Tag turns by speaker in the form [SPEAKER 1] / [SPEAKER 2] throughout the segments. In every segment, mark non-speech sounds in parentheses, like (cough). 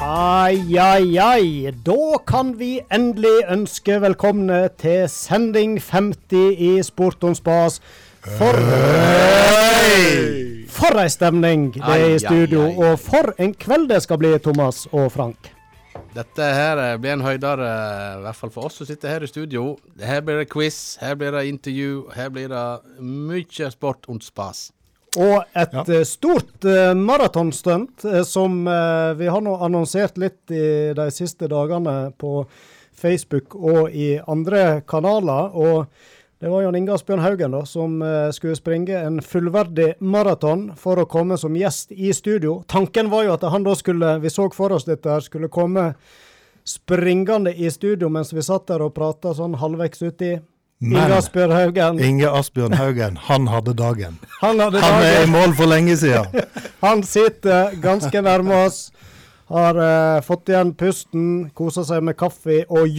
[SPEAKER 1] Ai, ai, ai. Da kan vi endelig ønske velkomne til sending 50 i Sport om spas. For, for ei stemning det er
[SPEAKER 2] Ai, ai,
[SPEAKER 1] i studio,
[SPEAKER 2] ai.
[SPEAKER 1] og for en kveld det skal bli, Thomas og Frank.
[SPEAKER 2] Dette her eh, blir en høydere, i hvert fall for oss som sitter her i studio. Her blir det quiz, her blir det intervju, her blir det mye sport und spas.
[SPEAKER 1] Og et eh, stort uh, maratonstunt eh, som eh, vi har nå annonsert litt i de siste dagene på Facebook og i andre kanaler. Og det var Jan Inge Asbjørn Haugen da, som eh, skulle springe en fullverdig maraton for å komme som gjest i studio. Tanken var jo at han da skulle, vi så for oss dette her, skulle komme springende i studio mens vi satt der og prata sånn halvveis uti.
[SPEAKER 3] Men-
[SPEAKER 1] Inge Asbjørn Haugen,
[SPEAKER 3] Inge Asbjørn Haugen, han hadde dagen.
[SPEAKER 1] han hadde
[SPEAKER 3] Han er
[SPEAKER 1] dagen.
[SPEAKER 3] i mål for lenge siden.
[SPEAKER 1] (laughs) Han sitter ganske nærme oss. Har eh, fått igjen pusten, koser seg med kaffe og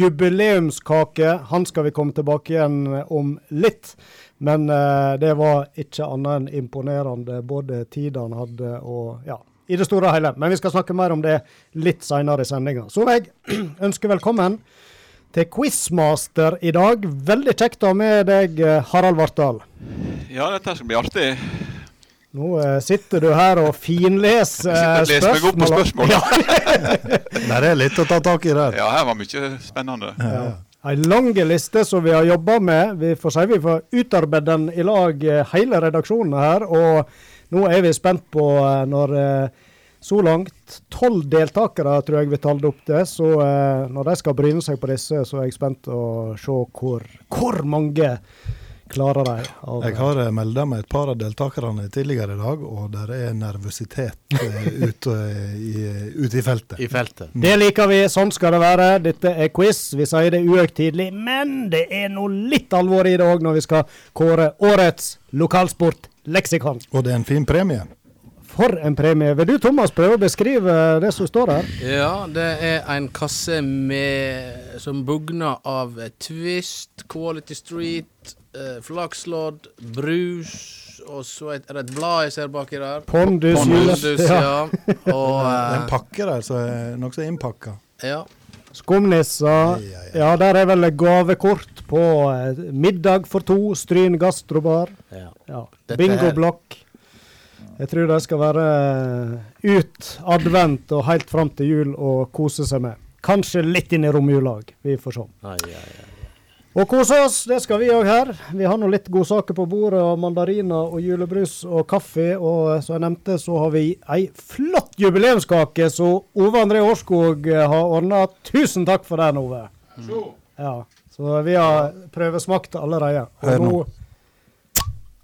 [SPEAKER 1] jubileumskake. Han skal vi komme tilbake igjen eh, om litt. Men eh, det var ikke annet enn imponerende, både tida han hadde og ja, i det store og hele. Men vi skal snakke mer om det litt seinere i sendinga. Så jeg (clears throat) ønsker velkommen til quizmaster i dag. Veldig kjekt å ha med deg, eh, Harald Vartdal.
[SPEAKER 4] Ja, dette skal bli artig.
[SPEAKER 1] Nå eh, sitter du her og finleser eh,
[SPEAKER 4] Jeg sitter og leser meg opp på spørsmål.
[SPEAKER 1] Ja. (laughs)
[SPEAKER 3] Nei, (laughs) det er litt å ta tak i der.
[SPEAKER 4] Ja, her var mye spennende.
[SPEAKER 1] Ei lang liste som vi har jobba med. Vi får si vi får utarbeide den i lag, eh, hele redaksjonen her. Og nå er vi spent på eh, når eh, så langt tolv deltakere tror jeg vi talte opp til. Så eh, når de skal bryne seg på disse, så er jeg spent å se hvor, hvor mange klarer de. av-
[SPEAKER 3] Jeg har melda med et par av deltakerne tidligere i dag, og der er nervøsitet eh, ute i, eh, ute i feltet. Mm.
[SPEAKER 2] I feltet.
[SPEAKER 1] Det liker vi, sånn skal det være. Dette er quiz. Vi sier det uhøytidelig, men det er nå litt alvor i det òg når vi skal kåre årets lokalsportleksikon.
[SPEAKER 3] Og det er en fin premie.
[SPEAKER 1] For en premie. Vil du, Thomas, prøve å beskrive det som står her?
[SPEAKER 2] Ja, det er en kasse med, som bugner av eh, Twist, Quality Street, eh, flakslodd, brus, og så et- er det et blad jeg ser baki der.
[SPEAKER 1] Pondus,
[SPEAKER 2] Pondus,
[SPEAKER 1] jule- ja.
[SPEAKER 2] ja. Og
[SPEAKER 3] Det er en
[SPEAKER 2] eh,
[SPEAKER 3] pakke der som er nokså innpakka.
[SPEAKER 2] ja.
[SPEAKER 1] Skumnisser.
[SPEAKER 3] Ja, ja,
[SPEAKER 1] Ja, der er vel gavekort på eh, middag for to, Stryn gastrobar.
[SPEAKER 2] ja.
[SPEAKER 1] Ja.
[SPEAKER 2] Dette her-
[SPEAKER 1] Bingoblokk. Jeg tror de skal være eh, ut advent og helt fram til jul og kose seg med. Kanskje litt inn i romjula òg, vi får se.
[SPEAKER 2] Ai, ai, ai.
[SPEAKER 1] Og kose oss, det skal vi òg her. Vi har nå litt godsaker på bordet, og mandariner og julebrus og kaffe. Og eh, som jeg nevnte, så har vi ei flott jubileumskake som Ove André Årskog eh, har ordna. Tusen takk for den, Ove. Ja, så vi har prøvesmakt allerede.
[SPEAKER 3] Hør
[SPEAKER 1] Og
[SPEAKER 3] nå.
[SPEAKER 1] nå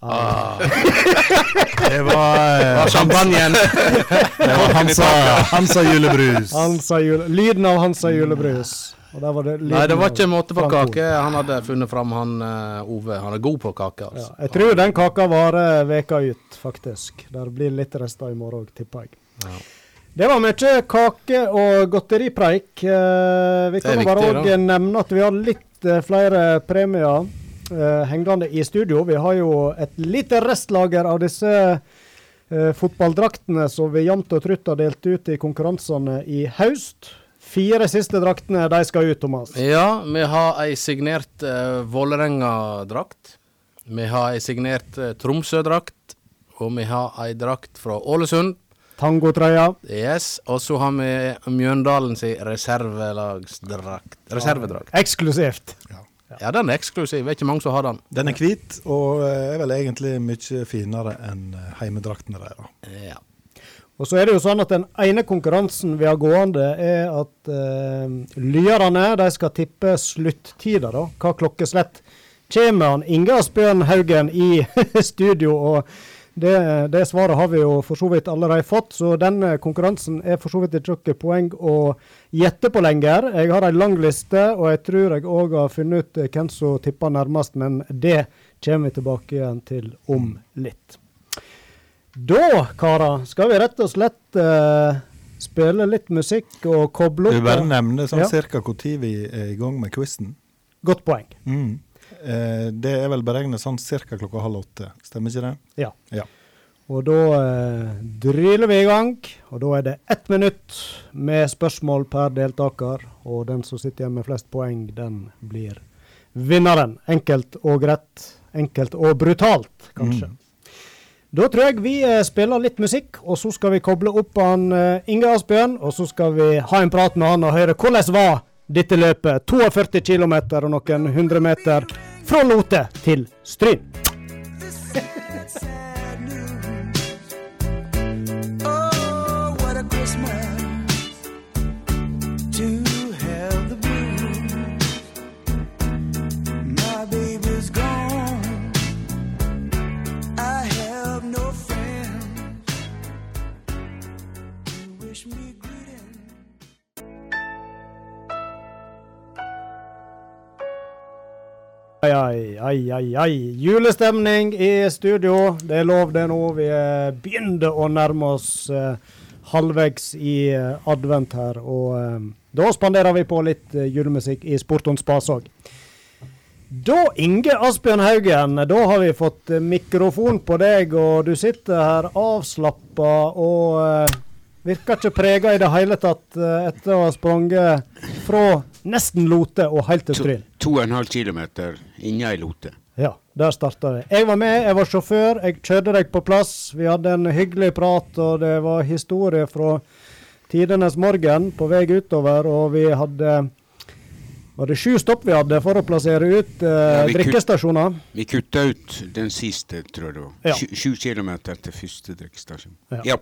[SPEAKER 3] Ah. (laughs) Det var, eh,
[SPEAKER 2] Champagnen!
[SPEAKER 3] det var Hansa, Hansa julebrus.
[SPEAKER 1] Hansa jule, lyden av Hansa julebrus. Og der var det lyden
[SPEAKER 2] Nei, det var ikke
[SPEAKER 1] av
[SPEAKER 2] måte på
[SPEAKER 1] Frank Ove.
[SPEAKER 2] kake han hadde funnet fram, han eh, Ove. Han er god på kake,
[SPEAKER 1] Ja,
[SPEAKER 2] altså.
[SPEAKER 1] jeg tror den kaka varer veka ut, faktisk. Der blir litt rester i morgen òg, tipper jeg.
[SPEAKER 2] Ja.
[SPEAKER 1] Det var mye kake og godteripreik. Eh, Vi
[SPEAKER 2] Det er
[SPEAKER 1] kan jo bare
[SPEAKER 2] viktig,
[SPEAKER 1] òg nevne at vi har litt eh, flere premier eh, hengende i studio. Vi har jo et lite restlager av disse eh, fotballdraktene som vi jevnt og trutt har delt ut i konkurransene i høst. Fire siste draktene, de skal ut, Thomas.
[SPEAKER 2] Ja, vi har ei signert uh, Vålerenga-drakt. Vi har ei signert eh, Tromsø-drakt. Og vi har ei drakt fra Ålesund.
[SPEAKER 1] Tangotrøya.
[SPEAKER 2] Yes. Og så har vi Mjøndalen si reservelagsdrakt. Reservedrakt.
[SPEAKER 1] Eksklusivt.
[SPEAKER 2] Ja, den er eksklusiv. Det er ikke mange som har den.
[SPEAKER 3] Den er hvit, og eh, er vel egentlig mye finere enn eh, heimedraktene deres.
[SPEAKER 2] Ja.
[SPEAKER 1] Og så er det jo sånn at den ene konkurransen vi har gående, er at eh, lyerne de skal tippe sluttida, da. Hva klokkeslett kommer han Inge Asbjørn Haugen i (laughs) studio? Og det, det svaret har vi jo for så vidt allerede fått, så den eh, konkurransen er for så vidt ikke noe poeng å gjette på lenger. Jeg har ei lang liste, og jeg tror jeg òg har funnet ut eh, hvem som tipper nærmest, men det kommer vi tilbake igjen til om litt. Da, karer, skal vi rett og slett eh, spille litt musikk og koble
[SPEAKER 3] Du bare
[SPEAKER 1] opp. eh,
[SPEAKER 3] nevner sånn
[SPEAKER 1] Ja.
[SPEAKER 3] cirka når vi er i gang med quizen.
[SPEAKER 1] Godt poeng.
[SPEAKER 3] Mm. Eh, det er vel beregnet sånn cirka klokka halv åtte, stemmer ikke det?
[SPEAKER 1] Ja.
[SPEAKER 3] Ja.
[SPEAKER 1] Og da eh, dryler vi i gang. Og da er det ett minutt med spørsmål per deltaker. Og den som sitter igjen med flest poeng, den blir vinneren. Enkelt og greit. Enkelt og brutalt, kanskje. Da tror jeg vi eh, spiller litt musikk, og så skal vi koble opp han eh, Inge Asbjørn. Og så skal vi ha en prat med han og høre hvordan var dette løpet. 42 km og noen hundre meter fra Lote til Stryn.
[SPEAKER 5] Oh, what a Christmas to have the blues. My baby's gone. I have no friends who wish me greeting.
[SPEAKER 1] Ai, ai, ai, ai, ai. Julestemning i studio. Det er lov det nå. Vi eh, begynner å nærme oss eh, halvveis i eh, advent her. Og eh, da spanderer vi på litt eh, julemusikk i Sporton Spas òg. Da, Inge Asbjørn Haugen, da har vi fått eh, mikrofon på deg, og du sitter her avslappa og eh, virker ikke prega i det hele tatt eh, etter å ha sprunget fra nesten Lote og helt til
[SPEAKER 6] To,
[SPEAKER 1] Stryn.
[SPEAKER 6] to og en halv kilometer inne i Lote.
[SPEAKER 1] Ja, der starta vi. Jeg var med, jeg var sjåfør, jeg kjørte deg på plass. Vi hadde en hyggelig prat, og det var historie fra tidenes morgen på vei utover. Og vi hadde Var det sju stopp vi hadde for å plassere ut eh,
[SPEAKER 6] Ja, vi kut-
[SPEAKER 1] drikkestasjoner?
[SPEAKER 6] Vi kutta ut den siste, tror jeg det var.
[SPEAKER 1] Ja.
[SPEAKER 6] Sju- Sju kilometer til første drikkestasjon.
[SPEAKER 1] Ja.
[SPEAKER 6] Ja.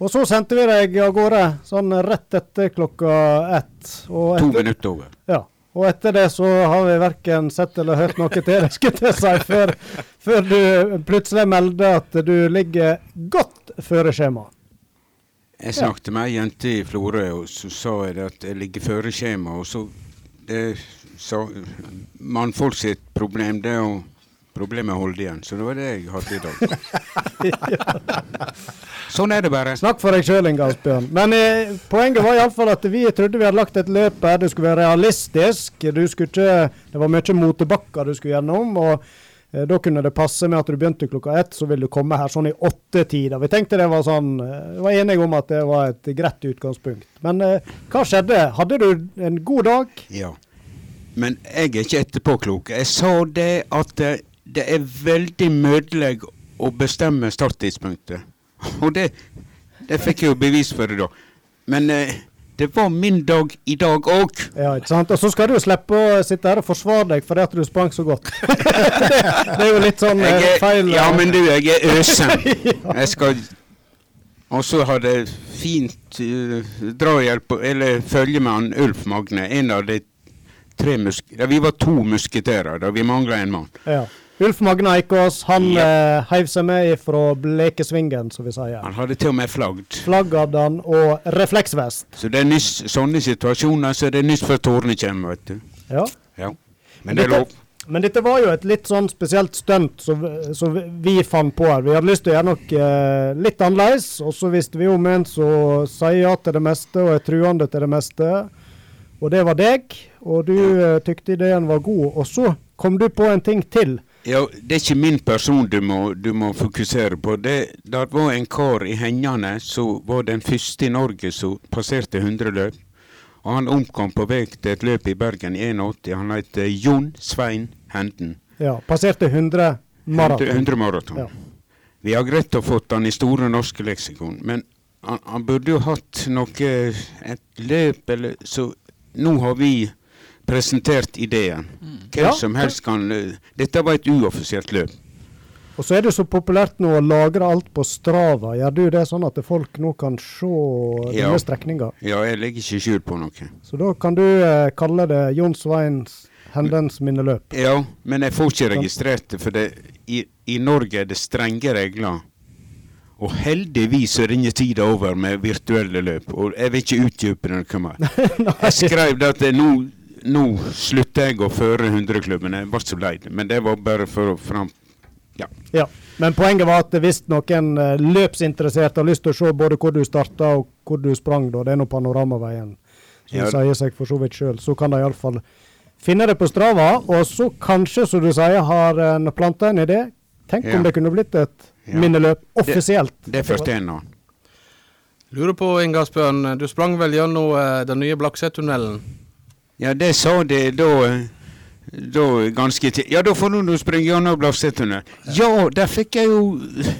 [SPEAKER 1] Og så sendte vi deg av gårde sånn rett etter klokka ett. Og
[SPEAKER 6] To
[SPEAKER 1] etter,
[SPEAKER 6] minutter over.
[SPEAKER 1] ja. Og etter det så har vi verken sett eller hørt noe til deg, skulle jeg si, før, før du plutselig melder at du ligger godt føre skjemaet.
[SPEAKER 6] Jeg snakket med ei jente i Florø, og så sa jeg det at jeg ligger føre skjema. Og så det, sa mannfolk sitt problem, det er å Problemet er å holde igjen. Så det var det jeg hadde i dag.
[SPEAKER 1] (laughs)
[SPEAKER 6] sånn er det bare.
[SPEAKER 1] Snakk for deg sjøl, Inge Asbjørn. Men eh, poenget var iallfall at vi trodde vi hadde lagt et løp her. Du skulle være realistisk. Du skulle ikke, det var mye motebakker du skulle gjennom. og eh, da kunne det passe med at du begynte klokka ett, så ville du komme her sånn i åttetida. Vi tenkte det var sånn, eh, vi var enige om at det var et greit utgangspunkt. Men eh, hva skjedde? Hadde du en god dag?
[SPEAKER 6] Ja. Men jeg er ikke etterpåklok. Jeg sa det at eh, det er veldig mødelig å bestemme starttidspunktet. Og det, det fikk jeg jo bevis for i dag. Men eh, det var min dag i dag òg.
[SPEAKER 1] Ja, ikke sant? Og så skal du slippe å sitte her og forsvare deg fordi at du sprang så godt. (laughs) det er jo litt sånn eh,
[SPEAKER 6] Jeg er,
[SPEAKER 1] feil. eh.
[SPEAKER 6] ja, men du, jeg er øsen.
[SPEAKER 1] (laughs)
[SPEAKER 6] Jeg skal Og så hadde jeg fint eh, drahjelp, eller følge med han Ulf Magne. En av de tre musk... Ja, vi var to musketerer da. Vi mangla en mann.
[SPEAKER 1] Ja. Ulf Magne Eikås han
[SPEAKER 6] Ja.
[SPEAKER 1] eh, heiv seg med ifra Blekesvingen, som vi sier.
[SPEAKER 6] Han hadde til og med flagd.
[SPEAKER 1] Flagg hadde han, og refleksvest.
[SPEAKER 6] Så det er nyss, sånne situasjoner så det er nyss før tårene kommer, vet du.
[SPEAKER 1] Ja.
[SPEAKER 6] Ja. Men det er lov.
[SPEAKER 1] Men dette var jo et litt sånn spesielt stunt som som vi fant på her. Vi hadde lyst til å gjøre noe eh, litt annerledes, og så visste vi om en som sier ja til det meste og er truende til det meste. Og det var deg, og du eh, tykte ideen var god. Og så kom du på en ting til.
[SPEAKER 6] Ja, det er ikke min person du må, du må fokusere på. Det der var en kar i Hengane som var den første i Norge som passerte 100 løp. Og han omkom på vei til et løp i Bergen i 81. Han het eh, Jon Svein Henden.
[SPEAKER 1] Ja, passerte 100 maraton.
[SPEAKER 6] 100 maraton.
[SPEAKER 1] Ja.
[SPEAKER 6] Vi har greit å fått han i Store norske leksikon, men han, han burde jo hatt noe et løp eller Så nå har vi presentert ideen. Hvem
[SPEAKER 1] Ja.
[SPEAKER 6] som helst kan eh, Dette var et uoffisielt løp.
[SPEAKER 1] Og så er det så populært nå å lagre alt på Strava. Gjør du det sånn at folk nå kan se
[SPEAKER 6] Ja.
[SPEAKER 1] denne strekninga?
[SPEAKER 6] Ja, jeg legger ikke skjul på noe.
[SPEAKER 1] Så da kan du eh, kalle det Jon Sveins Hendens minneløp.
[SPEAKER 6] Ja, men jeg får
[SPEAKER 2] Sånn.
[SPEAKER 6] ikke registrert det, for det, i, i Norge er det strenge regler. Og heldigvis er denne tida over med virtuelle løp, og jeg vil ikke utdype når det
[SPEAKER 2] (laughs)
[SPEAKER 6] kommer. Jeg skrev det at det nå, nå slutter jeg å føre 100-klubben. Jeg ble så lei det, men det var bare for å fram... Ja.
[SPEAKER 1] Ja. Men poenget var at hvis noen eh, løpsinteresserte har lyst til å se både hvor du starta og hvor du sprang, da, det er nå Panoramaveien, som
[SPEAKER 6] Ja.
[SPEAKER 1] sier seg for så vidt sjøl, så kan de iallfall finne det på Strava. Og så kanskje, som du sier, har en planta en idé. Tenk
[SPEAKER 6] Ja.
[SPEAKER 1] om det kunne blitt et
[SPEAKER 6] Ja.
[SPEAKER 1] minneløp offisielt.
[SPEAKER 6] Det fortjener han.
[SPEAKER 2] Lurer på, Inge Asbjørn, du sprang vel gjennom eh, den nye Blaksetunnelen?
[SPEAKER 6] Ja, det sa de da eh, da ganske til. Ja, da får du nå springe gjennom Blafsetunnelen. Ja, der fikk jeg jo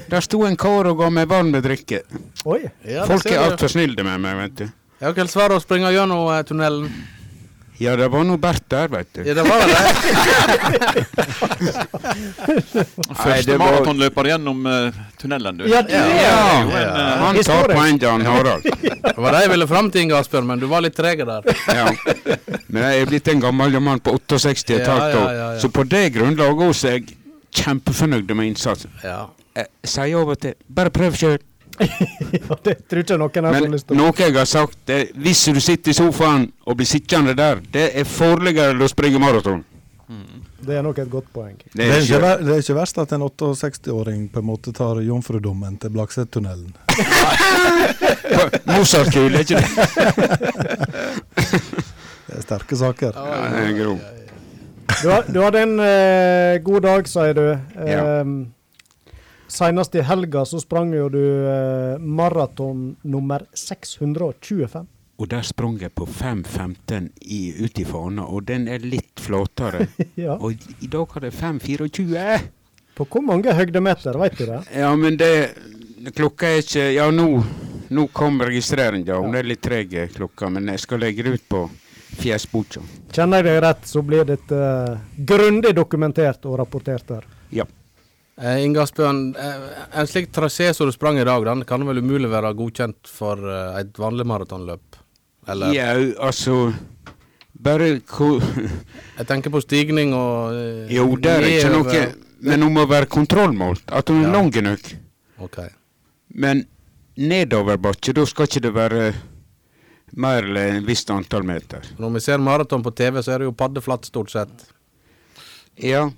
[SPEAKER 6] Der sto en kar og ga meg vann med drikke.
[SPEAKER 1] Oi.
[SPEAKER 2] Ja, det
[SPEAKER 6] Folk
[SPEAKER 2] ser
[SPEAKER 6] er
[SPEAKER 2] du.
[SPEAKER 6] altfor snille med meg, vet du.
[SPEAKER 2] Ja, Hvem svarer å springe gjennom eh, tunnelen?
[SPEAKER 6] Ja, det var nå Bert der, vet du.
[SPEAKER 2] Ja, det var det.
[SPEAKER 6] (laughs) det
[SPEAKER 4] Første
[SPEAKER 6] var-
[SPEAKER 4] maratonløper gjennom eh, tunnelen, du.
[SPEAKER 1] Ja, det er
[SPEAKER 6] Ja,
[SPEAKER 4] jo en, eh,
[SPEAKER 6] Han tar
[SPEAKER 1] Historie.
[SPEAKER 6] poenget, han
[SPEAKER 1] (laughs)
[SPEAKER 6] Harald.
[SPEAKER 2] Det var det jeg ville fram til, Inge Asbjørn, men du var litt treg der.
[SPEAKER 6] Ja. Men jeg er blitt en gammel mann på 68 et
[SPEAKER 2] Ja,
[SPEAKER 6] halvt
[SPEAKER 2] ja,
[SPEAKER 6] år,
[SPEAKER 2] ja, ja.
[SPEAKER 6] så på det grunnlaget også er jeg kjempefornøyd med innsatsen.
[SPEAKER 2] Ja.
[SPEAKER 6] Jeg sier over til bare prøv sjøl.
[SPEAKER 1] (laughs) Ja, det tror ikke noen har så
[SPEAKER 6] Men
[SPEAKER 1] lyst til.
[SPEAKER 6] noe jeg har sagt, er hvis du sitter i sofaen og blir sittende der, det er farligere enn å springe maraton.
[SPEAKER 1] Det er nok et godt poeng.
[SPEAKER 6] Det
[SPEAKER 3] Det
[SPEAKER 6] er
[SPEAKER 3] er, ikke,
[SPEAKER 6] ikke
[SPEAKER 3] ver- det er ikke verst at en 68-åring på en måte tar jomfrudommen til
[SPEAKER 6] (laughs)
[SPEAKER 3] Blaksetunnelen.
[SPEAKER 6] Mozart-kul, er ikke det?
[SPEAKER 3] (laughs) Det er sterke saker.
[SPEAKER 6] Ja, det er grov.
[SPEAKER 1] Du, har, du hadde en eh, god dag, sier du.
[SPEAKER 6] Ja.
[SPEAKER 1] Ehm, Senest i helga så sprang jo du eh, maraton nummer 625.
[SPEAKER 6] Og der sprang jeg på 5.15 i- ut i fana, og den er litt flatere.
[SPEAKER 1] (laughs) Ja.
[SPEAKER 6] Og i- i dag har det 5.24.
[SPEAKER 1] På hvor mange høydemeter, veit du det?
[SPEAKER 6] Ja, men det Klokka er ikke Ja, nå, nå kom registreringa. Hun er litt treg, eh, klokka, men jeg skal legge det ut på Fjesboka.
[SPEAKER 1] Kjenner jeg deg rett, så blir dette eh, grundig dokumentert og rapportert her.
[SPEAKER 6] Ja.
[SPEAKER 2] Eh, Inge Asbjørn, eh, en slik trasé som du sprang i dag, den kan vel umulig være godkjent for eh, et vanlig maratonløp? Eller
[SPEAKER 6] Ja, altså Bare ko...
[SPEAKER 2] Jeg tenker på stigning og eh,
[SPEAKER 6] Jo, det er ikke
[SPEAKER 2] nedover.
[SPEAKER 6] noe Men hun må være kontrollmålt. At hun er
[SPEAKER 2] Ja.
[SPEAKER 6] lang nok.
[SPEAKER 2] Ok.
[SPEAKER 6] Men nedoverbakke, da skal ikke det være mer enn et visst antall meter.
[SPEAKER 2] Når vi ser maraton på TV, så er det jo paddeflatt stort sett.
[SPEAKER 6] Ja.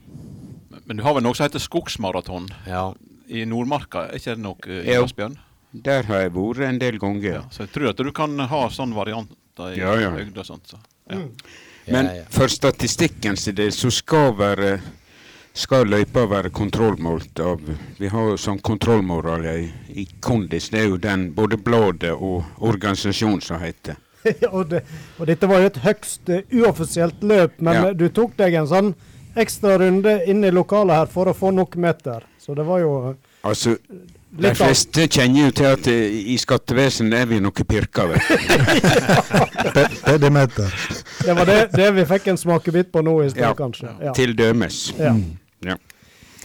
[SPEAKER 4] Men du har vel noe som heter skogsmaraton
[SPEAKER 2] Ja.
[SPEAKER 4] i Nordmarka, er ikke det nok, eh,
[SPEAKER 6] Jo.
[SPEAKER 4] Asbjørn?
[SPEAKER 6] Der har jeg vært en del ganger.
[SPEAKER 4] Ja. Så jeg tror at du kan ha sånn varianter i
[SPEAKER 6] Ja, ja.
[SPEAKER 4] høgde og sånt. Så. Ja.
[SPEAKER 1] Mm.
[SPEAKER 6] Men
[SPEAKER 2] Ja, ja.
[SPEAKER 6] for statistikken sin del så skal være skal løypa være kontrollmålt av Vi har jo sånn kontrollmoral i, i Kondis. Det er jo den både bladet og organisasjonen som heter.
[SPEAKER 1] Ja, (laughs) og, det, og dette var jo et høgst eh, uoffisielt løp, men
[SPEAKER 6] Ja.
[SPEAKER 1] eh, du tok deg en sånn ekstra runde inn i lokalet her for å få nok meter. Så det var jo eh,
[SPEAKER 6] Altså, de
[SPEAKER 1] Litt av-
[SPEAKER 6] fleste kjenner jo til at eh, i skattevesenet er vi noe pirka, vet du.
[SPEAKER 1] (laughs)
[SPEAKER 6] (laughs)
[SPEAKER 3] Pe- Pedimeter.
[SPEAKER 1] Det var det, det vi fikk en smakebit på nå i sted,
[SPEAKER 6] Ja.
[SPEAKER 1] kanskje. Ja.
[SPEAKER 6] Til dømes.
[SPEAKER 1] Ja.
[SPEAKER 6] Ja.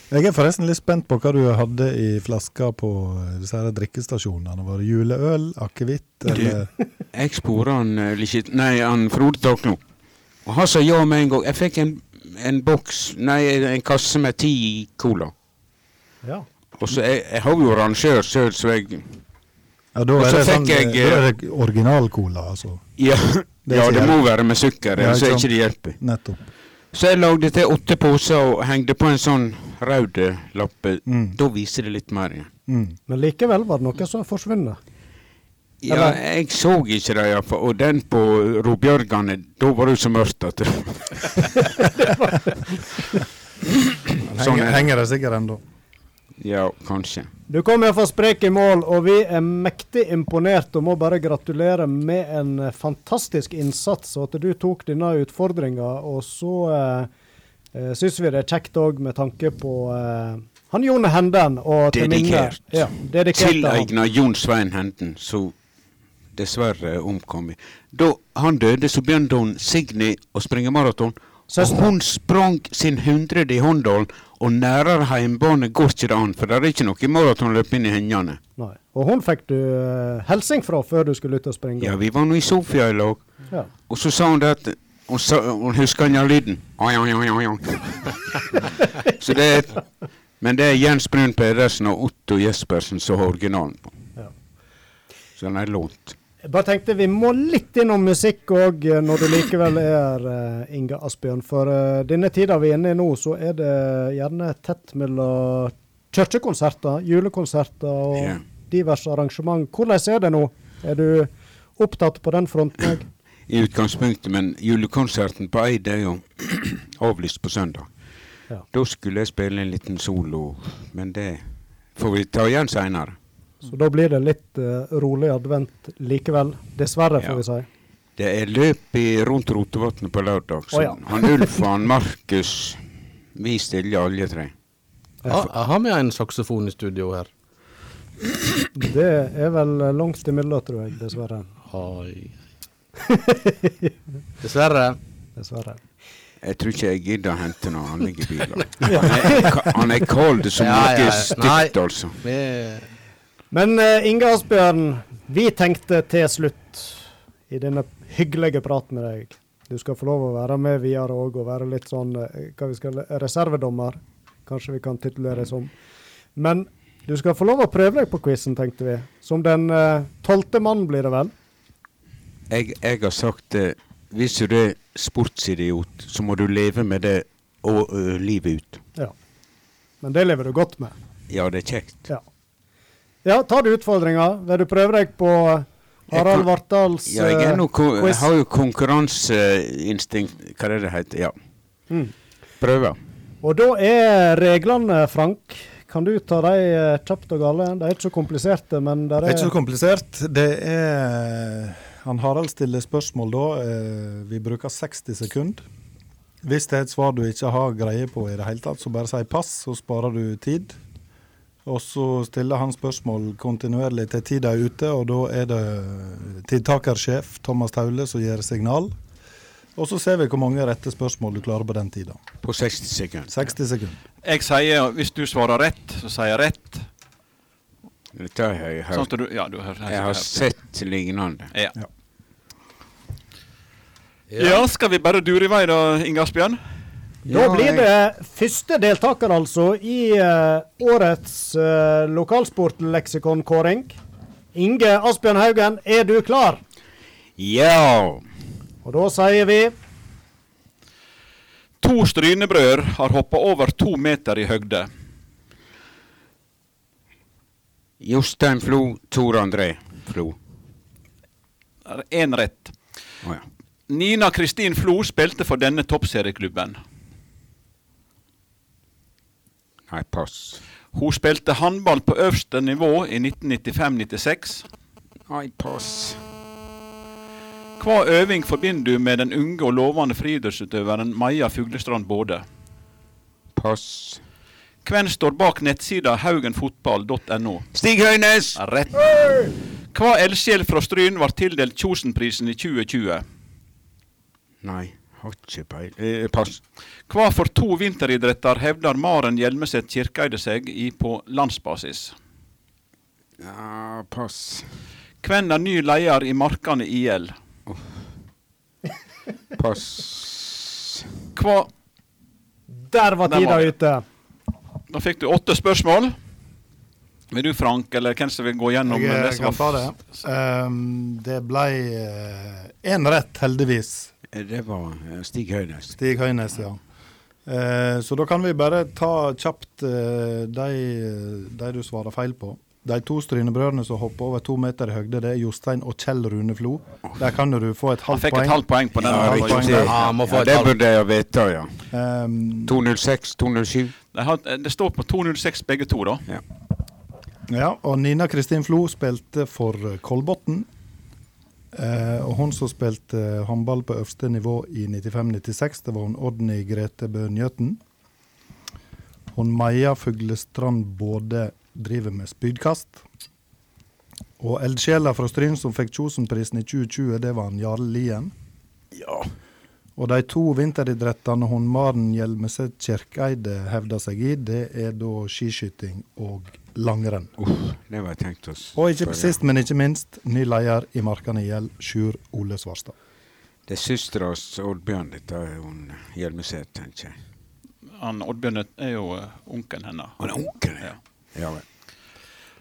[SPEAKER 3] Jeg er forresten litt spent på hva du hadde i flaska på eh, disse her drikkestasjonene. Var det juleøl, akevitt eller
[SPEAKER 6] Jeg spora han eh, Lichit- Nei, han Frode Takno. Og han sa ja med en gang. Jeg fikk en, en boks, nei, en kasse med ti cola.
[SPEAKER 1] Ja.
[SPEAKER 6] Og så jeg, jeg har jo rangør sjøl, så jeg
[SPEAKER 3] Ja, da
[SPEAKER 6] Og
[SPEAKER 3] er
[SPEAKER 6] så
[SPEAKER 3] det, sånn,
[SPEAKER 6] fikk jeg,
[SPEAKER 3] eh, da er det original-cola, altså.
[SPEAKER 6] (laughs) Ja,
[SPEAKER 3] Det
[SPEAKER 6] det,
[SPEAKER 3] er
[SPEAKER 6] ja,
[SPEAKER 3] ikke
[SPEAKER 6] det
[SPEAKER 3] hjelp.
[SPEAKER 6] må være med sukker,
[SPEAKER 3] Ja,
[SPEAKER 6] ellers
[SPEAKER 3] ikke
[SPEAKER 6] er
[SPEAKER 3] sant.
[SPEAKER 6] ikke det hjelper.
[SPEAKER 3] Nettopp.
[SPEAKER 6] Så jeg lagde til åtte poser og hengte på en sånn rød eh, lappe.
[SPEAKER 3] Mm.
[SPEAKER 6] Da viser det litt mer igjen.
[SPEAKER 3] Mm.
[SPEAKER 1] Men likevel var det noe som forsvunnet.
[SPEAKER 6] Ja,
[SPEAKER 1] Eller-
[SPEAKER 6] jeg så ikke det iallfall. Og den på Robjørgane, da var det jo så mørkt at Sånn
[SPEAKER 3] (laughs) Henger,
[SPEAKER 6] er det.
[SPEAKER 3] henger det sikkert ennå.
[SPEAKER 6] Ja, kanskje.
[SPEAKER 1] Du kom iallfall sprek i mål, og vi er mektig imponert og må bare gratulere med en eh, fantastisk innsats og at du tok denne utfordringa. Og så eh, syns vi det er kjekt òg med tanke på eh, han Jon Henden. Og til minne-
[SPEAKER 6] Dedikert.
[SPEAKER 1] Ja, dedikert til han.
[SPEAKER 6] Tilegna Jon Svein Henden, som dessverre omkom. Da han døde, så begynte hun Signy å springe maraton. Og
[SPEAKER 1] Søster.
[SPEAKER 6] hun sprang sin hundrede i Håndalen, og nærere heimbane går ikke det an, for det er ikke noe maratonløp inn i hengene.
[SPEAKER 1] Nei. Og hun fikk du eh, hilsing fra før du skulle ut og springe.
[SPEAKER 6] Ja, vi var nå i Sofia i lag,
[SPEAKER 1] Ja.
[SPEAKER 6] og så sa hun det at hun, sa, hun husker den lyden. Oi, oi, oi,
[SPEAKER 1] (laughs)
[SPEAKER 6] oi, oi. så det er, men det er Jens Brun Pedersen og Otto Jespersen som har originalen på.
[SPEAKER 1] Ja.
[SPEAKER 6] Så den er lånt.
[SPEAKER 1] Jeg bare tenkte vi må litt innom musikk òg, når du likevel er eh, Inge Asbjørn. For eh, denne tida vi er inne i nå, så er det gjerne tett mellom kirkekonserter, julekonserter og
[SPEAKER 6] Ja.
[SPEAKER 1] diverse arrangement. Hvordan er det nå? Er du opptatt på den fronten òg?
[SPEAKER 6] (clears throat) i utgangspunktet, men julekonserten på Eid er jo avlyst på søndag.
[SPEAKER 1] Ja.
[SPEAKER 6] Da skulle jeg spille en liten solo, men det får vi ta igjen seinere.
[SPEAKER 1] Så da blir det litt eh, rolig advent likevel. Dessverre, får
[SPEAKER 6] Ja.
[SPEAKER 1] vi si.
[SPEAKER 6] Det er løp i rundt Rotevatnet på lørdag, så
[SPEAKER 1] Å, ja.
[SPEAKER 6] han Ulf og han Markus Vi stiller alle tre.
[SPEAKER 2] Ha- Jeg har med en saksofon i studio her.
[SPEAKER 1] Det er vel eh, langt imellom, tror jeg. Dessverre.
[SPEAKER 2] Oi. Dessverre.
[SPEAKER 1] Dessverre.
[SPEAKER 6] Jeg tror ikke jeg gidder å hente noe han ligger i
[SPEAKER 1] (laughs)
[SPEAKER 6] bilen. Han er ka- Han er kald som
[SPEAKER 2] Ja, ja, ja.
[SPEAKER 6] noe
[SPEAKER 2] Nei.
[SPEAKER 6] stygt, altså.
[SPEAKER 2] Vi
[SPEAKER 1] Men eh, Inge Asbjørn, vi tenkte til slutt i denne hyggelige praten med deg Du skal få lov å være med videre òg, og være litt sånn eh, hva vi skal, reservedommer. Kanskje vi kan titulere det som. Men du skal få lov å prøve deg på quizen, tenkte vi. Som den eh, tolvte mann, blir det vel?
[SPEAKER 6] Jeg, jeg har sagt det. Hvis du er sportsidiot, så må du leve med det og, ø, livet ut.
[SPEAKER 1] Ja. Men det lever du godt med.
[SPEAKER 6] Ja, det er kjekt.
[SPEAKER 1] Ja. ja, tar du utfordringa? Vil du prøve deg på Harald Vartdals
[SPEAKER 6] Ja, jeg, er
[SPEAKER 1] eh,
[SPEAKER 6] nå ko- jeg
[SPEAKER 1] quiz?
[SPEAKER 6] har jo konkurranseinstinkt Hva er det det heter? Ja.
[SPEAKER 1] Mm.
[SPEAKER 6] Prøver.
[SPEAKER 1] Og da er reglene, Frank. Kan du ta de eh, kjapt og gale? De er ikke så kompliserte, men der
[SPEAKER 3] Det er
[SPEAKER 1] er
[SPEAKER 3] ikke så komplisert. Det er Han Harald stiller spørsmål da. eh, Vi bruker 60 sekunder. Hvis det er et svar du ikke har greie på i det hele tatt, så bare si pass, så sparer du tid. Og så stiller han spørsmål kontinuerlig til tida er ute, og da er det tiltakersjef Thomas Taule som gir signal. Og så ser vi hvor mange rette spørsmål du klarer på den tida.
[SPEAKER 6] På 60 sekunder.
[SPEAKER 3] 60 sekunder.
[SPEAKER 4] Jeg sier hvis du svarer rett, så sier jeg rett.
[SPEAKER 6] Dette har jeg
[SPEAKER 4] Sånn at
[SPEAKER 6] hørt.
[SPEAKER 4] du Ja, du hører
[SPEAKER 6] Jeg har sett lignende.
[SPEAKER 4] Ja.
[SPEAKER 3] Ja.
[SPEAKER 4] ja, skal vi bare dure i vei da, Inge Asbjørn?
[SPEAKER 1] Da
[SPEAKER 6] Ja,
[SPEAKER 1] blir
[SPEAKER 6] jeg-
[SPEAKER 1] det første deltaker, altså, i eh, årets eh, lokalsportleksikonkåring. Inge Asbjørn Haugen, er du klar?
[SPEAKER 6] Ja!
[SPEAKER 1] Og da sier vi
[SPEAKER 4] To strynebrød har hoppa over to meter i høgde.
[SPEAKER 6] Jostein Flo, Tor André Flo.
[SPEAKER 4] Én rett.
[SPEAKER 6] Å ja.
[SPEAKER 4] Nina Kristin Flo spilte for denne toppserieklubben.
[SPEAKER 6] Nei, pass.
[SPEAKER 4] Hun spilte håndball på øverste nivå i 1995-96.
[SPEAKER 6] Nei, pass.
[SPEAKER 4] Hva øving forbinder du med den unge og lovende friidrettsutøveren Maja Fuglestrand Både?
[SPEAKER 6] Pass.
[SPEAKER 4] Hvem står bak nettsida haugenfotball.no?
[SPEAKER 6] Stig Høynes!
[SPEAKER 4] Rett. Hva eldsjel fra Stryn var tildelt Kjosenprisen i 2020?
[SPEAKER 6] Nei, har ikke peil... Eh, pass.
[SPEAKER 4] Hva for to vinteridretter hevder Maren Hjelmeset Kirkeide seg i på landsbasis?
[SPEAKER 6] Ja, pass.
[SPEAKER 4] Hvem er ny leder i Markane IL?
[SPEAKER 6] Pass.
[SPEAKER 4] Hva
[SPEAKER 1] Der var
[SPEAKER 4] Der
[SPEAKER 1] tida
[SPEAKER 4] var vi.
[SPEAKER 1] ute.
[SPEAKER 4] Da fikk du åtte spørsmål. Vil du, Frank, eller hvem som vil gå gjennom
[SPEAKER 3] Jeg
[SPEAKER 4] det som
[SPEAKER 3] kan ta
[SPEAKER 4] var-
[SPEAKER 3] det. Ehm, det ble én rett, heldigvis.
[SPEAKER 6] Eh, Det var eh, Stig Høynes.
[SPEAKER 3] Stig Høynes, ja. Eh, så da kan vi bare ta kjapt eh, de, de du svarer feil på. De to strynebrødrene som hopper over to meter i høgde, det er Jostein og Kjell Rune Flo. Der kan du få et
[SPEAKER 4] Han
[SPEAKER 3] halvt
[SPEAKER 4] fikk et
[SPEAKER 3] poeng.
[SPEAKER 4] halvt poeng på den.
[SPEAKER 3] Ja,
[SPEAKER 4] han var
[SPEAKER 3] riktig.
[SPEAKER 4] inne.
[SPEAKER 2] Ja, han må få
[SPEAKER 6] Ja,
[SPEAKER 2] et
[SPEAKER 6] det
[SPEAKER 2] halvt.
[SPEAKER 6] burde jeg vite, ja.
[SPEAKER 1] Eh,
[SPEAKER 3] Ehm,
[SPEAKER 6] 206, 207.
[SPEAKER 4] De har- det står på 206 begge to, da.
[SPEAKER 6] Ja.
[SPEAKER 3] ja, og Nina Kristin Flo spilte for eh, Kolbotn. Eh, og hun som spilte eh, håndball på øverste nivå i 95-96, det var hun Odny Grete Bø Njøten. Hun Maja Fuglestrand både driver med spydkast. Og eldsjela fra Stryn som fikk Kjosenprisen i 2020, det var han Jarl Lien. Og de to vinteridrettene hun Maren Hjelmeset Kjerkeide hevder seg i, det er da skiskyting og langrenn.
[SPEAKER 6] Uff, det var jeg tenkt oss.
[SPEAKER 3] Og ikke sist, men ikke minst, ny leder i Markane IL, Sjur Ole Svarstad.
[SPEAKER 6] Det er søstera hans Oddbjørn, dette er hun Hjelmeset, tenker jeg.
[SPEAKER 4] Han Oddbjørn er jo eh, onkelen hennes.
[SPEAKER 6] Han er onkel, ja. ja vel.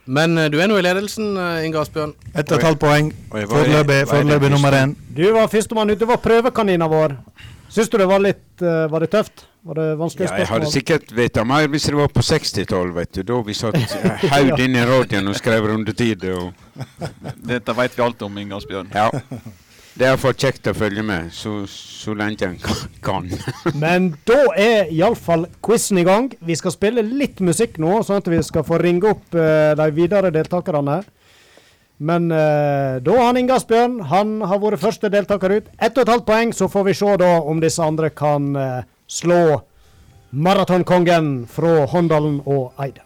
[SPEAKER 2] Men eh, du er nå i ledelsen, eh, Inge Asbjørn.
[SPEAKER 3] Ett og et halvt poeng.
[SPEAKER 6] Og jeg var-
[SPEAKER 3] Foreløpig
[SPEAKER 6] jeg- var jeg den
[SPEAKER 3] foreløpig nummer
[SPEAKER 6] første?
[SPEAKER 3] én.
[SPEAKER 1] Du var førstemann ute. Var prøvekanina vår. Syns du det var litt eh, Var det tøft? Var det vanskelig
[SPEAKER 6] Ja, jeg hadde
[SPEAKER 1] spørsmål?
[SPEAKER 6] sikkert (laughs) vita mer hvis det var på 60-tallet, vet du. Da vi satt eh, haud inn i radioen og skrev rundetider og
[SPEAKER 4] Dette vet vi alt om, Inge Asbjørn.
[SPEAKER 6] Ja. Det er iallfall kjekt å følge med, så, så lenge en kan- kan.
[SPEAKER 1] Men da er iallfall quizen i gang. Vi skal spille litt musikk nå, sånn at vi skal få ringe opp eh, de videre deltakerne. Men eh, da har han Inge Asbjørn han har vært første deltaker ut. Ett og et halvt poeng, så får vi se da om disse andre kan eh, slå maratonkongen fra Håndalen og Eide.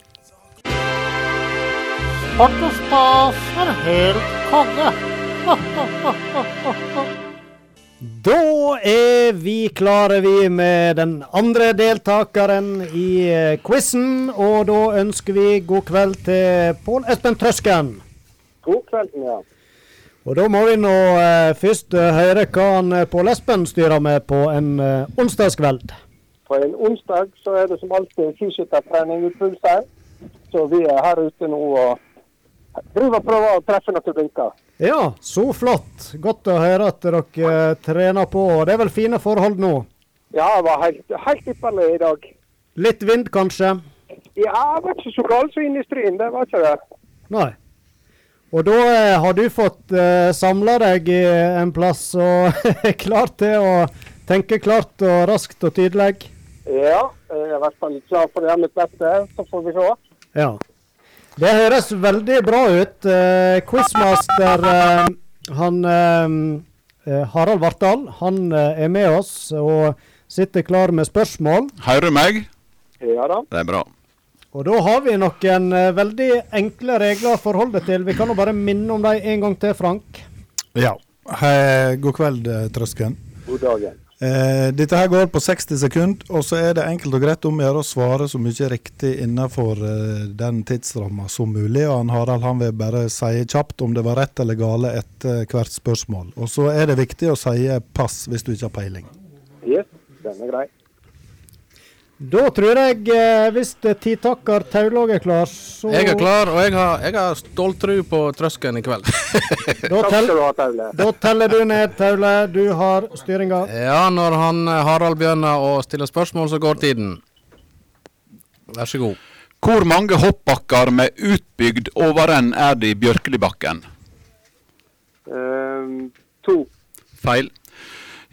[SPEAKER 1] Da er vi klare, vi, med den andre deltakeren i eh, quizen. Og da ønsker vi god kveld til Pål Espen Trøsken.
[SPEAKER 7] God kveld, ja.
[SPEAKER 1] Og da må vi nå eh, først eh, høre hva han eh, Pål Espen styrer med på en eh, onsdagskveld.
[SPEAKER 7] På en onsdag så er det som alltid fysioterapeuttrening i Pulsheim. Så vi er her ute nå og driver og prøver å treffe noen blinker.
[SPEAKER 1] Ja, så flott. Godt å høre at dere eh, trener på. Og det er vel fine forhold nå?
[SPEAKER 7] Ja, det var helt, helt ypperlig i dag.
[SPEAKER 1] Litt vind, kanskje?
[SPEAKER 7] Ja, det var ikke så galt som industrien, det var ikke det.
[SPEAKER 1] Nei. Og da eh, har du fått eh, samla deg i en plass og (laughs) er klar til å tenke klart og raskt og tydelig.
[SPEAKER 7] Ja, eh, jeg er i hvert fall klar for å gjøre mitt beste, så får vi se.
[SPEAKER 1] Ja. Det høres veldig bra ut. Eh, Quizmaster eh, han eh, eh, Harald Vartdal, han eh, er med oss og sitter klar med spørsmål.
[SPEAKER 4] Hører du meg?
[SPEAKER 7] Ja da.
[SPEAKER 4] Det er bra.
[SPEAKER 1] Og da har vi noen eh, veldig enkle regler å forholde deg til. Vi kan jo bare minne om dem en gang til, Frank.
[SPEAKER 3] Ja. Hei, god kveld, eh, Trøsken.
[SPEAKER 7] God dagen.
[SPEAKER 3] Eh, dette her går på 60 sekunder, og så er det enkelt og greit om å gjøre å svare så mye riktig innenfor eh, den tidsramma som mulig. Og han Harald han vil bare si kjapt om det var rett eller gale etter hvert spørsmål. Og så er det viktig å si pass hvis du ikke har peiling.
[SPEAKER 7] Yes, den er grei.
[SPEAKER 1] Da tror jeg, eh, hvis det titakker Taulåg er klar, så
[SPEAKER 2] Jeg er klar, og jeg har, jeg har ståltru på trøsken i kveld.
[SPEAKER 1] Da,
[SPEAKER 7] Takk
[SPEAKER 1] tell,
[SPEAKER 7] skal du ha, Taule.
[SPEAKER 1] da teller du ned, Taule. Du har styringa.
[SPEAKER 2] ja, når han eh, Harald begynner å stille spørsmål, så går tiden. Vær så god.
[SPEAKER 4] Hvor mange hoppbakker med utbygd overrenn er det i Bjørkelibakken?
[SPEAKER 7] Ehm, to.
[SPEAKER 4] Feil.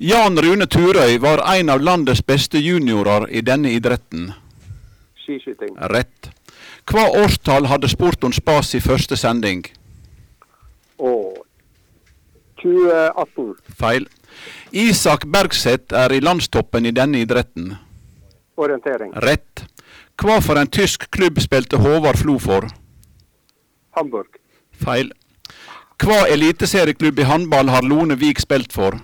[SPEAKER 4] Jan Rune Turøy var en av landets beste juniorer i denne idretten.
[SPEAKER 7] Skiskyting.
[SPEAKER 4] Rett. Hva årstall hadde Sporton Spas i første sending?
[SPEAKER 7] Og 2018.
[SPEAKER 4] Feil. Isak Bergseth er i landstoppen i denne idretten.
[SPEAKER 7] Orientering.
[SPEAKER 4] Rett. Hva for en tysk klubb spilte Håvard Flo for?
[SPEAKER 7] Hamburg.
[SPEAKER 4] Feil. Hva eliteserieklubb i håndball har Lone Vik spilt for?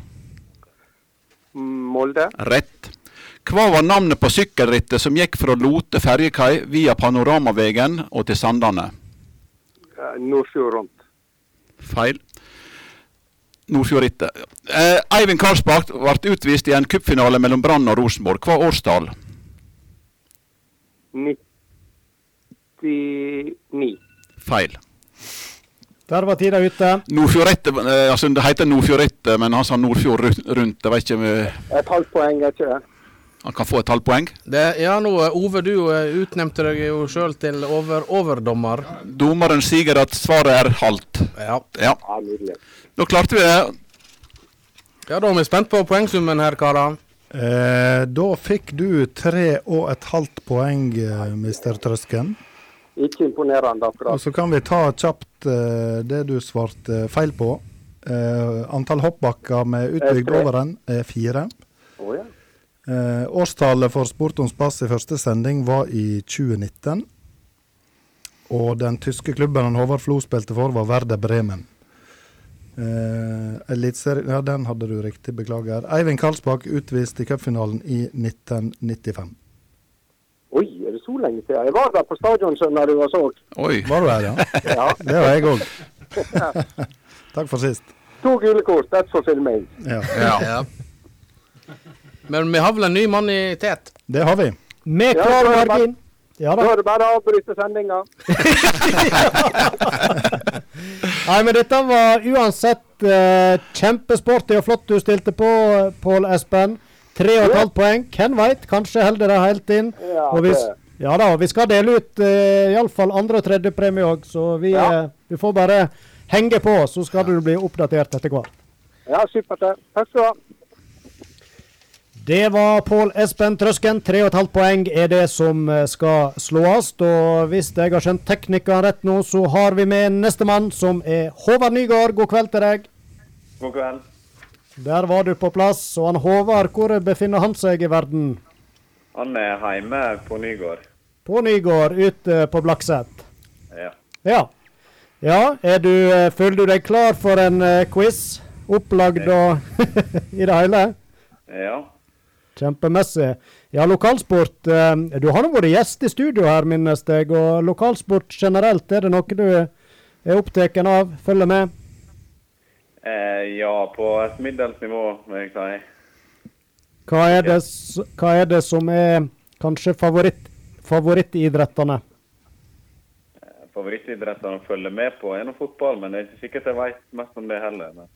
[SPEAKER 7] Molde.
[SPEAKER 4] Rett. Hva var navnet på sykkelrittet som gikk fra Lote ferjekai via Panoramavegen og til Sandane?
[SPEAKER 7] eh, Nordfjord rundt.
[SPEAKER 4] Feil. Nordfjordrittet. Eh, Eivind Karlsbakk ble utvist i en cupfinale mellom Brann og Rosenborg. Hva årstall?
[SPEAKER 7] 99.
[SPEAKER 4] Feil.
[SPEAKER 1] Der var tida ute.
[SPEAKER 4] Nordfjordrittet, eh, altså det heter Nordfjordrittet, men han sa Nordfjord ru- rundt. Jeg vet ikke om eh,
[SPEAKER 7] Et halvt poeng, er ikke det?
[SPEAKER 4] han kan få et halvt poeng.
[SPEAKER 2] Det, ja, nå, eh, Ove, du eh, utnevnte deg jo sjøl til over, overdommer.
[SPEAKER 4] Dommeren sier at svaret er halvt.
[SPEAKER 2] Ja.
[SPEAKER 4] Ja,
[SPEAKER 7] Ja, nydelig.
[SPEAKER 4] da klarte vi det.
[SPEAKER 2] ja, da er vi spent på poengsummen her, karer.
[SPEAKER 3] Eh, da fikk du tre og et halvt poeng, eh, Mr. Trøsken.
[SPEAKER 7] Ikke imponerende
[SPEAKER 3] Og
[SPEAKER 7] akkurat.
[SPEAKER 3] så kan vi ta kjapt eh, det du svarte feil på. Eh, antall hoppbakker med utbygd
[SPEAKER 7] tre.
[SPEAKER 3] overrenn er fire.
[SPEAKER 7] Å ja.
[SPEAKER 3] Eh, årstallet for Sport om spass i første sending var i 2019. Og den tyske klubben han Håvard Flo spilte for, var Werder Bremen. Eh, Eliteserie Ja, den hadde du riktig, beklager. Eivind Karlsbakk utvist i cupfinalen i 1995.
[SPEAKER 7] Oi, er det så lenge siden? Jeg var der på stadion skjønner du og så.
[SPEAKER 4] Oi.
[SPEAKER 3] Var du her,
[SPEAKER 8] (laughs)
[SPEAKER 3] ja?
[SPEAKER 7] Ja.
[SPEAKER 3] (laughs) Det var jeg
[SPEAKER 7] (laughs)
[SPEAKER 3] òg. Takk for sist.
[SPEAKER 7] To gule kort, ett for filming.
[SPEAKER 3] Ja,
[SPEAKER 2] Ja. Men vi har vel en ny mann i tet?
[SPEAKER 3] det har vi.
[SPEAKER 1] Med
[SPEAKER 7] Ja,
[SPEAKER 1] klar
[SPEAKER 7] da er det
[SPEAKER 1] margin. Ja
[SPEAKER 7] Da
[SPEAKER 1] da.
[SPEAKER 7] er det bare å avbryte sendinga.
[SPEAKER 1] Nei, men dette var uansett eh, kjempesporty og flott du stilte på, eh, Pål Espen. Tre og et halvt poeng. Hvem veit, kanskje holder det helt inn.
[SPEAKER 7] Ja,
[SPEAKER 1] og vi, s-
[SPEAKER 7] det.
[SPEAKER 1] ja da, vi skal dele ut eh, iallfall andre- og tredjepremie òg, så vi,
[SPEAKER 7] Ja.
[SPEAKER 1] eh, vi får bare henge på, så skal du bli oppdatert etter hvert.
[SPEAKER 7] Ja, supert det. Takk skal du ha.
[SPEAKER 1] Det var Pål Espen Trøsken. 3,5 poeng er det som eh, skal slås. Og hvis jeg har skjønt teknikeren rett nå, så har vi med nestemann, som er Håvard Nygård. God kveld til deg.
[SPEAKER 9] God kveld.
[SPEAKER 1] Der var du på plass. Og han Håvard, hvor befinner han seg i verden?
[SPEAKER 9] Han er hjemme på Nygård.
[SPEAKER 1] På Nygård, ute på Blakset.
[SPEAKER 9] Ja.
[SPEAKER 1] Ja. Ja, er du, eh, føler du deg klar for en eh, quiz? Opplagd og (laughs) i det hele?
[SPEAKER 9] ja.
[SPEAKER 1] Kjempemessig. Ja, lokalsport. eh, Du har nå vært gjest i studio her, minnes jeg. Og lokalsport generelt, er det noe du er opptatt av? Følger med?
[SPEAKER 9] Eh, ja, på et middels nivå, vil jeg si.
[SPEAKER 1] Hva er det, s- hva er det som er kanskje favoritt, favorittidrettene?
[SPEAKER 9] Favorittidrettene å følge med på er nå fotball, men det er ikke sikkert jeg vet mest om det heller. Men.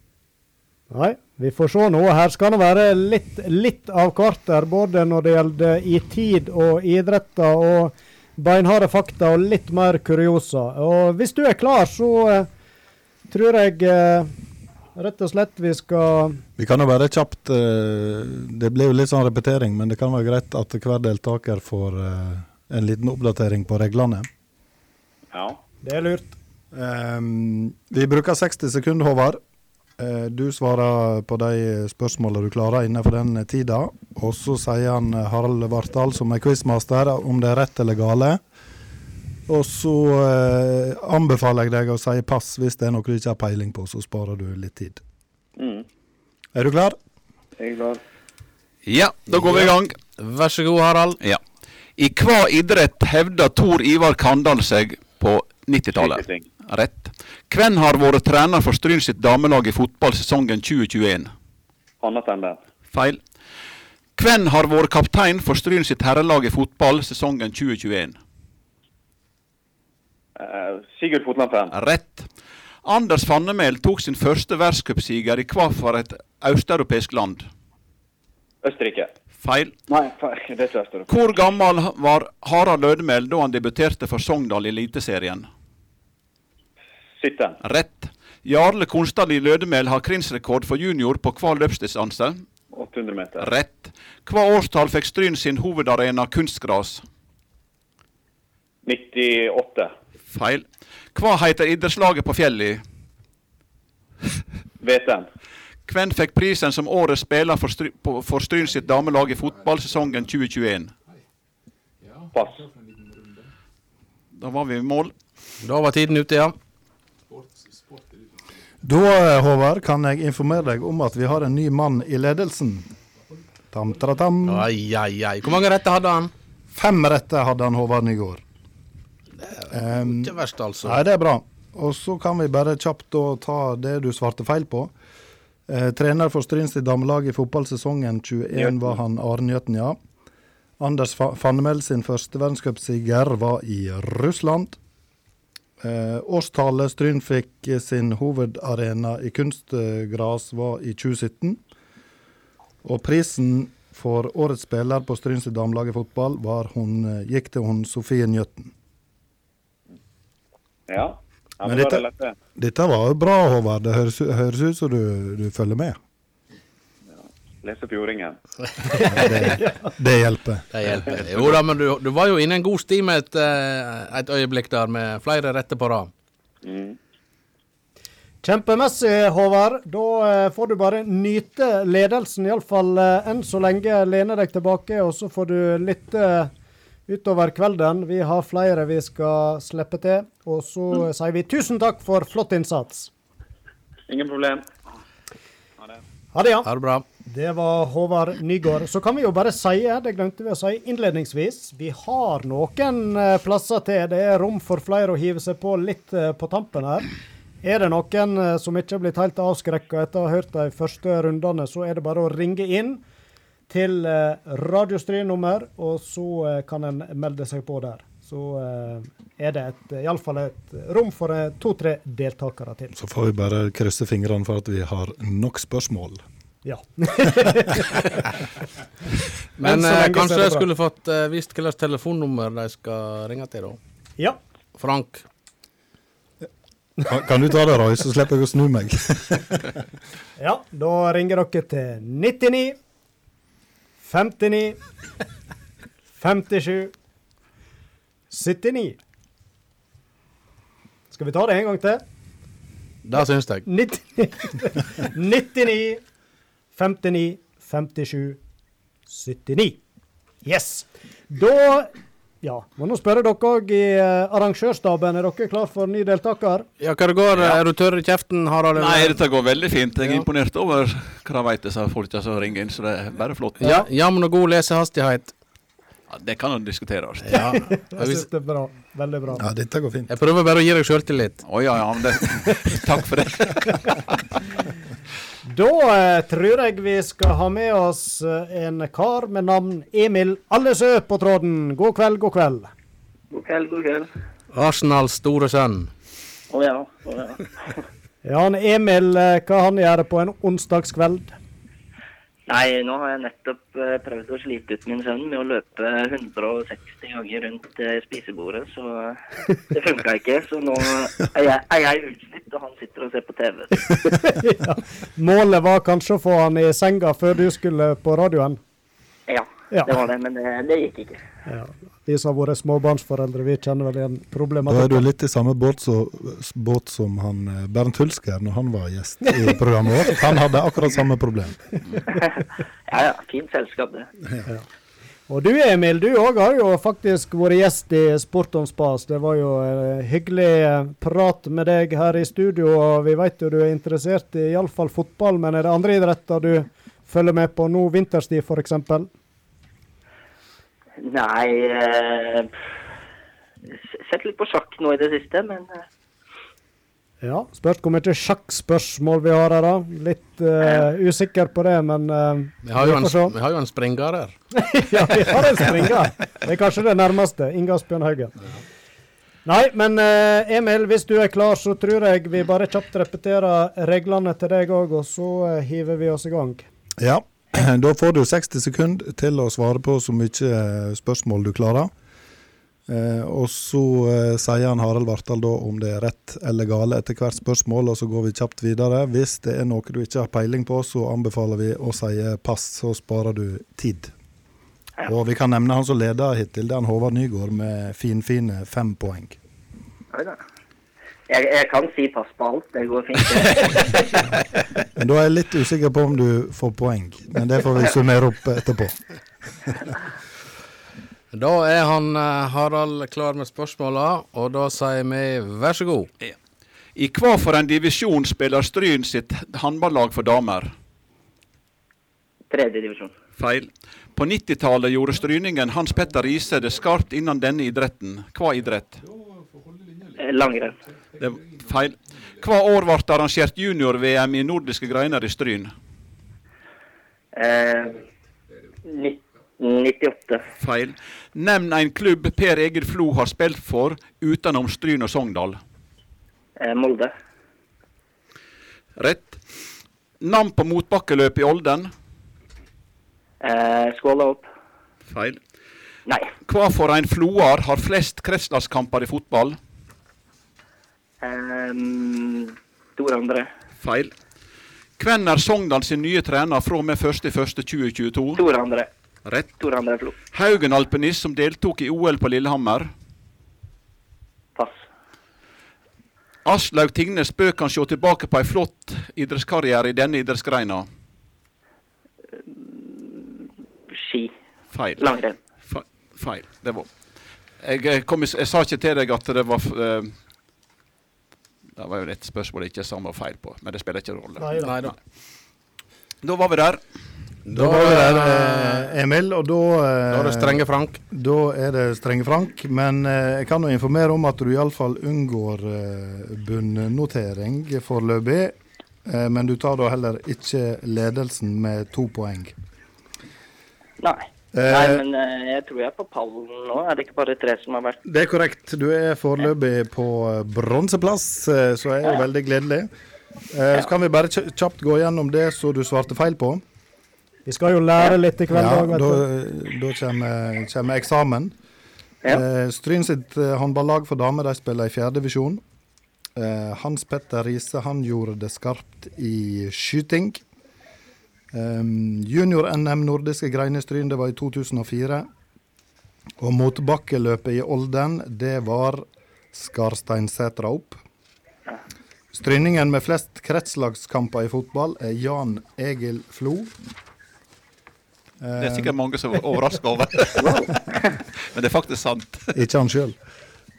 [SPEAKER 1] Nei, vi får se nå. Her skal det være litt, litt av hvert der, både når det gjelder i tid og idretter og beinharde fakta og litt mer kuriosa. Og hvis du er klar, så eh, tror jeg eh, rett og slett vi skal
[SPEAKER 3] Vi kan jo bare kjapt eh, Det blir jo litt sånn repetering, men det kan være greit at hver deltaker får eh, en liten oppdatering på reglene.
[SPEAKER 9] Ja.
[SPEAKER 1] Det er lurt.
[SPEAKER 3] Ehm, vi bruker 60 sekunder, Håvard. Eh, du svarer på de spørsmålene du klarer innenfor den tida. Og så sier han eh, Harald Vartdal, som er quizmaster, om det er rett eller gale. Og så eh, anbefaler jeg deg å si pass hvis det er noe du ikke har peiling på, så sparer du litt tid.
[SPEAKER 9] Mm.
[SPEAKER 3] Er du klar?
[SPEAKER 9] Jeg er glad.
[SPEAKER 4] Ja, da går vi i gang.
[SPEAKER 2] Vær så god, Harald.
[SPEAKER 4] Ja. I hva idrett hevda Tor Ivar Kandal seg på 90-tallet?
[SPEAKER 9] Skyting.
[SPEAKER 4] Rett. Hvem har vært trener for Stryn sitt damelag i fotball sesongen 2021?
[SPEAKER 9] Annet enn det.
[SPEAKER 4] Feil. Hvem har vært kaptein for Stryn sitt herrelag i fotball sesongen 2021?
[SPEAKER 9] Eh, Sigurd Fotlandfan.
[SPEAKER 4] Rett. Anders Fannemel tok sin første verdenscupsiger i hva for et østeuropeisk land?
[SPEAKER 9] Østerrike.
[SPEAKER 4] Feil.
[SPEAKER 9] Nei, fuck, det er ikke Østerrike.
[SPEAKER 4] Hvor gammel var Harald Lødemel da han debuterte for Sogndal i Eliteserien?
[SPEAKER 9] Sitten.
[SPEAKER 4] Rett. Jarle Konstad i Lødemel har krinsrekord for junior på hva løpsdistanse?
[SPEAKER 9] 800 meter.
[SPEAKER 4] Rett. Hva årstall fikk Stryn sin hovedarena kunstgras?
[SPEAKER 9] 98.
[SPEAKER 4] Feil. Hva heter idrettslaget på fjellet?
[SPEAKER 9] VTN.
[SPEAKER 4] Hvem fikk prisen som årets spiller for, Stry på- for Stryn sitt damelag i fotball sesongen 2021?
[SPEAKER 9] Pass.
[SPEAKER 4] Da var vi i mål.
[SPEAKER 2] Da var tiden ute, ja.
[SPEAKER 3] Da, eh, Håvard, kan jeg informere deg om at vi har en ny mann i ledelsen. Tam-tra-tam.
[SPEAKER 2] Ai, ai, ai. Hvor mange rette hadde han?
[SPEAKER 3] Fem rette hadde han Håvard Nygård. Um,
[SPEAKER 2] Ikke verst, altså.
[SPEAKER 3] nei, det er bra. Og så kan vi bare kjapt da ta det du svarte feil på. Eh, trener for Stryns i damelag i fotballsesongen 21 var han Are Njøten, ja. Anders Fa- Fannemel sin første verdenscupseier var i Russland. Eh, årstallet Stryn fikk eh, sin hovedarena i kunstgras var i 2017. Og prisen for årets spiller på Stryns damelag i fotball var hun, eh, gikk til hun Sofie Njøtten.
[SPEAKER 9] Ja. ja men
[SPEAKER 3] Men
[SPEAKER 9] da er
[SPEAKER 3] dette-
[SPEAKER 9] det lett, det.
[SPEAKER 3] Dette var jo bra, Håvard. Det høres, høres ut som du, du følger med.
[SPEAKER 9] Lese
[SPEAKER 2] (laughs)
[SPEAKER 9] Fjordingen. (laughs)
[SPEAKER 3] Det hjelper.
[SPEAKER 2] Det hjelper. Jo da, men du, du var jo inne i en god sti med et, eh, et øyeblikk der, med flere rette på rad.
[SPEAKER 7] Mm.
[SPEAKER 1] Kjempemessig, Håvard. Da eh, får du bare nyte ledelsen, iallfall eh, enn så lenge. Lene deg tilbake, og så får du lytte utover kvelden. Vi har flere vi skal slippe til. Og så eh, sier vi tusen takk for flott innsats.
[SPEAKER 9] Ingen problem.
[SPEAKER 1] Ha det, ja.
[SPEAKER 2] Ha det bra.
[SPEAKER 1] Det var Håvard Nygård. Så kan vi jo bare si, det glemte vi å si innledningsvis, vi har noen eh, plasser til. Det er rom for flere å hive seg på litt eh, på tampen her. Er det noen eh, som ikke er blitt helt avskrekka etter å ha hørt de første rundene, så er det bare å ringe inn til eh, Radio Stryn-nummer, og så eh, kan en melde seg på der. Så eh, er det et, iallfall et rom for eh, to-tre deltakere til.
[SPEAKER 3] Så får vi bare krysse fingrene for at vi har nok spørsmål.
[SPEAKER 1] Ja.
[SPEAKER 2] (laughs)
[SPEAKER 1] Enn
[SPEAKER 2] Men
[SPEAKER 1] så lenge
[SPEAKER 2] eh,
[SPEAKER 1] så er
[SPEAKER 2] kanskje
[SPEAKER 1] det
[SPEAKER 2] jeg
[SPEAKER 1] bra.
[SPEAKER 2] skulle fått eh, visst hvilket telefonnummer de skal ringe til, da.
[SPEAKER 1] ja.
[SPEAKER 2] Frank.
[SPEAKER 3] Kan- Kan du ta det, Roy, så slipper jeg å snu meg?
[SPEAKER 1] Ja, da ringer dere til 99 59 57 79. Skal vi ta det en gang til?
[SPEAKER 2] Det syns jeg.
[SPEAKER 1] 99 99 59 57 79. Yes. Da Ja, må nå spørre dere òg i eh, arrangørstaben. Er dere klar for ny deltaker?
[SPEAKER 2] Ja, hva det går? eh, Er du tørr i kjeften, Harald? eller?
[SPEAKER 4] Nei, dette går veldig fint. Jeg er imponert over hva de vet, disse folka som ringer inn. Så det er bare flott.
[SPEAKER 2] Ja, Jamn og god lesehastighet.
[SPEAKER 4] Ja, det kan altså. jo diskuteres. Å
[SPEAKER 2] Ja.
[SPEAKER 1] Jeg synes (laughs) det er bra. Veldig bra.
[SPEAKER 3] Ja, dette går fint.
[SPEAKER 2] Jeg prøver bare å gi deg sjøltillit.
[SPEAKER 4] ja, ja. Men det, (laughs) takk for det.
[SPEAKER 1] Da eh, tror jeg vi skal ha med oss eh, en kar med navn Emil Allesø på tråden. God kveld, god kveld.
[SPEAKER 7] God kveld, god kveld.
[SPEAKER 2] Arsenals store sønn.
[SPEAKER 7] Å ja. Å ja.
[SPEAKER 1] Ja, han Emil, eh, hva han gjør på en onsdagskveld?
[SPEAKER 7] Nei, nå har jeg nettopp eh, prøvd å slite ut min sønn med å løpe 160 ganger rundt eh, spisebordet, så eh, det funka ikke. Så nå er jeg, er jeg utslitt, og han sitter og ser på
[SPEAKER 1] (laughs)
[SPEAKER 7] TV.
[SPEAKER 1] ja. Målet var kanskje å få han i senga før du skulle på radioen.
[SPEAKER 7] Ja,
[SPEAKER 1] Ja.
[SPEAKER 7] det var det, men det, det gikk ikke.
[SPEAKER 1] Ja. Vi som har vært småbarnsforeldre, vi kjenner vel igjen
[SPEAKER 3] Da er du
[SPEAKER 1] problematikken.
[SPEAKER 3] litt i samme båt, så, båt som han eh, Bernt Hulsker når han var gjest i programmet vårt. Han hadde akkurat samme problem.
[SPEAKER 7] Ja ja, fint selskap, det.
[SPEAKER 1] Og du Emil, du òg har jo faktisk vært gjest i Sport on Spas. Det var jo eh, hyggelig eh, prat med deg her i studio, og vi vet jo du er interessert i iallfall fotball, men er det andre idretter du følger med på nå vinterstid f.eks.?
[SPEAKER 7] Nei eh, s- Sett litt på sjakk nå i det siste, men eh,
[SPEAKER 1] Ja, spørs hvor mye sjakkspørsmål vi har her, da. Litt eh, usikker på det, men eh,
[SPEAKER 2] Vi har jo en,
[SPEAKER 1] får se.
[SPEAKER 2] vi har jo en springer her.
[SPEAKER 1] (laughs) ja, vi har en springer. Det er kanskje det nærmeste. Inga Asbjørn Haugen. Nei, men eh, Emil, hvis du er klar, så tror jeg vi bare kjapt repeterer reglene til deg òg, og så eh, hiver vi oss i gang.
[SPEAKER 3] Ja, (clears throat) da får du 60 sekunder til å svare på så mye eh, spørsmål du klarer. Eh, og så eh, sier han Harald Vartdal da om det er rett eller gale etter hvert spørsmål, og så går vi kjapt videre. Hvis det er noe du ikke har peiling på, så anbefaler vi å si eh, pass, så sparer du tid. Og vi kan nevne han som leder hittil, det er han Håvard Nygård med finfine fem poeng.
[SPEAKER 7] nei da. Jeg, jeg kan si pass på alt, det går fint. det.
[SPEAKER 1] (laughs)
[SPEAKER 3] Men da er jeg litt usikker på om du får poeng, men det får vi summere opp etterpå.
[SPEAKER 2] Da er han eh, Harald klar med spørsmåla, og da sier vi vær så god.
[SPEAKER 4] I hva for en divisjon spiller Stryn sitt håndballag for damer?
[SPEAKER 7] Tredje divisjon.
[SPEAKER 4] Feil. På 90-tallet gjorde stryningen Hans Petter Riise det skarpt innan denne idretten. Hva idrett?
[SPEAKER 7] Eh, Langrenn.
[SPEAKER 4] Det var feil. Hva år ble det arrangert junior-VM i nordiske greiner i Stryn?
[SPEAKER 7] Eh, 1998.
[SPEAKER 4] Feil. Nevn en klubb Per Egil Flo har spilt for utenom Stryn og Sogndal.
[SPEAKER 7] Eh, Molde.
[SPEAKER 4] Rett. Navn på motbakkeløp i Olden.
[SPEAKER 7] Eh, skåla opp.
[SPEAKER 4] Feil.
[SPEAKER 7] Nei.
[SPEAKER 4] Hva for en floar har flest kretslagskamper i fotball?
[SPEAKER 7] Eh, Tor André.
[SPEAKER 4] Feil. Hvem er Sogndal sin nye trener fra og med 1.1.2022?
[SPEAKER 7] Tor André.
[SPEAKER 4] Rett.
[SPEAKER 7] Tor André Flo.
[SPEAKER 4] Haugen alpinist som deltok i OL på Lillehammer.
[SPEAKER 7] Pass.
[SPEAKER 4] Aslaug Tingnes Bø kan se tilbake på en flott idrettskarriere i denne idrettsgreina.
[SPEAKER 7] Ski.
[SPEAKER 4] Feil.
[SPEAKER 7] Langrenn.
[SPEAKER 4] Fe- Feil. Det var jeg, eh, kom, i s- jeg sa ikke til deg at det var f- eh, Det var jo et spørsmål jeg ikke sa meg feil på, men det spiller ikke rolle.
[SPEAKER 2] Nei da.
[SPEAKER 4] Da var vi der.
[SPEAKER 3] Da var vi der, eh, Emil, og da
[SPEAKER 2] Da er det
[SPEAKER 3] eh,
[SPEAKER 2] strenge Frank.
[SPEAKER 3] Da er det strenge Frank, men eh, jeg kan jo informere om at du iallfall unngår eh, bunnotering foreløpig. Eh, men du tar da heller ikke ledelsen med to poeng.
[SPEAKER 7] Nei. Nei,
[SPEAKER 3] Eh,
[SPEAKER 7] men eh, jeg tror jeg er på pallen nå. Er det ikke bare tre som har vært
[SPEAKER 3] det er korrekt. Du er foreløpig på eh, bronseplass, eh, så er jo veldig gledelig. Eh, så kan vi bare kj- kjapt gå gjennom det som du svarte feil på.
[SPEAKER 1] Vi skal jo lære litt i kveld
[SPEAKER 3] Ja,
[SPEAKER 1] òg,
[SPEAKER 3] da, eh,
[SPEAKER 1] vet du.
[SPEAKER 3] da kommer, kommer eksamen.
[SPEAKER 7] Ja.
[SPEAKER 3] Eh, Stryn sitt eh, håndballag for damer de spiller i fjerde divisjon. Eh, Hans Petter Riise han gjorde det skarpt i skyting. Junior-NM nordiske greinestryn, det var i 2004. Og motbakkeløpet i Olden, det var Skarsteinsetra opp. Stryningen med flest kretslagskamper i fotball er Jan Egil Flo.
[SPEAKER 4] Det er sikkert mange som er overraska over.
[SPEAKER 2] (laughs)
[SPEAKER 4] (laughs) Men det er faktisk sant.
[SPEAKER 3] Eh, Ikke han sjøl.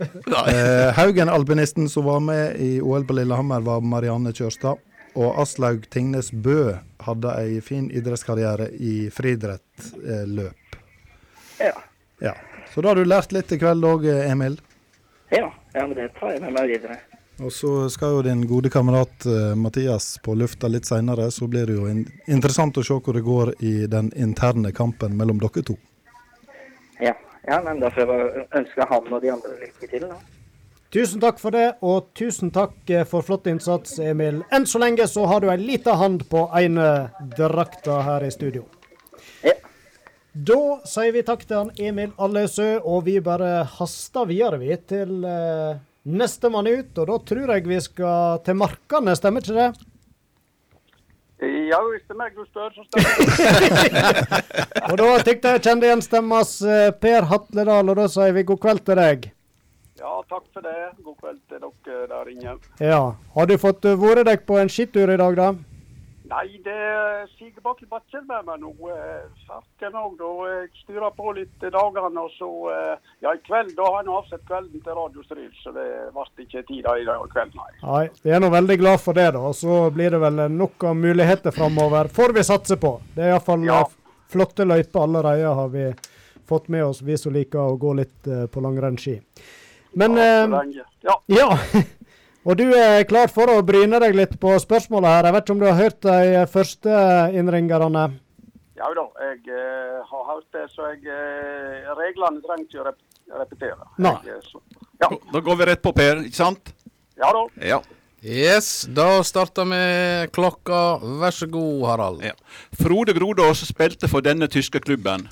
[SPEAKER 4] Nei.
[SPEAKER 3] Eh, Haugen-alpinisten som var med i OL på Lillehammer, var Marianne Kjørstad. Og Aslaug Tingnes Bø hadde ei fin idrettskarriere i friidrettsløp.
[SPEAKER 7] Ja.
[SPEAKER 3] Ja. Så da har du lært litt i kveld òg, Emil.
[SPEAKER 7] ja. Ja, men det tar jeg med meg videre.
[SPEAKER 3] Og så skal jo din gode kamerat eh, Mathias på lufta litt seinere, så blir det jo in interessant å se hvor det går i den interne kampen mellom dere to.
[SPEAKER 7] Ja. ja, men da får jeg bare ønske han og de andre lykke til, da.
[SPEAKER 1] Tusen takk for det, og tusen takk eh, for flott innsats, Emil. Enn så lenge så har du ei lita hand på ene drakta her i studio.
[SPEAKER 7] Ja.
[SPEAKER 1] Da sier vi takk til han Emil Allesø, og vi bare haster videre vi til eh, nestemann ut. Og da tror jeg vi skal til Markane, stemmer ikke det?
[SPEAKER 10] Ja, hvis det er meg du spør, så stemmer det.
[SPEAKER 1] Og da tykte jeg kjente igjen stemmas eh, Per Hatledal, og da sier vi god kveld til deg.
[SPEAKER 10] Ja, takk for det. God kveld til dere der inne.
[SPEAKER 1] Ja. Har du fått eh, vært deg på en skitur i dag, da?
[SPEAKER 10] Nei, det siger bak i bakken med meg nå. eh, Farken òg, da. Jeg styrer på litt i dagene. Og så eh, Ja, i kveld, da har en avsett kvelden til Radiostril, så det ble ikke tid da i dag kveld, nei.
[SPEAKER 1] Nei, vi er nå veldig glad for det, da. Og så blir det vel nok av muligheter framover. Får vi satse på. Det er iallfall
[SPEAKER 10] Ja.
[SPEAKER 1] eh, flotte løyper allerede, har vi fått med oss, vi som liker å gå litt eh, på langrennsski. Men
[SPEAKER 10] Ja,
[SPEAKER 1] eh,
[SPEAKER 10] så lenge. ja.
[SPEAKER 1] ja. (laughs) Og du er klar for å bryne deg litt på spørsmålet her. Jeg vet ikke om du har hørt de første innringerne?
[SPEAKER 10] ja da, jeg eh, har hørt det, så jeg eh, Reglene trenger ikke å rep repetere.
[SPEAKER 1] Nei.
[SPEAKER 10] Jeg, eh, så, ja.
[SPEAKER 4] Da går vi rett på Per, ikke sant?
[SPEAKER 10] ja da.
[SPEAKER 4] Ja.
[SPEAKER 2] Yes, da starter vi klokka. Vær så god, Harald.
[SPEAKER 4] ja. Frode Grodås spilte for denne tyske klubben.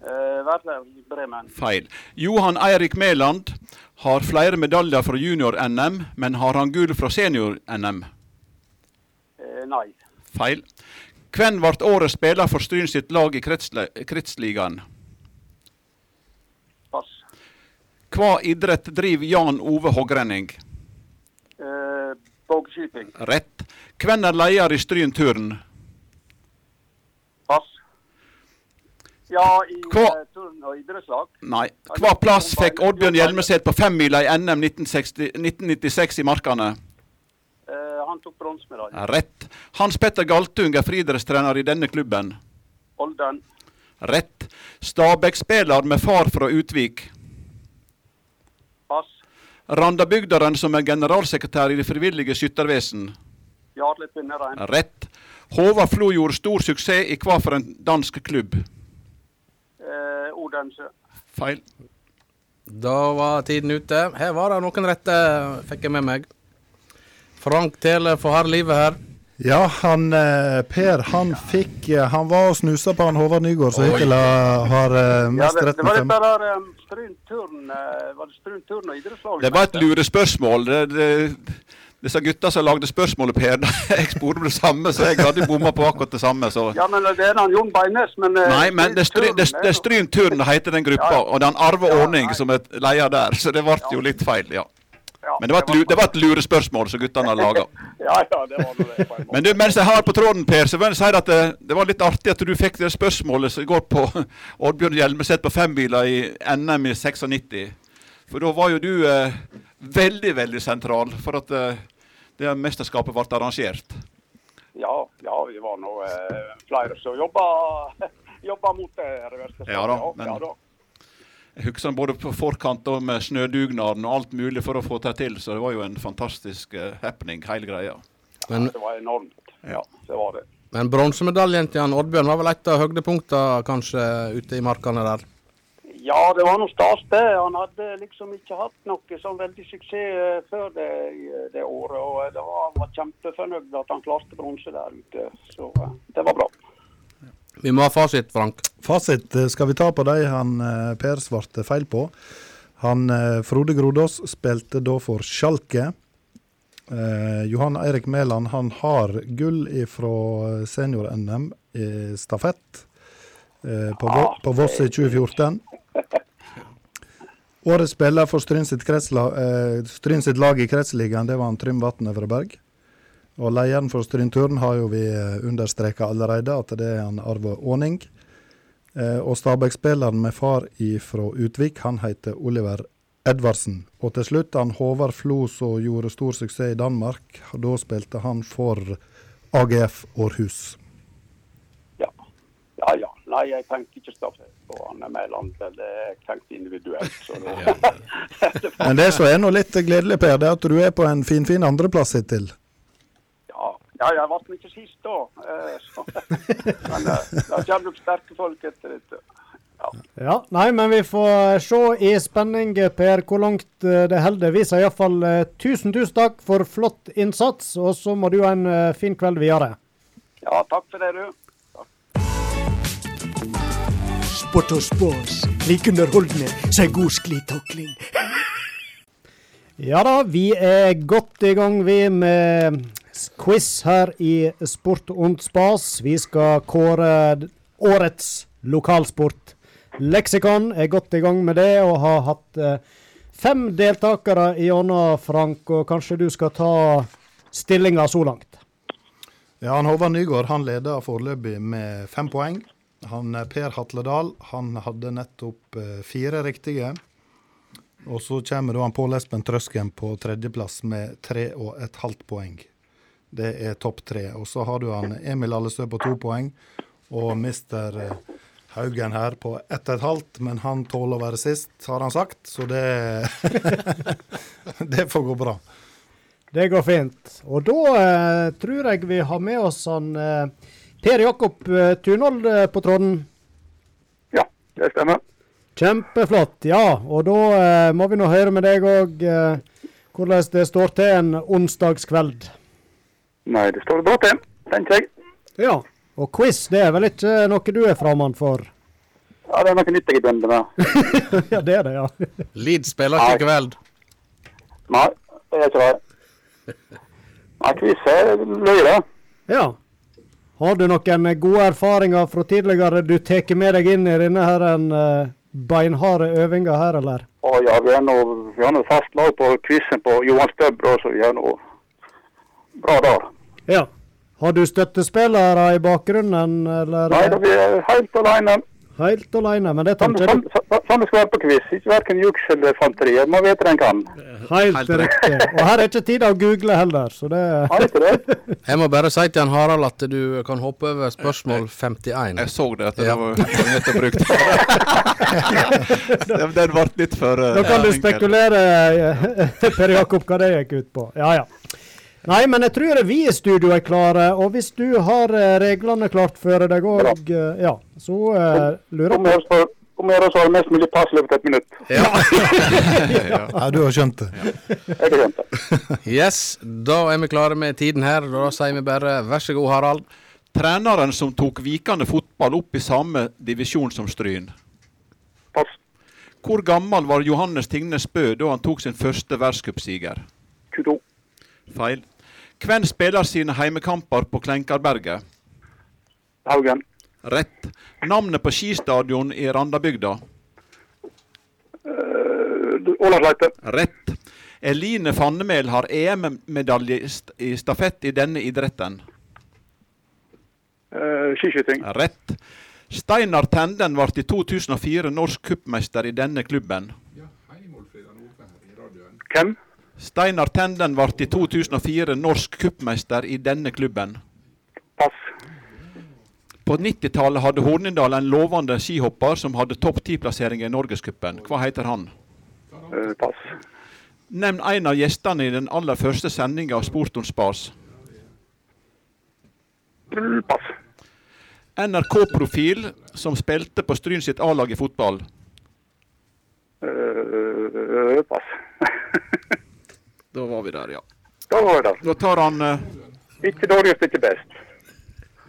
[SPEAKER 10] Eh, Werder Bremen.
[SPEAKER 4] Feil. Johan Eirik Mæland har flere medaljer fra junior-NM, men har han gull fra senior-NM?
[SPEAKER 10] Eh, nei.
[SPEAKER 4] Feil. Hvem ble årets spiller for Stryn sitt lag i kretsle- kretsligaen?
[SPEAKER 10] Pass.
[SPEAKER 4] Hva idrett driver Jan Ove Hogrenning?
[SPEAKER 10] Eh, Bogskyting.
[SPEAKER 4] Rett. Hvem er leder i Stryn turn?
[SPEAKER 10] Pass. Ja, i
[SPEAKER 4] Hva-
[SPEAKER 10] eh, turn- og idrettslag.
[SPEAKER 4] Nei. Hva plass fikk Oddbjørn Hjelmeset på femmila i NM 1960 1996 i Markane?
[SPEAKER 10] Eh, han tok bronsemedalje.
[SPEAKER 4] Rett. Hans Petter Galtung er friidrettstrener i denne klubben.
[SPEAKER 10] Olden.
[SPEAKER 4] Rett. Stabæk-spiller med far fra Utvik.
[SPEAKER 10] Pass.
[SPEAKER 4] Randabygderen som er generalsekretær i Det frivillige skyttervesen.
[SPEAKER 10] Jarle Pinnerein.
[SPEAKER 4] Rett. Håvard Flo gjorde stor suksess i hva for en dansk klubb?
[SPEAKER 10] Eh, Odense.
[SPEAKER 4] Feil.
[SPEAKER 2] Da var tiden ute. Her var det noen rette, fikk jeg med meg. Frank Tele får harde livet her.
[SPEAKER 3] Ja, han eh, Per han fikk eh, Han var og snusa på han Håvard Nygård, som hittil har har, eh,
[SPEAKER 10] Ja,
[SPEAKER 3] mest
[SPEAKER 10] det, det
[SPEAKER 3] retten
[SPEAKER 10] var
[SPEAKER 3] til
[SPEAKER 10] dette der um, Stryn turn eh, Var det Stryn turn og idrettslag?
[SPEAKER 4] Det var et lurespørsmål. Det, det, disse gutta som lagde spørsmålet, Per, (laughs) jeg spurte om det samme, så jeg hadde bomma på akkurat det samme. Så.
[SPEAKER 10] Ja, men det er han Jon Beines, men eh,
[SPEAKER 4] Nei, men det, stry,
[SPEAKER 10] Stryn
[SPEAKER 4] det,
[SPEAKER 10] Turn,
[SPEAKER 4] det er Stryn Turn heter den gruppa, og den arver Ordning som er leder der, så det ble jo litt feil, ja.
[SPEAKER 10] ja,
[SPEAKER 4] Men det var et, lu- det var et lurespørsmål som guttene har laga.
[SPEAKER 10] (laughs) Ja, ja, det var nå det. på en måte.
[SPEAKER 4] Men du, mens jeg har på tråden, Per, så vil jeg si at det, det var litt artig at du fikk det spørsmålet som går på (laughs) Oddbjørn Hjelmeset på fembiler i NM i 96. For da var jo du eh, veldig, veldig sentral for at eh, det mesterskapet ble arrangert.
[SPEAKER 10] Ja, ja, vi var nå eh, flere som jobba, (laughs) jobba mot det reverste.
[SPEAKER 4] Ja da, men-
[SPEAKER 10] ja, da.
[SPEAKER 4] Jeg husker både på forkant og med snødugnaden og alt mulig for å få det til, så det var jo en fantastisk eh, happening, hele greia.
[SPEAKER 2] Men,
[SPEAKER 10] Det var enormt. Ja, det var det.
[SPEAKER 2] men bronsemedaljen til han Oddbjørn var vel et av høydepunktene kanskje ute i markene der.
[SPEAKER 10] Ja, det var noe stas det. Han hadde liksom ikke hatt noe sånn veldig suksess eh, før det, det året. og eh, det var, Han var kjempefornøyd at han klarte bronse der ute. Så eh, det var bra.
[SPEAKER 2] Vi må ha fasit, Frank.
[SPEAKER 3] Fasit eh, skal vi ta på de han eh, Per svarte feil på. Han eh, Frode Grodås spilte da for Schalke. Eh, Johan Eirik Mæland han har gull fra senior-NM i stafett eh, på, Vo- på Voss i 2014. Årets spiller for Stryn sitt, kretsla- eh, Stryn sitt lag i kretsligaen, det var han Trym Vatn Øvreberg. Og lederen for Stryn Turn har jo vi understreka allerede, at det er han Arve Aaning. Eh, og Stabæk-spilleren med far fra Utvik, han heter Oliver Edvardsen. Og til slutt han Håvard Flo som gjorde stor suksess i Danmark. Da spilte han for AGF Århus.
[SPEAKER 10] Ja. ja, ja. Nei, jeg tenkte ikke stafett på Anne Mæland. eller Jeg tenkte individuelt. Så det, (laughs)
[SPEAKER 3] Men det som er nå litt gledelig, Per, det er at du er på en finfin fin andreplass hittil.
[SPEAKER 10] ja. ja, jeg ble ikke sist da. eh,
[SPEAKER 2] (laughs)
[SPEAKER 10] Så. Men eh, det kommer nok sterke folk etter dette.
[SPEAKER 1] Ja, nei, men vi får eh, se i spenning, eh, Per, hvor langt eh, det holder. Vi sier iallfall eh, tusen, tusen takk for flott innsats, og så må du ha en eh, fin kveld videre.
[SPEAKER 10] Ja, takk for det, du.
[SPEAKER 5] Sport og spås. Like underholdende som en god sklitakling.
[SPEAKER 1] Ja da, vi er godt i gang, vi, med s- quiz her i Sport und spas. Vi skal kåre d- årets lokalsport. Leksikon er godt i gang med det, og har hatt eh, fem deltakere gjennom, Frank. Og kanskje du skal ta stillinga så langt?
[SPEAKER 3] Ja, han Håvard Nygaard han leder foreløpig med fem poeng. Han eh, Per Hatledal han hadde nettopp eh, fire riktige. Og så kommer da han Pål Espen Trøsken på tredjeplass med tre og et halvt poeng. Det er topp tre. Og så har du han Emil Allesø på to poeng og mister eh, Haugen her på ett og et halvt, men han tåler å være sist, har han sagt, så det (laughs) Det får gå bra.
[SPEAKER 1] Det går fint. Og da eh, tror jeg vi har med oss han eh, Per Jakob eh, Tunhold eh, på tråden.
[SPEAKER 10] Ja, det stemmer.
[SPEAKER 1] Kjempeflott. Ja, og da eh, må vi nå høre med deg òg eh, hvordan det står til en onsdagskveld.
[SPEAKER 10] Nei, det står bra til, tenker jeg.
[SPEAKER 1] Ja. Og quiz, det er vel ikke noe du er framand for?
[SPEAKER 10] Ja, Det er noe nytt jeg begynner med.
[SPEAKER 1] (laughs) ja, det er det, ja.
[SPEAKER 2] Leeds spiller ikke i kveld.
[SPEAKER 10] Nei, det er ikke det. Nei, quiz er løye, det.
[SPEAKER 1] ja. Har du noen gode erfaringer fra tidligere du tar med deg inn i denne her, en, eh, beinharde øvinga her, eller?
[SPEAKER 10] Å ja, vi er nå vi har nå fast lag på quizen på Johan Støbro, så vi er nå bra der.
[SPEAKER 1] Ja. Har du støttespillere i bakgrunnen, eller?
[SPEAKER 10] Nei, da vi er helt alene.
[SPEAKER 1] Helt alene, men det tar
[SPEAKER 10] Sånn
[SPEAKER 1] ikke
[SPEAKER 10] sånn-
[SPEAKER 1] du.
[SPEAKER 10] sånn- sånn det skal være på quiz. Ikke verken juks eller fanteri. Man vet hva en kan.
[SPEAKER 1] Helt riktig. Og her er ikke tid å google heller, så det
[SPEAKER 10] Nei, ikke det?
[SPEAKER 2] Jeg må bare si til han Harald at du kan hoppe over spørsmål 51.
[SPEAKER 4] Jeg så det, at det
[SPEAKER 2] Ja.
[SPEAKER 4] var nettopp
[SPEAKER 2] (laughs)
[SPEAKER 4] brukt. Den- Den
[SPEAKER 3] (laughs)
[SPEAKER 4] ble litt for eh,
[SPEAKER 1] Da kan du
[SPEAKER 4] enkel.
[SPEAKER 1] spekulere, (laughs) Per Jakob, hva det gikk ut på. Ja, ja. Nei, men jeg tror vi i studio er klare, og hvis du har eh, reglene klart for deg òg, ja, så eh, lurer jeg
[SPEAKER 10] Om å gjøre så- om å gjøre så er det mest mulig pass i løpet av et minutt.
[SPEAKER 3] (laughs) Ja, du har skjønt det.
[SPEAKER 10] Jeg har skjønt det.
[SPEAKER 2] Yes, da er vi klare med tiden her. Da sier vi bare vær så god, Harald.
[SPEAKER 4] Treneren som tok Vikane fotball opp i samme divisjon som Stryn.
[SPEAKER 10] Pass
[SPEAKER 4] Hvor gammel var Johannes Tingnes Bø da han tok sin første verdenscupseier?
[SPEAKER 10] 22.
[SPEAKER 4] Feil. Hvem spiller sine heimekamper på Klenkarberget?
[SPEAKER 10] Haugen.
[SPEAKER 4] Rett. Navnet på skistadion i Randabygda?
[SPEAKER 10] Eh, Ålandsleite.
[SPEAKER 4] Rett. Eline Fannemel har EM-medalje i st- i stafett i denne idretten?
[SPEAKER 10] Eh, Skiskyting.
[SPEAKER 4] Rett. Steinar Tenden ble i 2004 norsk cupmester i denne klubben.
[SPEAKER 10] Hvem?
[SPEAKER 4] Steinar Tenden ble i 2004 norsk cupmester i denne klubben.
[SPEAKER 10] Pass.
[SPEAKER 4] På 90-tallet hadde Hornindal en lovende skihopper som hadde topp 10-plassering i Norgescupen. Hva heter han?
[SPEAKER 10] Eh, Pass.
[SPEAKER 4] Nevn en av gjestene i den aller første sendinga av Sport om spas.
[SPEAKER 10] Brr, Mm, Pass.
[SPEAKER 4] NRK-profil som spilte på Stryn sitt A-lag i fotball.
[SPEAKER 10] Eh, Pass.
[SPEAKER 4] (laughs) Da var vi der, ja.
[SPEAKER 10] Da var det.
[SPEAKER 4] Da tar han eh,
[SPEAKER 10] Ikke dårligst, ikke best.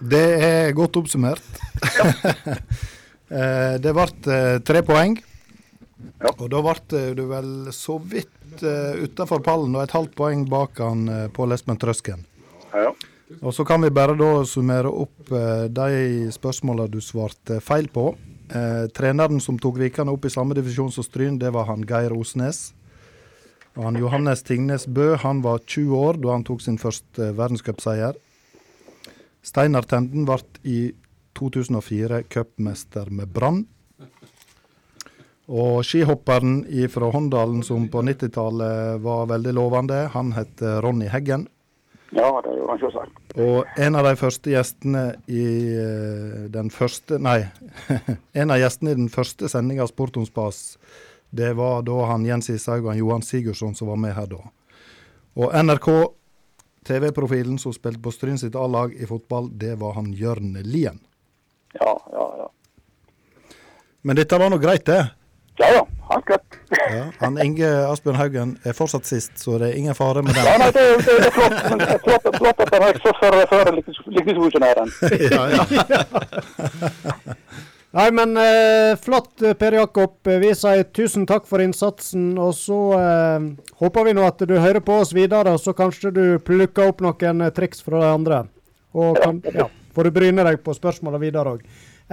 [SPEAKER 3] Det er godt oppsummert. Eh, det ble eh, tre poeng. Og da ble du vel så vidt uh, utafor pallen og et halvt poeng bak han eh, Pål Espen Trøsken.
[SPEAKER 9] Ja.
[SPEAKER 3] Og så kan vi bare da summere opp eh, de spørsmåla du svarte feil på. Eh, treneren som tok Vikane opp i samme divisjon som Stryn, det var han Geir Osnes. Og han Johannes Tingnes Bø han var 20 år da han tok sin første eh, verdenscupseier. Steinar Tenden ble i 2004 cupmester med Brann. Og skihopperen fra Håndalen som på 90-tallet var veldig lovende, han het Ronny Heggen.
[SPEAKER 9] ja, det gjorde han selvsagt.
[SPEAKER 3] Og en av de første gjestene i eh, den første Nei. (laughs) en av gjestene i den første sendinga av Sport om spas, det var da han Jens Ishaug og han Johan Sigurdsson som var med her da. Og NRK, TV-profilen som spilte på Stryn sitt A-lag i fotball, det var han Jørn Lien.
[SPEAKER 9] Ja, ja, ja.
[SPEAKER 3] Men dette var nå greit, det.
[SPEAKER 9] Ja, ja, han skvatt.
[SPEAKER 3] Ja, han Inge Asbjørn Haugen er fortsatt sist, så det er ingen fare med
[SPEAKER 9] Ja,
[SPEAKER 3] den.
[SPEAKER 9] nei, det, det, det er flott, men det er flott, flott at han har så før, før likningsfusjonæren.
[SPEAKER 3] ja, ja.
[SPEAKER 1] Nei, men eh, flott, eh, Per Jakob. Vi sier tusen takk for innsatsen. Og så eh, håper vi nå at du hører på oss videre, og så kanskje du plukker opp noen eh, triks fra de andre. Og kan, ja, får du bryne deg på spørsmålene videre òg.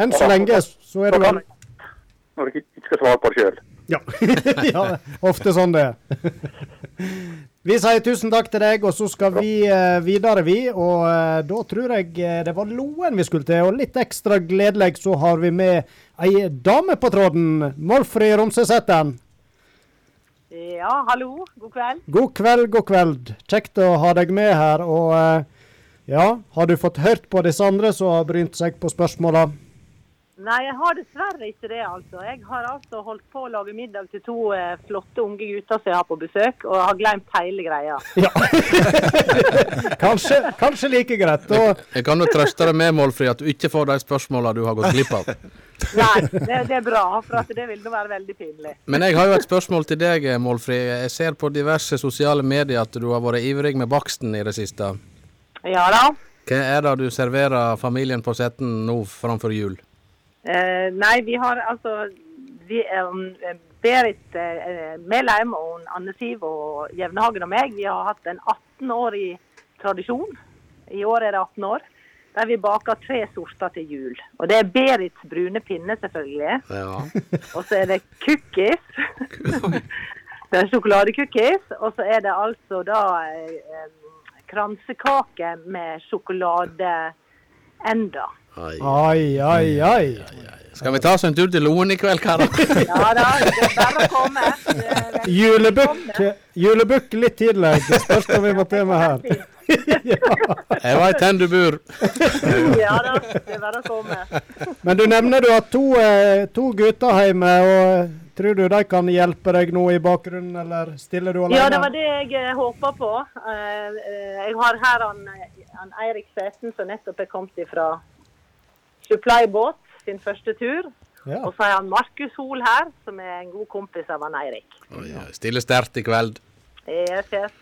[SPEAKER 1] Enn så lenge så er det vel
[SPEAKER 9] Når du ikke skal svare på det sjøl.
[SPEAKER 1] ja. (laughs) ja, ofte sånn det er. (laughs) Vi sier tusen takk til deg, og så skal vi eh, videre, vi. Og eh, da tror jeg eh, det var Loen vi skulle til. Og litt ekstra gledelig så har vi med ei dame på tråden. Morfrid Romsæsæten.
[SPEAKER 11] Ja, hallo. God kveld.
[SPEAKER 1] God kveld, god kveld. Kjekt å ha deg med her. Og eh, ja, har du fått hørt på disse andre som har brynt seg på spørsmåla?
[SPEAKER 11] Nei, jeg har dessverre ikke det, altså. Jeg har altså holdt på å lage middag til to eh, flotte unge gutter som jeg har på besøk, og har glemt hele greia.
[SPEAKER 1] Ja. kanskje, kanskje like greit. Og
[SPEAKER 2] Jeg kan jo trøste deg med, Målfrid, at du ikke får de spørsmåla du har gått glipp av.
[SPEAKER 11] Nei, det, det er bra, for at det vil nå være veldig pinlig.
[SPEAKER 2] Men jeg har jo et spørsmål til deg, Målfrid. Jeg ser på diverse sosiale medier at du har vært ivrig med baksten i det siste.
[SPEAKER 11] Ja da.
[SPEAKER 2] Hva er det du serverer familien på Setten nå framfor jul?
[SPEAKER 11] Eh, nei, vi har altså vi, um, Berit eh, Melheim og hun Anne Siv og Jevnehagen og meg, vi har hatt en 18-årig tradisjon. I år er det 18 år. Der vi baker tre sorter til jul. Og det er Berits brune pinne, selvfølgelig.
[SPEAKER 2] Ja.
[SPEAKER 11] Og så er det cookies. (laughs) det er sjokoladecookies. Og så er det altså da eh, eh, kransekake med sjokoladeender.
[SPEAKER 1] Ai, ai, ai.
[SPEAKER 2] Skal vi ta oss en tur til Loen i kveld, karer?
[SPEAKER 11] Ja da, det er bare å komme. Det er veldig
[SPEAKER 1] (laughs) Julebukk julebukk litt tidlig. Det spørs hva vi må til med her.
[SPEAKER 11] (laughs) fint.
[SPEAKER 2] Jeg veit hvor du bor.
[SPEAKER 11] Ja da, det er bare å komme.
[SPEAKER 1] Men du nevner du har to, eh, to gutter hjemme. og eh, Tror du de kan hjelpe deg nå i bakgrunnen, eller stiller du alene?
[SPEAKER 11] Ja, det var det jeg eh, håpa på. Eh, eh, Jeg har her han, eh, han Eirik Sæten som nettopp er kommet ifra Supply-båt sin første tur.
[SPEAKER 1] Ja.
[SPEAKER 11] Og så har han Markus Hol her, som er en god kompis av han Eirik.
[SPEAKER 2] Oi, oi, Stille sterkt i kveld.
[SPEAKER 11] Yes, yes.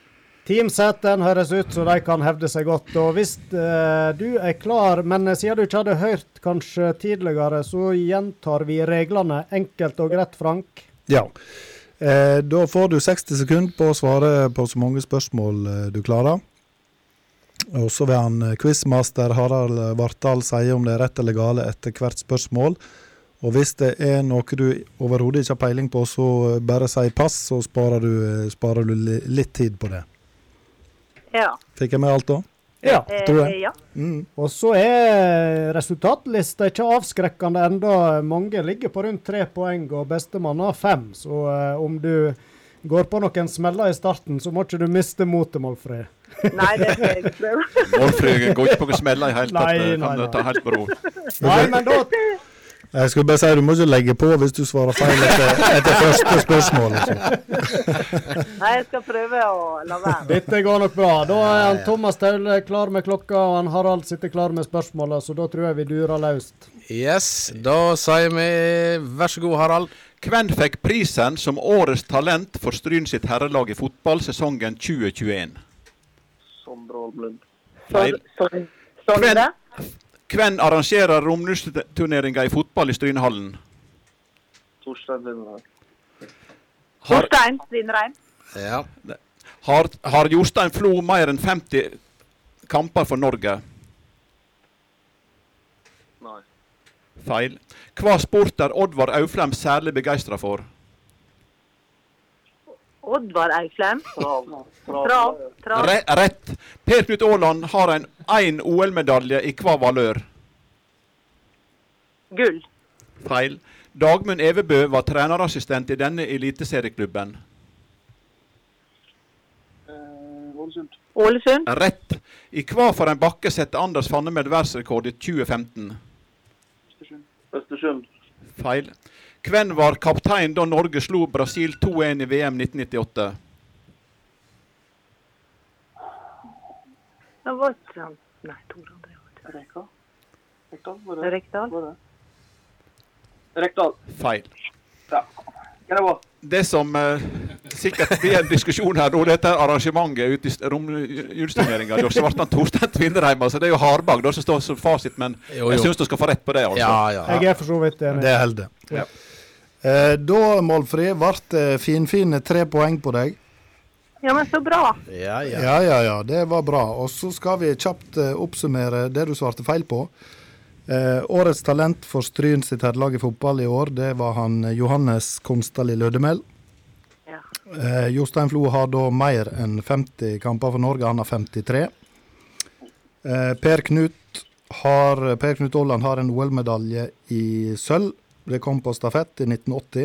[SPEAKER 1] Team Sæten høres ut som de kan hevde seg godt. og Hvis eh, du er klar, men eh, siden du ikke hadde hørt kanskje tidligere, så gjentar vi reglene enkelt og greit, Frank.
[SPEAKER 3] Ja. Eh, da får du 60 sekunder på å svare på så mange spørsmål eh, du klarer. Og så vil han eh, quizmaster Harald Vartdal si om det er rett eller gale etter hvert spørsmål. Og hvis det er noe du overhodet ikke har peiling på, så eh, bare si pass, så sparer du, eh, sparer du li- litt tid på det.
[SPEAKER 11] Ja.
[SPEAKER 3] Fikk jeg med alt da?
[SPEAKER 1] Ja.
[SPEAKER 11] Eh,
[SPEAKER 3] Tror jeg.
[SPEAKER 11] ja.
[SPEAKER 1] Mm. Og så er resultatlista ikke avskrekkende enda. Mange ligger på rundt tre poeng, og bestemann har fem. Så eh, om du går på noen smeller i starten, så må ikke du miste motet, Målfred.
[SPEAKER 11] Nei, det er jeg ikke.
[SPEAKER 4] Målfrid går ikke på noen smeller i hele tatt.
[SPEAKER 1] Nei,
[SPEAKER 4] eh,
[SPEAKER 1] nei,
[SPEAKER 4] Kan
[SPEAKER 1] nei.
[SPEAKER 4] du ta helt med ro.
[SPEAKER 1] Nei,
[SPEAKER 11] (laughs)
[SPEAKER 1] men da
[SPEAKER 3] Jeg skulle bare si du må ikke legge på hvis du svarer feil etter, etter første spørsmål. altså. Liksom.
[SPEAKER 11] Nei, jeg skal prøve å la være.
[SPEAKER 1] Dette går nok bra. Da er han Thomas Taule klar med klokka, og han Harald sitter klar med spørsmåla, så da tror jeg vi durer løst.
[SPEAKER 2] Yes, da sier vi vær så god, Harald.
[SPEAKER 4] Hvem fikk prisen som årets talent for Stryn sitt herrelag i fotball sesongen 2021?
[SPEAKER 9] Sondre Holmlund.
[SPEAKER 4] Feil.
[SPEAKER 11] Sånn- Sånn er det.
[SPEAKER 4] Hvem arrangerer romnusseturneringa i fotball i Strynhallen?
[SPEAKER 9] Torstein Lindberg.
[SPEAKER 4] Har,
[SPEAKER 11] Jostein Strindrein.
[SPEAKER 2] ja.
[SPEAKER 4] har, har Jostein Flo mer enn 50 kamper for Norge?
[SPEAKER 9] Nei.
[SPEAKER 4] Feil. Hva sport er Oddvar Auflem særlig begeistra for?
[SPEAKER 11] Oddvar Auklem.
[SPEAKER 10] Trav.
[SPEAKER 11] Trav. trav.
[SPEAKER 4] Re rett. Per Knut Aaland har en én OL-medalje i hva valør?
[SPEAKER 11] Gull.
[SPEAKER 4] Feil. Dagmund Evebø var trenerassistent i denne eliteserieklubben.
[SPEAKER 10] Ålesund.
[SPEAKER 11] Ålesund.
[SPEAKER 4] Rett. I hva for en bakke setter Anders Fannemel verdensrekord i 2015?
[SPEAKER 9] Østersund.
[SPEAKER 4] Feil. Hvem var kaptein da Norge slo Brasil 2-1 i VM 1998?
[SPEAKER 11] Det var ikke han. Nei, Tor André.
[SPEAKER 10] Reka. Rekdal, var det?
[SPEAKER 11] Rekdal.
[SPEAKER 10] Var det? Rekdal.
[SPEAKER 4] Feil.
[SPEAKER 10] Hva det var?
[SPEAKER 4] Det som eh, sikkert blir en diskusjon her, nå, dette er arrangementet ute i st- rom- julesturneringa. Da Svartan Torstein Tvinnereim, altså. Det er jo Hardbag da som står som fasit, men
[SPEAKER 2] Jo,
[SPEAKER 4] jeg
[SPEAKER 2] jo.
[SPEAKER 4] syns du skal få rett på det. altså.
[SPEAKER 2] Ja, ja.
[SPEAKER 1] Jeg er for så vidt enig.
[SPEAKER 3] Det holder.
[SPEAKER 1] Ja.
[SPEAKER 3] Eh, da, Målfrid, ble det finfine tre poeng på deg.
[SPEAKER 11] Ja, men så bra.
[SPEAKER 2] ja, ja.
[SPEAKER 3] Ja, ja, ja. Det var bra. Og så skal vi kjapt eh, oppsummere det du svarte feil på. Eh, årets talent for Stryn sitt herrelag i fotball i år, det var han eh, Johannes Konstali Lødemel.
[SPEAKER 11] Ja.
[SPEAKER 3] Eh, Jostein Flo har da mer enn 50 kamper for Norge, han har 53. Eh, per Knut har, Per Knut Aaland har en OL-medalje i sølv. Det kom på stafett i 1980.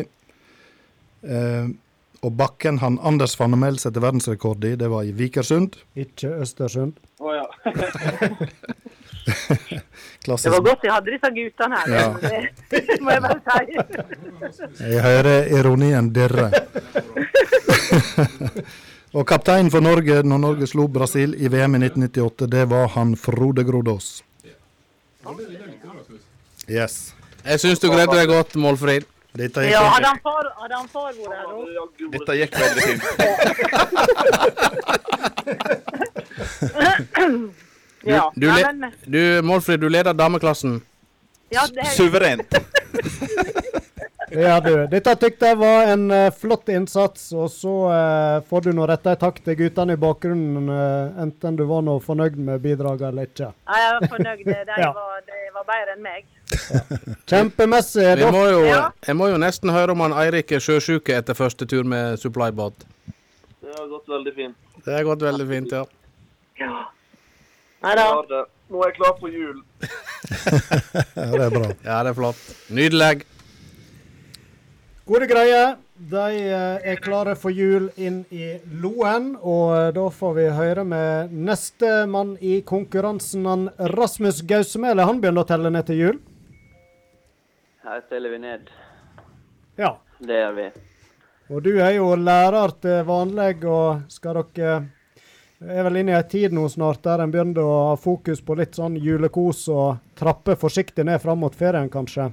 [SPEAKER 3] Eh, og bakken han Anders Fannemel setter verdensrekord i, det var i Vikersund.
[SPEAKER 1] Ikke Østersund.
[SPEAKER 10] Å ja.
[SPEAKER 11] Det
[SPEAKER 3] (laughs) Klassisk.
[SPEAKER 11] var godt jeg hadde disse guttene her.
[SPEAKER 3] Ja.
[SPEAKER 11] Det, må jeg bare si.
[SPEAKER 3] Jeg hører ironien dirre. og kapteinen for Norge når Norge slo Brasil i VM i 1998, det var han Frode Grodås. Yes.
[SPEAKER 2] Jeg syns du greide deg godt, Målfrid.
[SPEAKER 3] Dette
[SPEAKER 11] Ja,
[SPEAKER 3] gikk
[SPEAKER 11] hadde han far, hadde han far vært her nå?
[SPEAKER 4] Dette gikk veldig fint.
[SPEAKER 11] Ja.
[SPEAKER 2] Du,
[SPEAKER 11] Nei,
[SPEAKER 2] le-
[SPEAKER 11] men,
[SPEAKER 2] du Målfrid, du leder dameklassen.
[SPEAKER 11] ja, det,
[SPEAKER 4] Suverent.
[SPEAKER 1] Ja, du. Dette tykte jeg var en eh, flott innsats, og så eh, får du nå rette en takk til guttene i bakgrunnen, eh, enten du var nå fornøyd med bidraget eller ikke.
[SPEAKER 11] Nei, jeg var fornøyd. De,
[SPEAKER 1] Ja.
[SPEAKER 11] var, de var bedre enn meg.
[SPEAKER 1] Kjempemessig.
[SPEAKER 2] Jeg
[SPEAKER 1] Da.
[SPEAKER 2] må jo,
[SPEAKER 11] Ja.
[SPEAKER 2] jeg må jo nesten høre om han Eirik er sjøsjuk etter første tur med supplybåt.
[SPEAKER 9] Det har gått veldig fint.
[SPEAKER 2] Det har gått veldig fint, ja.
[SPEAKER 11] Ja. Nei da.
[SPEAKER 9] Ja, det. Nå er jeg klar for jul.
[SPEAKER 3] ja, det er bra.
[SPEAKER 2] Ja, det er flott. Nydelig.
[SPEAKER 1] Gode greier. De eh, er klare for jul inn i Loen, og eh, da får vi høre med neste mann i konkurransen, han Rasmus Gausmele. Han begynner å telle ned til jul.
[SPEAKER 12] Her teller vi ned.
[SPEAKER 1] Ja.
[SPEAKER 12] Det gjør vi.
[SPEAKER 1] Og du er jo lærer til vanlig, og skal dere eh, er vel inne i ei tid nå snart der en begynner å ha fokus på litt sånn julekos og trappe forsiktig ned fram mot ferien, kanskje?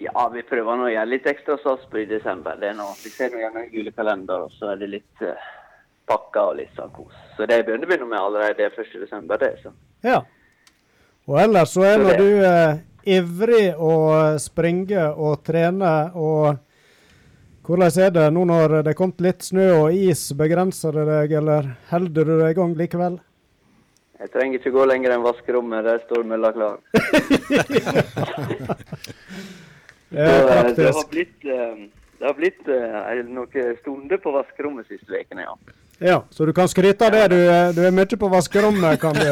[SPEAKER 12] Ja, vi prøver nå å gjøre litt ekstra sats på i desember. Det er nå, vi ser nå gjerne julekalender, og så er det litt eh, pakker og litt sånn kos. Så det begynner vi nå med allerede 1. desember. det så.
[SPEAKER 1] Ja. Og ellers så er nå du eh, ivrig å springe og trene og Hvordan er det nå når det er kommet litt snø og is? Begrenser det deg, eller holder du deg i gang likevel?
[SPEAKER 12] Jeg trenger ikke gå lenger enn vaskerommet. Der står mølla klar.
[SPEAKER 1] Det
[SPEAKER 12] Så,
[SPEAKER 1] er
[SPEAKER 12] eh, det har
[SPEAKER 1] praktisk.
[SPEAKER 12] blitt, eh, det har blitt eh, noen stunder på vaskerommet siste ukene, ja.
[SPEAKER 1] Ja, så du kan skryte av det. Du, er- du er mye på vaskerommet, kan du.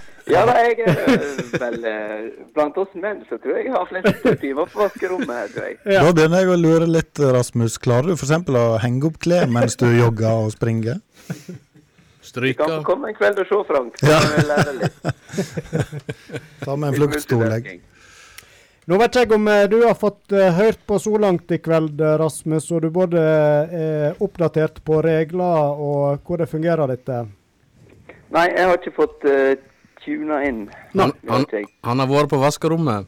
[SPEAKER 1] (laughs)
[SPEAKER 12] Ja da, jeg er eh, vel eh, Blant oss menn så tror jeg jeg har flest timer på vaskerommet her, tror jeg.
[SPEAKER 1] Ja.
[SPEAKER 3] Da begynner jeg å lure litt, Rasmus. Klarer du f.eks. å henge opp klær mens du jogger og springer?
[SPEAKER 12] Kan få
[SPEAKER 2] Stryker.
[SPEAKER 12] komme en kveld og se, Frank. Så kan vi lære
[SPEAKER 1] (laughs)
[SPEAKER 12] litt.
[SPEAKER 3] (laughs) Ta med en fluktstol. jeg.
[SPEAKER 1] Nå vet ikke jeg om eh, du har fått eh, hørt på så langt i kveld, eh, Rasmus, og du både er oppdatert på regler og hvor det fungerer eh. dette.
[SPEAKER 12] Nei, jeg har ikke fått eh, tuna inn.
[SPEAKER 2] Han,
[SPEAKER 12] Det
[SPEAKER 2] han,
[SPEAKER 12] vet jeg.
[SPEAKER 2] han har vært på vaskerommet.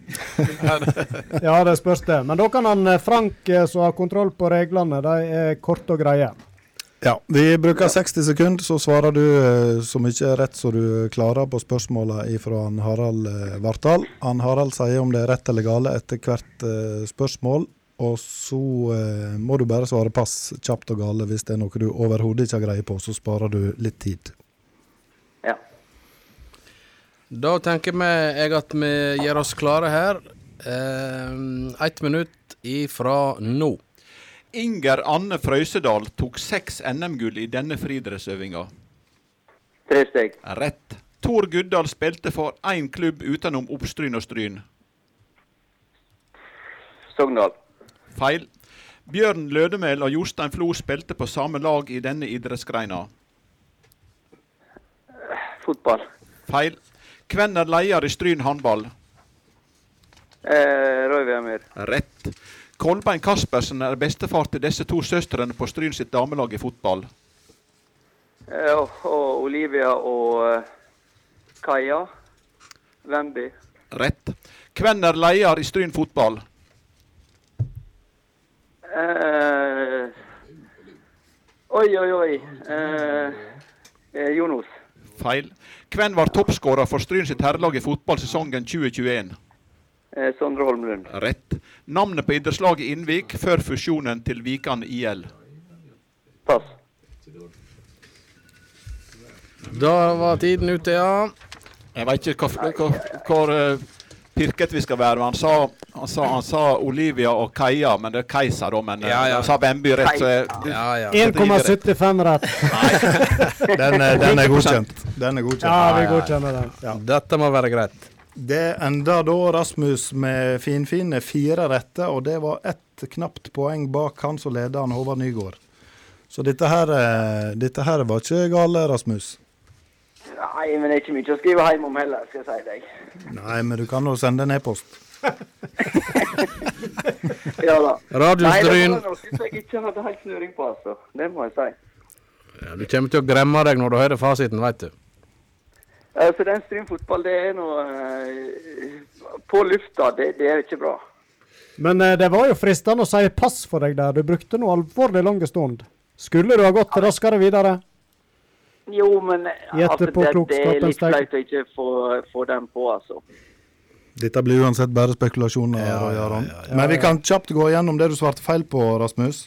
[SPEAKER 1] Ja, det spørs det. Men da kan han eh, Frank eh, som har kontroll på reglene, de er korte og greie.
[SPEAKER 3] Ja, Vi bruker 60 sekunder, så svarer du eh, så mye rett som du klarer på spørsmåla fra Harald eh, Vartdal. Han Harald sier om det er rett eller gale etter hvert eh, spørsmål. Og så eh, må du bare svare pass kjapt og gale hvis det er noe du overhodet ikke har greie på, så sparer du litt tid.
[SPEAKER 2] Da tenker vi jeg at vi gjør oss klare her. Eh, Ett minutt ifra nå.
[SPEAKER 4] Inger Anne Frøysedal tok seks NM-gull i denne friidrettsøvinga.
[SPEAKER 12] Tre steg.
[SPEAKER 4] Rett. Tor Guddal spilte for én klubb utenom Oppstryn og Stryn.
[SPEAKER 12] Sogndal.
[SPEAKER 4] Feil. Bjørn Lødemel og Jostein Flo spilte på samme lag i denne idrettsgreina.
[SPEAKER 12] Fotball.
[SPEAKER 4] Feil. Hvem er leder i Stryn håndball?
[SPEAKER 12] Eh, Roy Veamir.
[SPEAKER 4] Rett. Kolbein Kaspersen er bestefar til disse to søstrene på Stryn sitt damelag i fotball.
[SPEAKER 12] Eh, og, og Olivia og eh, Kaja. Wemby.
[SPEAKER 4] Rett. Hvem er leder i Stryn fotball?
[SPEAKER 12] Eh, oi, oi, oi. Eh, eh, Jonos.
[SPEAKER 4] Feil. Hvem var toppskårer for Stryn sitt herrelag i fotball sesongen 2021?
[SPEAKER 12] Eh, Sondre Holmlund.
[SPEAKER 4] Rett. Navnet på idrettslaget Innvik før fusjonen til Vikan IL.
[SPEAKER 12] Pass.
[SPEAKER 2] Da var tiden ute, ja.
[SPEAKER 4] Jeg veit ikke hva, hva, hvor eh, pirket vi skal være. men Han sa, han sa, han sa Olivia og Kaja, men det er Kajsa, da. Men eh,
[SPEAKER 2] Ja, ja.
[SPEAKER 4] han sa Bemby rett, så jeg-
[SPEAKER 2] Ja, ja.
[SPEAKER 1] 1,75 rett. (laughs)
[SPEAKER 3] Den, eh, den er godkjent. Den er godkjent.
[SPEAKER 1] Ja, vi godkjenner den.
[SPEAKER 2] Dette må være greit.
[SPEAKER 3] Det enda da Rasmus med finfine fire rette, og det var ett knapt poeng bak han som leder han Håvard Nygård. Så dette her, eh, dette her var ikke gale, Rasmus.
[SPEAKER 12] Nei, men det er ikke mye å skrive hjem om heller, skal jeg si deg.
[SPEAKER 3] Nei, men du kan jo sende en e-post.
[SPEAKER 12] (laughs) Ja da.
[SPEAKER 2] Radio
[SPEAKER 12] Nei, det
[SPEAKER 2] Stryn.
[SPEAKER 12] var noe som jeg ikke hadde helt snøring på, altså. Det må jeg si.
[SPEAKER 2] Ja, du kommer til å gremme deg når du hører fasiten, veit du.
[SPEAKER 12] Eh, Så den Stryn fotball, det er noe eh, På lufta, det, det er ikke bra.
[SPEAKER 1] Men eh, det var jo fristende å si pass for deg der. Du brukte noe alvorlig lang stund. Skulle du ha gått raskere videre?
[SPEAKER 12] Jo, men eh,
[SPEAKER 1] Gjett
[SPEAKER 12] altså,
[SPEAKER 1] på
[SPEAKER 12] det, det
[SPEAKER 1] klokskapens
[SPEAKER 12] er litt
[SPEAKER 1] tegn.
[SPEAKER 12] flaut å ikke få, få den på, altså.
[SPEAKER 3] Dette blir uansett bare spekulasjoner. Jarand. Men vi kan kjapt gå gjennom det du svarte feil på, Rasmus.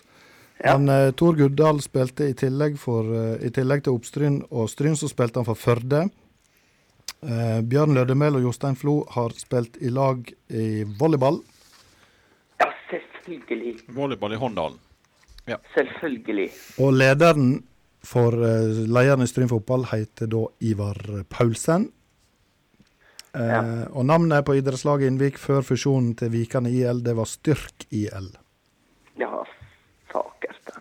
[SPEAKER 3] Han, eh, Tor Guddal spilte i tillegg, for, eh, i tillegg til Oppstryn og Stryn, så spilte han for Førde. Eh, Bjørn Lødemel og Jostein Flo har spilt i lag i volleyball.
[SPEAKER 12] Ja, selvfølgelig.
[SPEAKER 4] Volleyball i Håndalen.
[SPEAKER 12] Selvfølgelig.
[SPEAKER 3] Og lederen for eh, lederen i Stryn fotball heter da Ivar Paulsen. Eh, Og navnet på idrettslaget Innvik før fusjonen til Vikane IL, det var Styrk IL.
[SPEAKER 12] Ja, fakerten.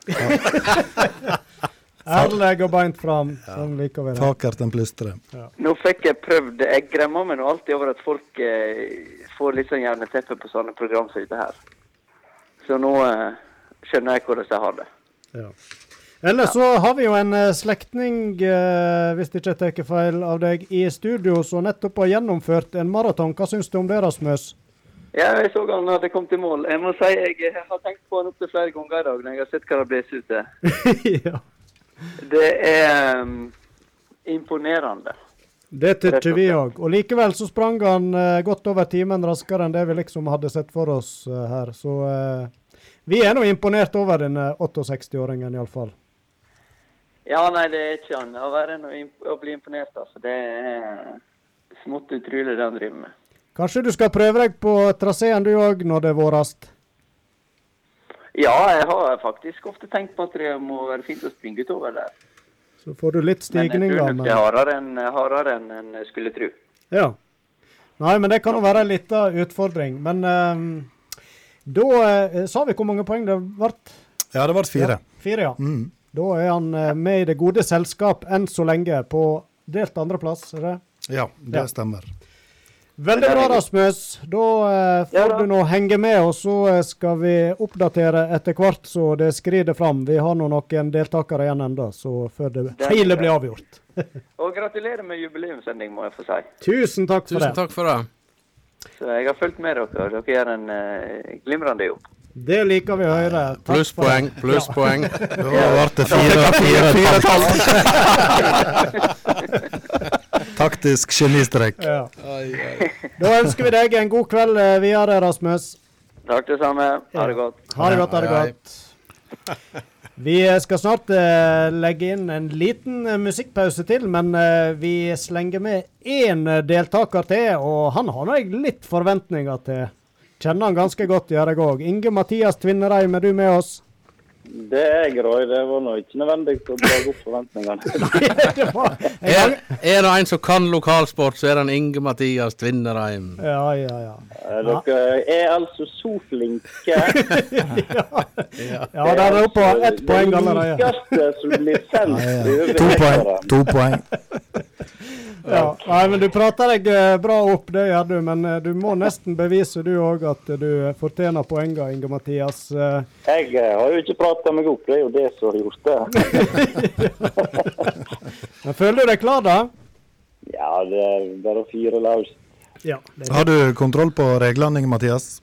[SPEAKER 1] (laughs) Ærlig og beint fram, som liker vi det.
[SPEAKER 3] Fakerten plystrer.
[SPEAKER 12] Nå fikk jeg prøvd det. Jeg gremmer meg nå alltid over at folk eh, får litt sånn jerneteppe på sånne program som dette her. Så nå eh, skjønner jeg hvordan jeg har det.
[SPEAKER 1] Ellers så har vi jo en eh, slektning, eh, hvis ikke jeg tar feil av deg, i studio som nettopp har gjennomført en maraton. Hva syns du om det, Rasmus?
[SPEAKER 12] Ja, jeg så han hadde kommet i mål. Jeg må si jeg har tenkt på han opptil flere ganger i dag når jeg har sett hva det bles ut til.
[SPEAKER 1] (laughs)
[SPEAKER 12] Det er um, imponerende.
[SPEAKER 1] Det tykker vi òg. Og likevel så sprang han eh, godt over timen raskere enn det vi liksom hadde sett for oss eh, her. Så eh, vi er nå imponert over denne 68-åringen, iallfall.
[SPEAKER 12] Ja, nei, det er ikke annet å være enn å, imp å bli imponert, altså. Det er smått utrolig det han driver med.
[SPEAKER 1] Kanskje du skal prøve deg på traseen du òg, når det er vårast?
[SPEAKER 12] Ja, jeg har faktisk ofte tenkt på at det må være fint å springe utover der.
[SPEAKER 1] Så får du litt
[SPEAKER 12] Men jeg tror
[SPEAKER 1] stigninger.
[SPEAKER 12] nok det er hardere enn hardere enn en skulle tro.
[SPEAKER 1] Ja. Nei, men det kan jo være en liten utfordring. Men ehm, da eh, sa vi hvor mange poeng det ble?
[SPEAKER 3] Ja, det ble fire.
[SPEAKER 1] Fire, ja.
[SPEAKER 3] Mm.
[SPEAKER 1] Da er han eh, med i det gode selskap enn så lenge på delt andreplass. er det?
[SPEAKER 3] Ja, det
[SPEAKER 1] Ja.
[SPEAKER 3] stemmer.
[SPEAKER 1] Veldig bra, Rasmus. Da eh, får du nå henge med, og så eh, skal vi oppdatere etter hvert så det skrider fram. Vi har nå noen deltakere igjen enda, så før det
[SPEAKER 12] Det er
[SPEAKER 1] hele
[SPEAKER 12] bra.
[SPEAKER 1] blir avgjort. (laughs)
[SPEAKER 12] Og gratulerer med jubileumssending, må jeg få si.
[SPEAKER 1] Tusen takk for
[SPEAKER 12] Tusen
[SPEAKER 1] det.
[SPEAKER 2] Takk for det.
[SPEAKER 12] Så jeg har fulgt med dere, og dere gjør en eh, glimrende jobb.
[SPEAKER 1] Det liker vi å høre. Takk for det.
[SPEAKER 2] Plusspoeng, plusspoeng.
[SPEAKER 1] (laughs) Ja.
[SPEAKER 3] Da ble det fire, fire, fire, Taktisk (laughs) genistrek.
[SPEAKER 1] Ja. Da ønsker vi deg en god kveld eh, videre, Rasmus.
[SPEAKER 12] Takk det samme. Ha det godt.
[SPEAKER 1] Ha det godt, ha det godt. Vi skal snart eh, legge inn en liten eh, musikkpause til, men eh, vi slenger med én eh, deltaker til, og han har nå jeg litt forventninger til. Kjenner han ganske godt, gjør jeg òg. Inge Mathias Tvinnereim, er du med oss?
[SPEAKER 9] Det er jeg, Roy. Det var nå ikke nødvendig å dra opp
[SPEAKER 1] (laughs)
[SPEAKER 9] forventningene.
[SPEAKER 2] Er, er det en som kan lokalsport, så er det en Inge Mathias Tvinnereim.
[SPEAKER 1] Ja, ja, ja.
[SPEAKER 9] Eh, Dere er altså så flinke.
[SPEAKER 1] (laughs) Ja, der er det oppe på ett poeng allerede.
[SPEAKER 9] Det likeste som blir sendt over
[SPEAKER 3] To poeng.
[SPEAKER 9] eteren.
[SPEAKER 3] To poeng.
[SPEAKER 1] Ja. Nei, men du prater deg eh, bra opp, det gjør du. Men eh, du må nesten bevise du òg at du eh, fortjener poengene, Inge Mathias. Eh,
[SPEAKER 9] Jeg eh, har jo ikke prata meg opp, det er jo det som har gjort det.
[SPEAKER 1] (laughs) Men føler du deg klar, da?
[SPEAKER 9] Ja, det er bare å fyre løs.
[SPEAKER 1] Ja.
[SPEAKER 3] Har du kontroll på reglene, Inge Mathias?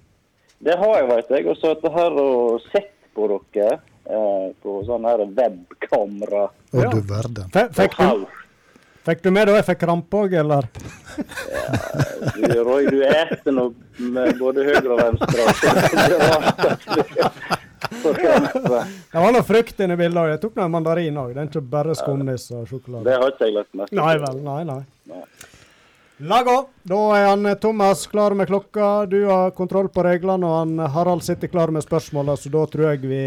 [SPEAKER 9] Det har jeg, veit jeg. Og så etter her og sett på dere eh, på sånn her webkamera.
[SPEAKER 3] Å, du verden.
[SPEAKER 1] Fe- Fikk du, fikk du med da jeg fikk krampe òg,
[SPEAKER 9] (laughs)
[SPEAKER 1] eller?
[SPEAKER 9] Du, Roy, du eter nå med både høyre og venstre. (laughs) så det er rart at du får krampe.
[SPEAKER 1] Det var noe frukt inni bildet òg. Jeg tok noe mandarin òg. Det er ikke bare skumnisse og sjokolade.
[SPEAKER 9] Det har ikke jeg lagt merke
[SPEAKER 1] Nei vel, nei, nei. Lago, da er han eh, Thomas klar med klokka. Du har kontroll på reglene, og han eh, Harald sitter klar med spørsmåla, så da tror jeg vi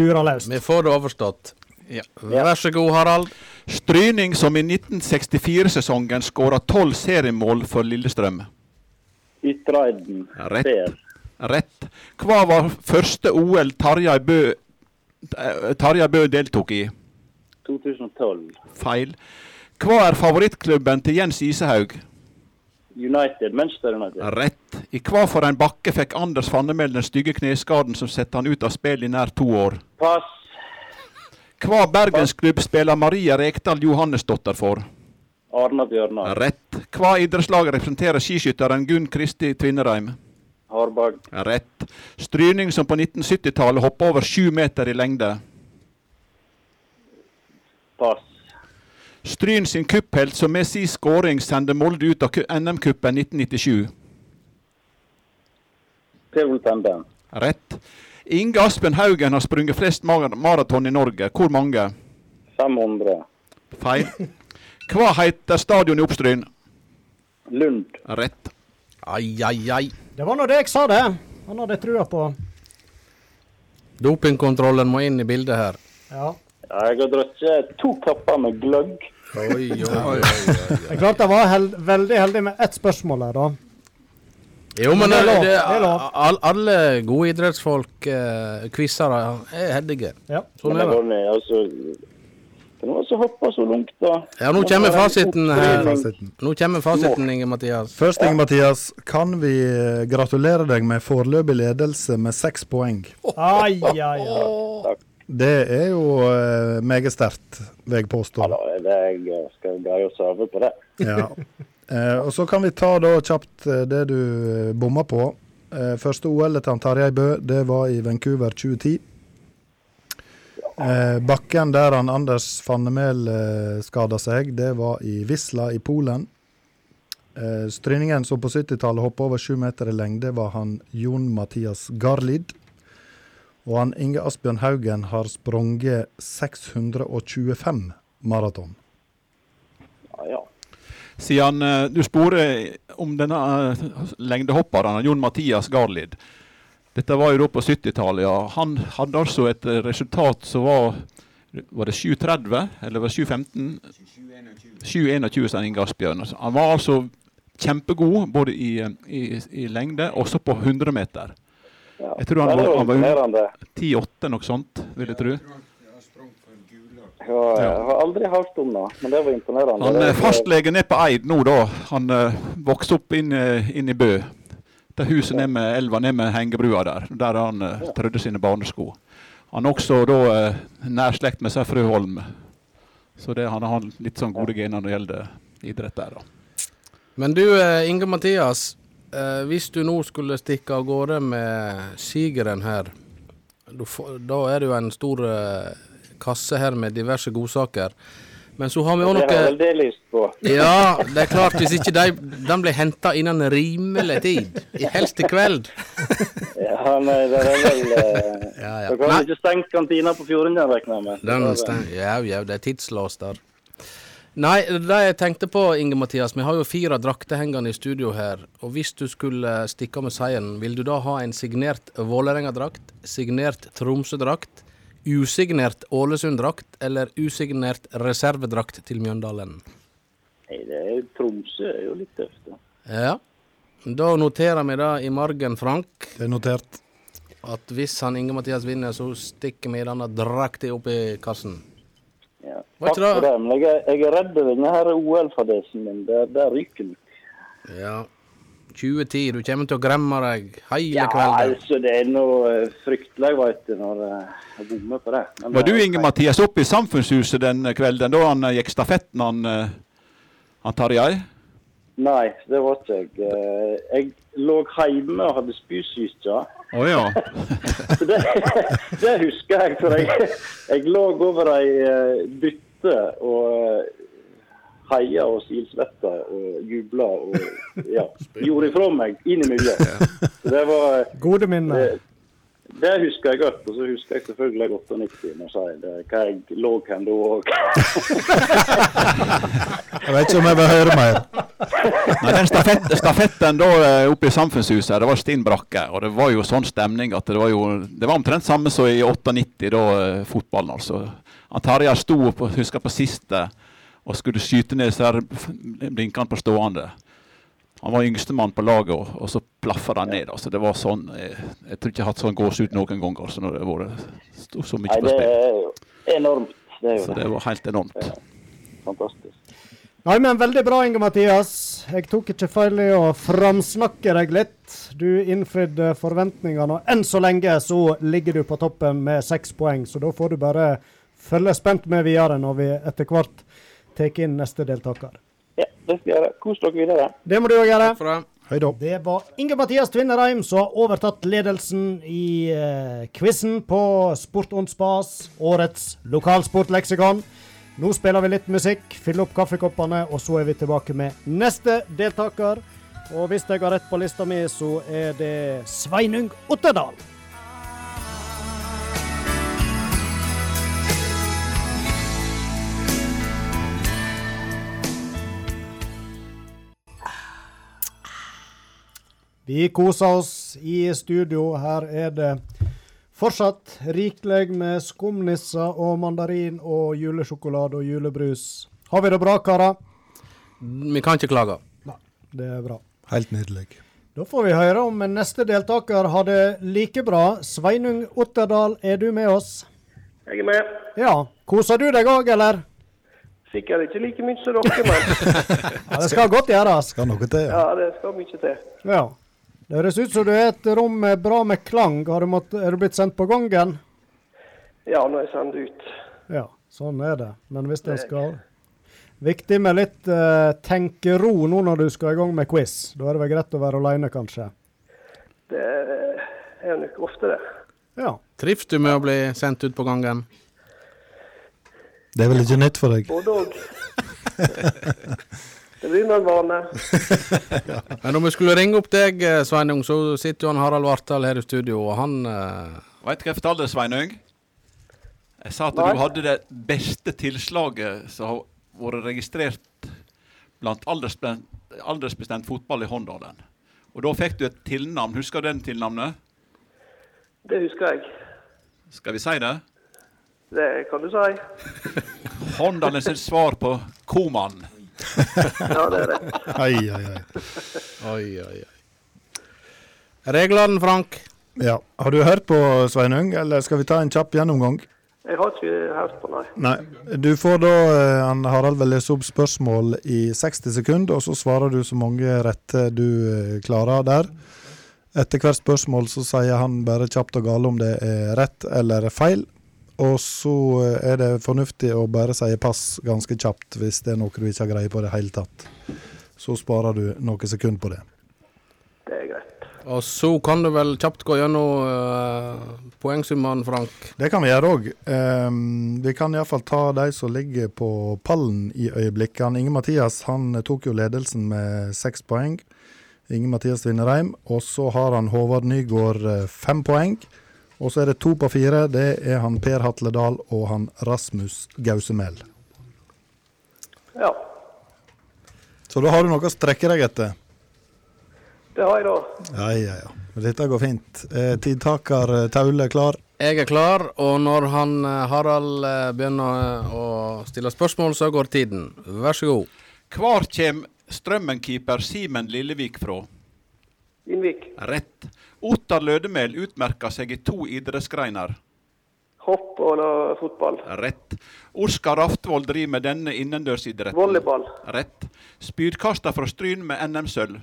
[SPEAKER 1] durer løs.
[SPEAKER 2] Vi får det overstått. Vær så god, Harald.
[SPEAKER 4] Stryning som i 1964-sesongen skåra tolv seriemål for Lillestrøm.
[SPEAKER 9] Ytreiden
[SPEAKER 4] Rett. Rett. Hva var første OL Tarjei Bø, eh, Tarjei Bø deltok i?
[SPEAKER 9] 2012.
[SPEAKER 4] Feil. Hva er favorittklubben til Jens Isehaug?
[SPEAKER 9] United, Manchester United.
[SPEAKER 4] Rett. I hva for en bakke fikk Anders Fannemel den stygge kneskaden som sette han ut av spill i nær to år?
[SPEAKER 9] Pass.
[SPEAKER 4] Hva bergensklubb spiller Maria Rekdal Johannesdotter for?
[SPEAKER 9] Arna Bjørnar.
[SPEAKER 4] Rett. Hva idrettslag representerer skiskytteren Gunn Kristi Tvinnereim?
[SPEAKER 9] Harberg.
[SPEAKER 4] Rett. Stryning som på 1970-tallet hoppa over sju meter i lengde.
[SPEAKER 9] Pass.
[SPEAKER 4] Stryn sin kupphelt som med sin skåring sendte Molde ut av ku- NM-cupen 1997.
[SPEAKER 9] Pivol Tenden.
[SPEAKER 4] Rett. Inge Aspen Haugen har sprunget flest mar maraton i Norge. Hvor mange?
[SPEAKER 9] 500. (laughs)
[SPEAKER 4] Feil. Hva heter stadion i Oppstryn?
[SPEAKER 9] Lund.
[SPEAKER 4] Rett.
[SPEAKER 2] Ai, ai, ai.
[SPEAKER 1] Det var nå det jeg sa, det. Han hadde trua på.
[SPEAKER 2] Dopingkontrollen må inn i bildet her.
[SPEAKER 1] Ja.
[SPEAKER 9] Ja, Jeg har drukket to kapper med gløgg.
[SPEAKER 2] Oi, oi, oi, oi.
[SPEAKER 1] Det er klart jeg var held, veldig heldig med ett spørsmål her, da.
[SPEAKER 2] Jo, men
[SPEAKER 1] Det
[SPEAKER 2] det,
[SPEAKER 1] er lov,
[SPEAKER 2] det,
[SPEAKER 1] det er lov.
[SPEAKER 2] all, alle gode idrettsfolk, eh, quizere, er heldige. Sånn
[SPEAKER 9] Men det
[SPEAKER 2] er det.
[SPEAKER 9] var ned, altså... Kan du også hoppe så langt, da?
[SPEAKER 2] Ja, nå kommer fasiten her.
[SPEAKER 3] Fasiten.
[SPEAKER 2] Nå kommer fasiten, Inge Mathias.
[SPEAKER 3] Først, Inge Mathias, kan vi eh, gratulere deg med foreløpig ledelse med seks poeng.
[SPEAKER 1] Ai, ai, ai.
[SPEAKER 3] Det er jo eh, meget sterkt, vil jeg påstå.
[SPEAKER 9] Ja, det er jeg eh, skal greie å serve på det.
[SPEAKER 3] Ja. Eh, og så kan vi ta da kjapt eh, det du eh, bomma på. Eh, første OL-et til han Tarjei Bø, det var i Vancouver 2010. Eh, bakken der han Anders Fannemel eh, skada seg, det var i Wisla i Polen. Eh, stryningen som på 70-tallet hoppa over sju meter i lengde, var han Jon Mathias Garlid. Og han Inge Asbjørn Haugen har sprunget 625 maraton.
[SPEAKER 9] Ja, ja.
[SPEAKER 4] Siden eh, du sporer om denne eh, lengdehopperen, Jon Mathias Garlid. Dette var jo da på 70-tallet. Ja. Han hadde altså et eh, resultat som var Var det 7.30, eller var det 7.15? 7.21, sa Inge Asbjørn. Altså, Han var altså kjempegod både i, eh, i, i lengde, også på 100 meter. Jeg tror han
[SPEAKER 9] Det er
[SPEAKER 4] var,
[SPEAKER 9] jo
[SPEAKER 4] han var
[SPEAKER 9] imponerende.
[SPEAKER 4] 10-8, noe sånt, vil jeg tro.
[SPEAKER 9] (laughs) Jeg har, jeg har aldri hørt om det, men det var imponerende.
[SPEAKER 4] Han
[SPEAKER 9] Det-
[SPEAKER 4] er fastlege nede på Eid nå, da. Han eh, vokste opp inn, eh, inn i Bø. Det huset nede med elva, nede med hengebrua der. Der han eh, trødde sine barnesko. Han er også da eh, nær slekt med seg fru Holm. Så det, han har litt sånn gode gener når det gjelder idrett der, da.
[SPEAKER 2] Men du, eh, Inge Mathias. eh, Hvis du nå skulle stikke av gårde med sigeren her, du får- da er det jo en stor eh, kasse her med diverse godsaker. Men så har vi òg
[SPEAKER 9] Det har jeg
[SPEAKER 2] noe
[SPEAKER 9] veldig lyst på.
[SPEAKER 2] Ja, det er klart. Hvis ikke de, den blir henta innen rimelig tid, i- helst i kveld,
[SPEAKER 9] Ja, nei, det er vel eh,
[SPEAKER 2] (laughs) Ja, ja.
[SPEAKER 9] Dere har
[SPEAKER 2] Nei.
[SPEAKER 9] jo ikke stengt kantina på Fjorden, jeg regner jeg med?
[SPEAKER 2] Den
[SPEAKER 3] Sånn.
[SPEAKER 2] steng- ja, ja, det er tidslåst der. Nei, det jeg tenkte på, Inge Mathias, vi har jo fire drakter hengende i studio her. Og hvis du skulle stikke av med seieren, vil du da ha en signert Vålerenga-drakt, signert Tromsø-drakt, usignert Ålesund-drakt eller usignert reservedrakt til Mjøndalen?
[SPEAKER 9] Nei, det er jo Tromsø er jo litt tøft. da.
[SPEAKER 2] Ja. Da noterer vi det i margen, Frank.
[SPEAKER 3] Det er notert.
[SPEAKER 2] At hvis han Inge-Mathias vinner, så stikker vi denne drakta opp i kassen. Var
[SPEAKER 9] Takk
[SPEAKER 2] ikke det-
[SPEAKER 9] for det, men jeg er, jeg er redd denne her OL-fadesen min. Der, der ryker den.
[SPEAKER 2] Ja. 2010, du kommer til å gremme deg hele
[SPEAKER 9] Ja,
[SPEAKER 2] kvelden.
[SPEAKER 9] altså, det er noe eh, fryktelig, veit du, når eh, jeg bommer på det. Men eh,
[SPEAKER 4] Var
[SPEAKER 9] det-
[SPEAKER 4] du, Inge Mathias, oppe i Samfunnshuset den kvelden da han eh, gikk stafetten, han, eh, han Tarjei?
[SPEAKER 9] Nei, det var ikke jeg. Eh, Jeg lå hjemme og hadde spysyke.
[SPEAKER 4] Å ja.
[SPEAKER 9] Så det, det husker jeg, for jeg, jeg lå over ei eh, bytte og eh, heia og silsvetta og jubla og ja, gjorde ifra meg innimellom. Så det var eh,
[SPEAKER 1] Gode minner.
[SPEAKER 9] det husker jeg godt, og så husker jeg selvfølgelig 98 når jeg sier det, hva jeg lå hen da (laughs) og
[SPEAKER 3] Jeg vet ikke om jeg vil høre mer.
[SPEAKER 4] Nei, den stafett, stafetten da eh, oppe i Samfunnshuset, det var stinn brakke. Og det var jo sånn stemning at det var jo Det var omtrent samme som i 98, da eh, fotballen, altså. Han Tarjei sto på, husker på siste og skulle skyte ned disse her f- blinkene på stående. Han var yngstemann på laget, og, og så plaffa han ned. altså. Det var sånn, eh, Jeg tror ikke jeg har hatt sånn gåsehud noen gang altså, når det har vært sto så
[SPEAKER 9] Nei,
[SPEAKER 4] mye på
[SPEAKER 9] det
[SPEAKER 4] spill.
[SPEAKER 9] er jo enormt. Det er jo
[SPEAKER 4] Så det var helt enormt.
[SPEAKER 9] Fantastisk.
[SPEAKER 1] Nei, men veldig bra, Inge Mathias. Jeg tok ikke feil i å framsnakke deg litt. Du innfridde forventningene, og enn så lenge så ligger du på toppen med seks poeng. Så da får du bare følge spent med videre når vi etter hvert tar inn neste deltaker.
[SPEAKER 9] Ja, det skal jeg gjøre. Kos dere videre.
[SPEAKER 1] Det må du òg gjøre.
[SPEAKER 3] Hei da.
[SPEAKER 1] Det var Inge Mathias Tvinnereim som har overtatt ledelsen i eh, quizen på Sport on Spas, årets lokalsportleksikon. Nå spiller vi litt musikk, fyller opp kaffekoppene, og så er vi tilbake med neste deltaker. Og hvis jeg har rett på lista mi, så er det Sveinung Otterdal. Vi koser oss i studio. Her er det fortsatt rikelig med skumnisser og mandarin og julesjokolade og julebrus. Har vi det bra, karer?
[SPEAKER 2] Vi kan ikke klage.
[SPEAKER 1] Det er bra.
[SPEAKER 3] Helt nydelig.
[SPEAKER 1] Da får vi høre om neste deltaker har det like bra. Sveinung Otterdal, er du med oss?
[SPEAKER 13] Jeg er med.
[SPEAKER 1] Ja. Koser du deg òg, eller?
[SPEAKER 13] Sikkert ikke like mye som dere, men
[SPEAKER 1] (laughs) Ja, det skal godt gjøres.
[SPEAKER 3] Skal noe til.
[SPEAKER 13] ja, det skal mye til.
[SPEAKER 1] Ja. Det høres ut som du er et rom med bra med klang. Har du, mått, er du blitt sendt på gangen?
[SPEAKER 13] Ja, når jeg sender ut.
[SPEAKER 1] Ja, sånn er det. Men hvis en skal Viktig med litt eh, tenkero nå når du skal i gang med quiz. Da er det vel greit å være alene, kanskje.
[SPEAKER 13] Det Eh, er nok ofte det.
[SPEAKER 1] Ja.
[SPEAKER 2] Trives du med å bli sendt ut på
[SPEAKER 3] (laughs)
[SPEAKER 2] gangen?
[SPEAKER 3] Det er vel ikke nytt for deg?
[SPEAKER 13] Og dog. Det begynner en (laughs) vane.
[SPEAKER 2] Men om vi skulle ringe opp deg, eh, Sveinung, så sitter jo han Harald Vartdal her i studio, og han eh,
[SPEAKER 4] Veit du hva jeg fortalte deg, Sveinung? Jeg sa at
[SPEAKER 13] Nei.
[SPEAKER 4] du hadde det beste tilslaget som har vært registrert blant aldersbestemt, aldersbestemt fotball i Håndalen. Og da fikk du et tilnavn. Husker du den tilnavnet?
[SPEAKER 13] Det husker jeg.
[SPEAKER 4] Skal vi si det?
[SPEAKER 13] Det kan du si.
[SPEAKER 4] Håndalen sitt svar på Koman.
[SPEAKER 13] Ja, det er det.
[SPEAKER 3] Ai, ai, ai.
[SPEAKER 2] Oi, oi, oi. Reglene, Frank?
[SPEAKER 3] Ja. Har du hørt på Sveinung, eller skal vi ta en kjapp gjennomgang?
[SPEAKER 13] Jeg har ikke hørt på, nei.
[SPEAKER 3] Nei. Du får da eh, han Harald vil lese opp spørsmål i 60 sekunder, og så svarer du så mange rette du eh, klarer der. Etter hvert spørsmål så sier han bare kjapt og gale om det er rett eller feil. Og så eh, er det fornuftig å bare si pass ganske kjapt hvis det er noe du ikke har greie på i det hele tatt. Så sparer du noen sekunder på det.
[SPEAKER 13] Det er greit.
[SPEAKER 2] Og så kan du vel kjapt gå gjennom eh, poengsummene, Frank?
[SPEAKER 3] Det kan vi gjøre òg. Um, vi kan iallfall ta de som ligger på pallen i øyeblikket. Han Inge Mathias han tok jo ledelsen med seks poeng. Inge-Mathias Vinnerheim. Og så har han Håvard Nygård eh, fem poeng. Og så er det to på fire. Det er han Per Hatledal og han Rasmus Gausemel.
[SPEAKER 13] Ja,
[SPEAKER 3] Så da har du noe å strekke deg etter.
[SPEAKER 13] det har jeg da.
[SPEAKER 3] Ja, ja, ja. Men Dette går fint. Eh, Tidtaker eh, Taule klar.
[SPEAKER 2] Jeg er klar, og når han eh, Harald eh, begynner å stille spørsmål, så går tiden. Vær så god.
[SPEAKER 4] Hvor kjem Strømmen-keeper Simen Lillevik fra?
[SPEAKER 13] Innvik.
[SPEAKER 4] Rett. Ottar Lødemel utmerker seg i to idrettsgreiner.
[SPEAKER 13] Hopp og la- fotball.
[SPEAKER 4] Rett. Oskar Aftvold driver med denne innendørsidretten.
[SPEAKER 13] Volleyball.
[SPEAKER 4] Rett. Spydkaster fra Stryn med NM-sølv.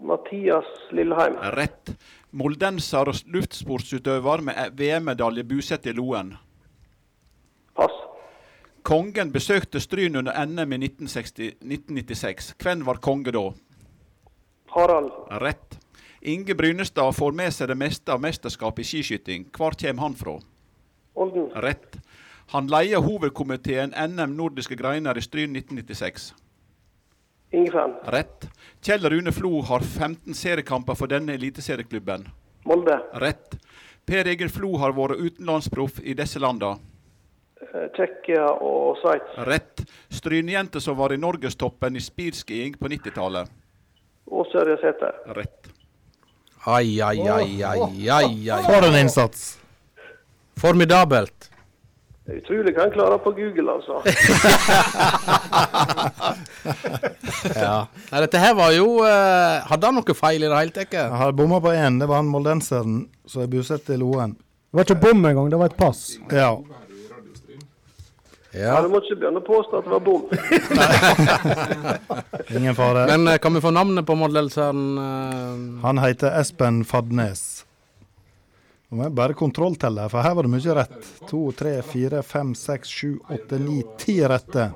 [SPEAKER 13] Mathias Lilleheim.
[SPEAKER 4] Rett. Moldenser og luftsportsutøver med E- VM-medalje bosatt i Loen.
[SPEAKER 13] Pass.
[SPEAKER 4] Kongen besøkte Stryn under NM i 1960, 1996. Hvem var konge da?
[SPEAKER 13] Harald.
[SPEAKER 4] Rett. Inge Brynestad får med seg det meste av mesterskapet i skiskyting. Hvor kommer han fra?
[SPEAKER 13] Olden.
[SPEAKER 4] Rett. Han leier hovedkomiteen NM nordiske greiner i Stryn 1996.
[SPEAKER 13] Ingefern.
[SPEAKER 4] Rett. Kjell Rune Flo har 15 seriekamper for denne eliteserieklubben.
[SPEAKER 13] Molde.
[SPEAKER 4] Rett. Per Egil Flo har vært utenlandsproff i disse landa.
[SPEAKER 13] eh, Tsjekkia og Sveits.
[SPEAKER 4] Rett. Strynjente som var i norgestoppen i speedskiing på 90-tallet.
[SPEAKER 13] Åse Ørjasæter.
[SPEAKER 4] Rett.
[SPEAKER 2] Ai, ai, ai, ai, ai, ai.
[SPEAKER 13] For en
[SPEAKER 3] innsats.
[SPEAKER 2] Formidabelt.
[SPEAKER 13] Det er utrolig hva en klarer på Google, (laughs) altså.
[SPEAKER 2] ja. Nei, dette her var jo eh, Hadde han noe feil i det hele tatt?
[SPEAKER 3] Jeg har bomma på én. Det var han moldenseren som er bosatt i Loen.
[SPEAKER 1] Det var ikke bom engang, det var et pass.
[SPEAKER 3] Ja.
[SPEAKER 13] Ja. Du må ikke begynne å påstå at det var bom.
[SPEAKER 3] Ingen fare.
[SPEAKER 2] Men eh, kan vi få navnet på modellseren? eh?
[SPEAKER 3] Han heter Espen Fadnes. Nå må jeg bare kontrolltelle, for her var det mye rett. To, tre, fire, fem, seks, sju, åtte, ni, ti rette.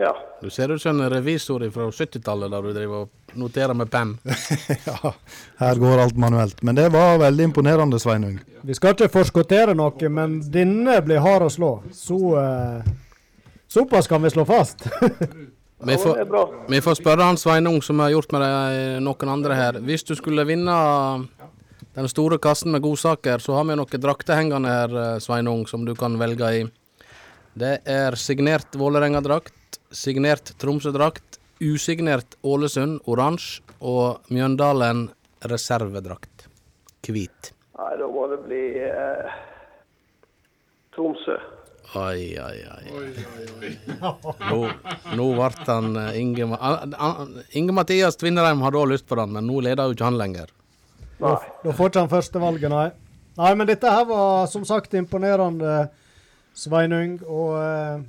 [SPEAKER 13] Ja.
[SPEAKER 2] Du ser ut som en revisor fra 70-tallet der du driver og noterer med penn.
[SPEAKER 3] ja. Her går alt manuelt. Men det var veldig imponerende, Sveinung.
[SPEAKER 1] Vi skal ikke forskottere noe, men denne blir hard å slå. Så eh, Såpass kan vi slå fast. (laughs)
[SPEAKER 2] Vi får, vi får spørre han Sveinung, som har gjort med de- noen andre her. Hvis du skulle vinne eh, den store kassen med godsaker, så har vi noen drakter hengende her, eh, Sveinung, som du kan velge i. Det er signert Vålerenga-drakt, signert Tromsø-drakt, usignert Ålesund oransje og Mjøndalen reservedrakt hvit.
[SPEAKER 13] (laughs) Nei, da må det bli eh, Tromsø.
[SPEAKER 2] Ai, ai, ai. Nå, nå ble han eh, Inge, han- han- Inge Mathias Tvinnereim hadde òg lyst på den, men nå leder jo ikke han lenger.
[SPEAKER 1] Da, da får ikke han førstevalget, nei. Nei, men dette her var som sagt imponerende, Sveinung. Og eh,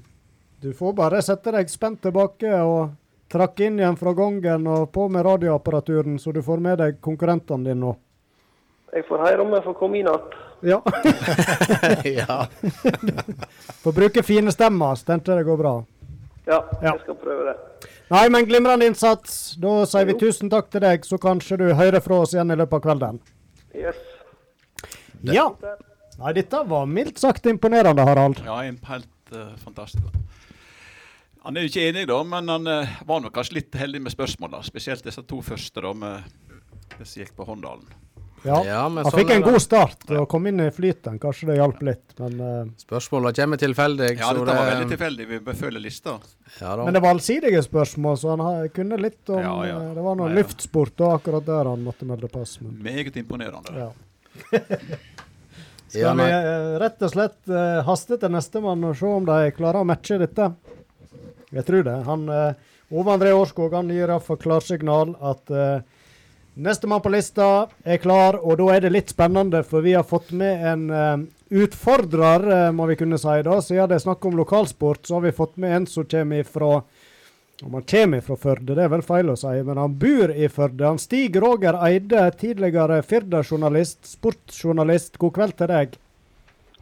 [SPEAKER 1] du får bare sette deg spent tilbake og trakke inn igjen fra gangen og på med radioapparaturen, så du får med deg konkurrentene dine nå.
[SPEAKER 13] Jeg får høre om jeg får komme inn igjen.
[SPEAKER 1] Ja.
[SPEAKER 2] ja.
[SPEAKER 1] (laughs) Får bruke fine stemmer, så tenkte jeg det går bra.
[SPEAKER 13] Ja, jeg skal prøve det.
[SPEAKER 1] Nei, men glimrende innsats. Da sier vi tusen takk til deg, så kanskje du hører fra oss igjen i løpet av kvelden.
[SPEAKER 13] Yes.
[SPEAKER 1] Ja. Nei, dette var mildt sagt imponerende, Harald.
[SPEAKER 4] Ja, en helt eh, fantastisk. Han er jo ikke enig, da, men han eh, var nok kanskje litt heldig med spørsmåla. Spesielt disse to første, da, med det som gikk på Håndalen.
[SPEAKER 1] Ja,
[SPEAKER 2] Ja, men
[SPEAKER 1] Han
[SPEAKER 2] sånn
[SPEAKER 1] fikk
[SPEAKER 2] er
[SPEAKER 1] en
[SPEAKER 2] det.
[SPEAKER 1] god start og kom inn i flyten. Kanskje det hjalp litt, men, eh,
[SPEAKER 2] Spørsmåla kommer tilfeldig.
[SPEAKER 4] Ja,
[SPEAKER 2] så
[SPEAKER 4] dette var veldig tilfeldig. Vi bør følge lista.
[SPEAKER 2] Ja, da.
[SPEAKER 1] men det var allsidige spørsmål, så han har- kunne litt om
[SPEAKER 4] Ja, ja.
[SPEAKER 1] eh, Det var noe
[SPEAKER 4] Nei, ja.
[SPEAKER 1] luftsport og akkurat der han måtte melde pass. Men.
[SPEAKER 4] Meget imponerende.
[SPEAKER 1] Ja.
[SPEAKER 4] Ja,
[SPEAKER 1] Skal vi
[SPEAKER 4] nei.
[SPEAKER 1] eh, rett og slett eh, haste til nestemann og se om de klarer å matche dette? Jeg tror det. Han, eh, Ove André Årskog han gir iallfall klarsignal at eh, nestemann på lista er klar, og da er det litt spennende, for vi har fått med en eh, utfordrer, eh, må vi kunne si da. Siden det er snakk om lokalsport, så har vi fått med en som kommer ifra om han kommer fra Førde, det er vel feil å si, men han bor i Førde. Han Stig Roger Eide, tidligere Firda-journalist, sportsjournalist. God kveld til deg.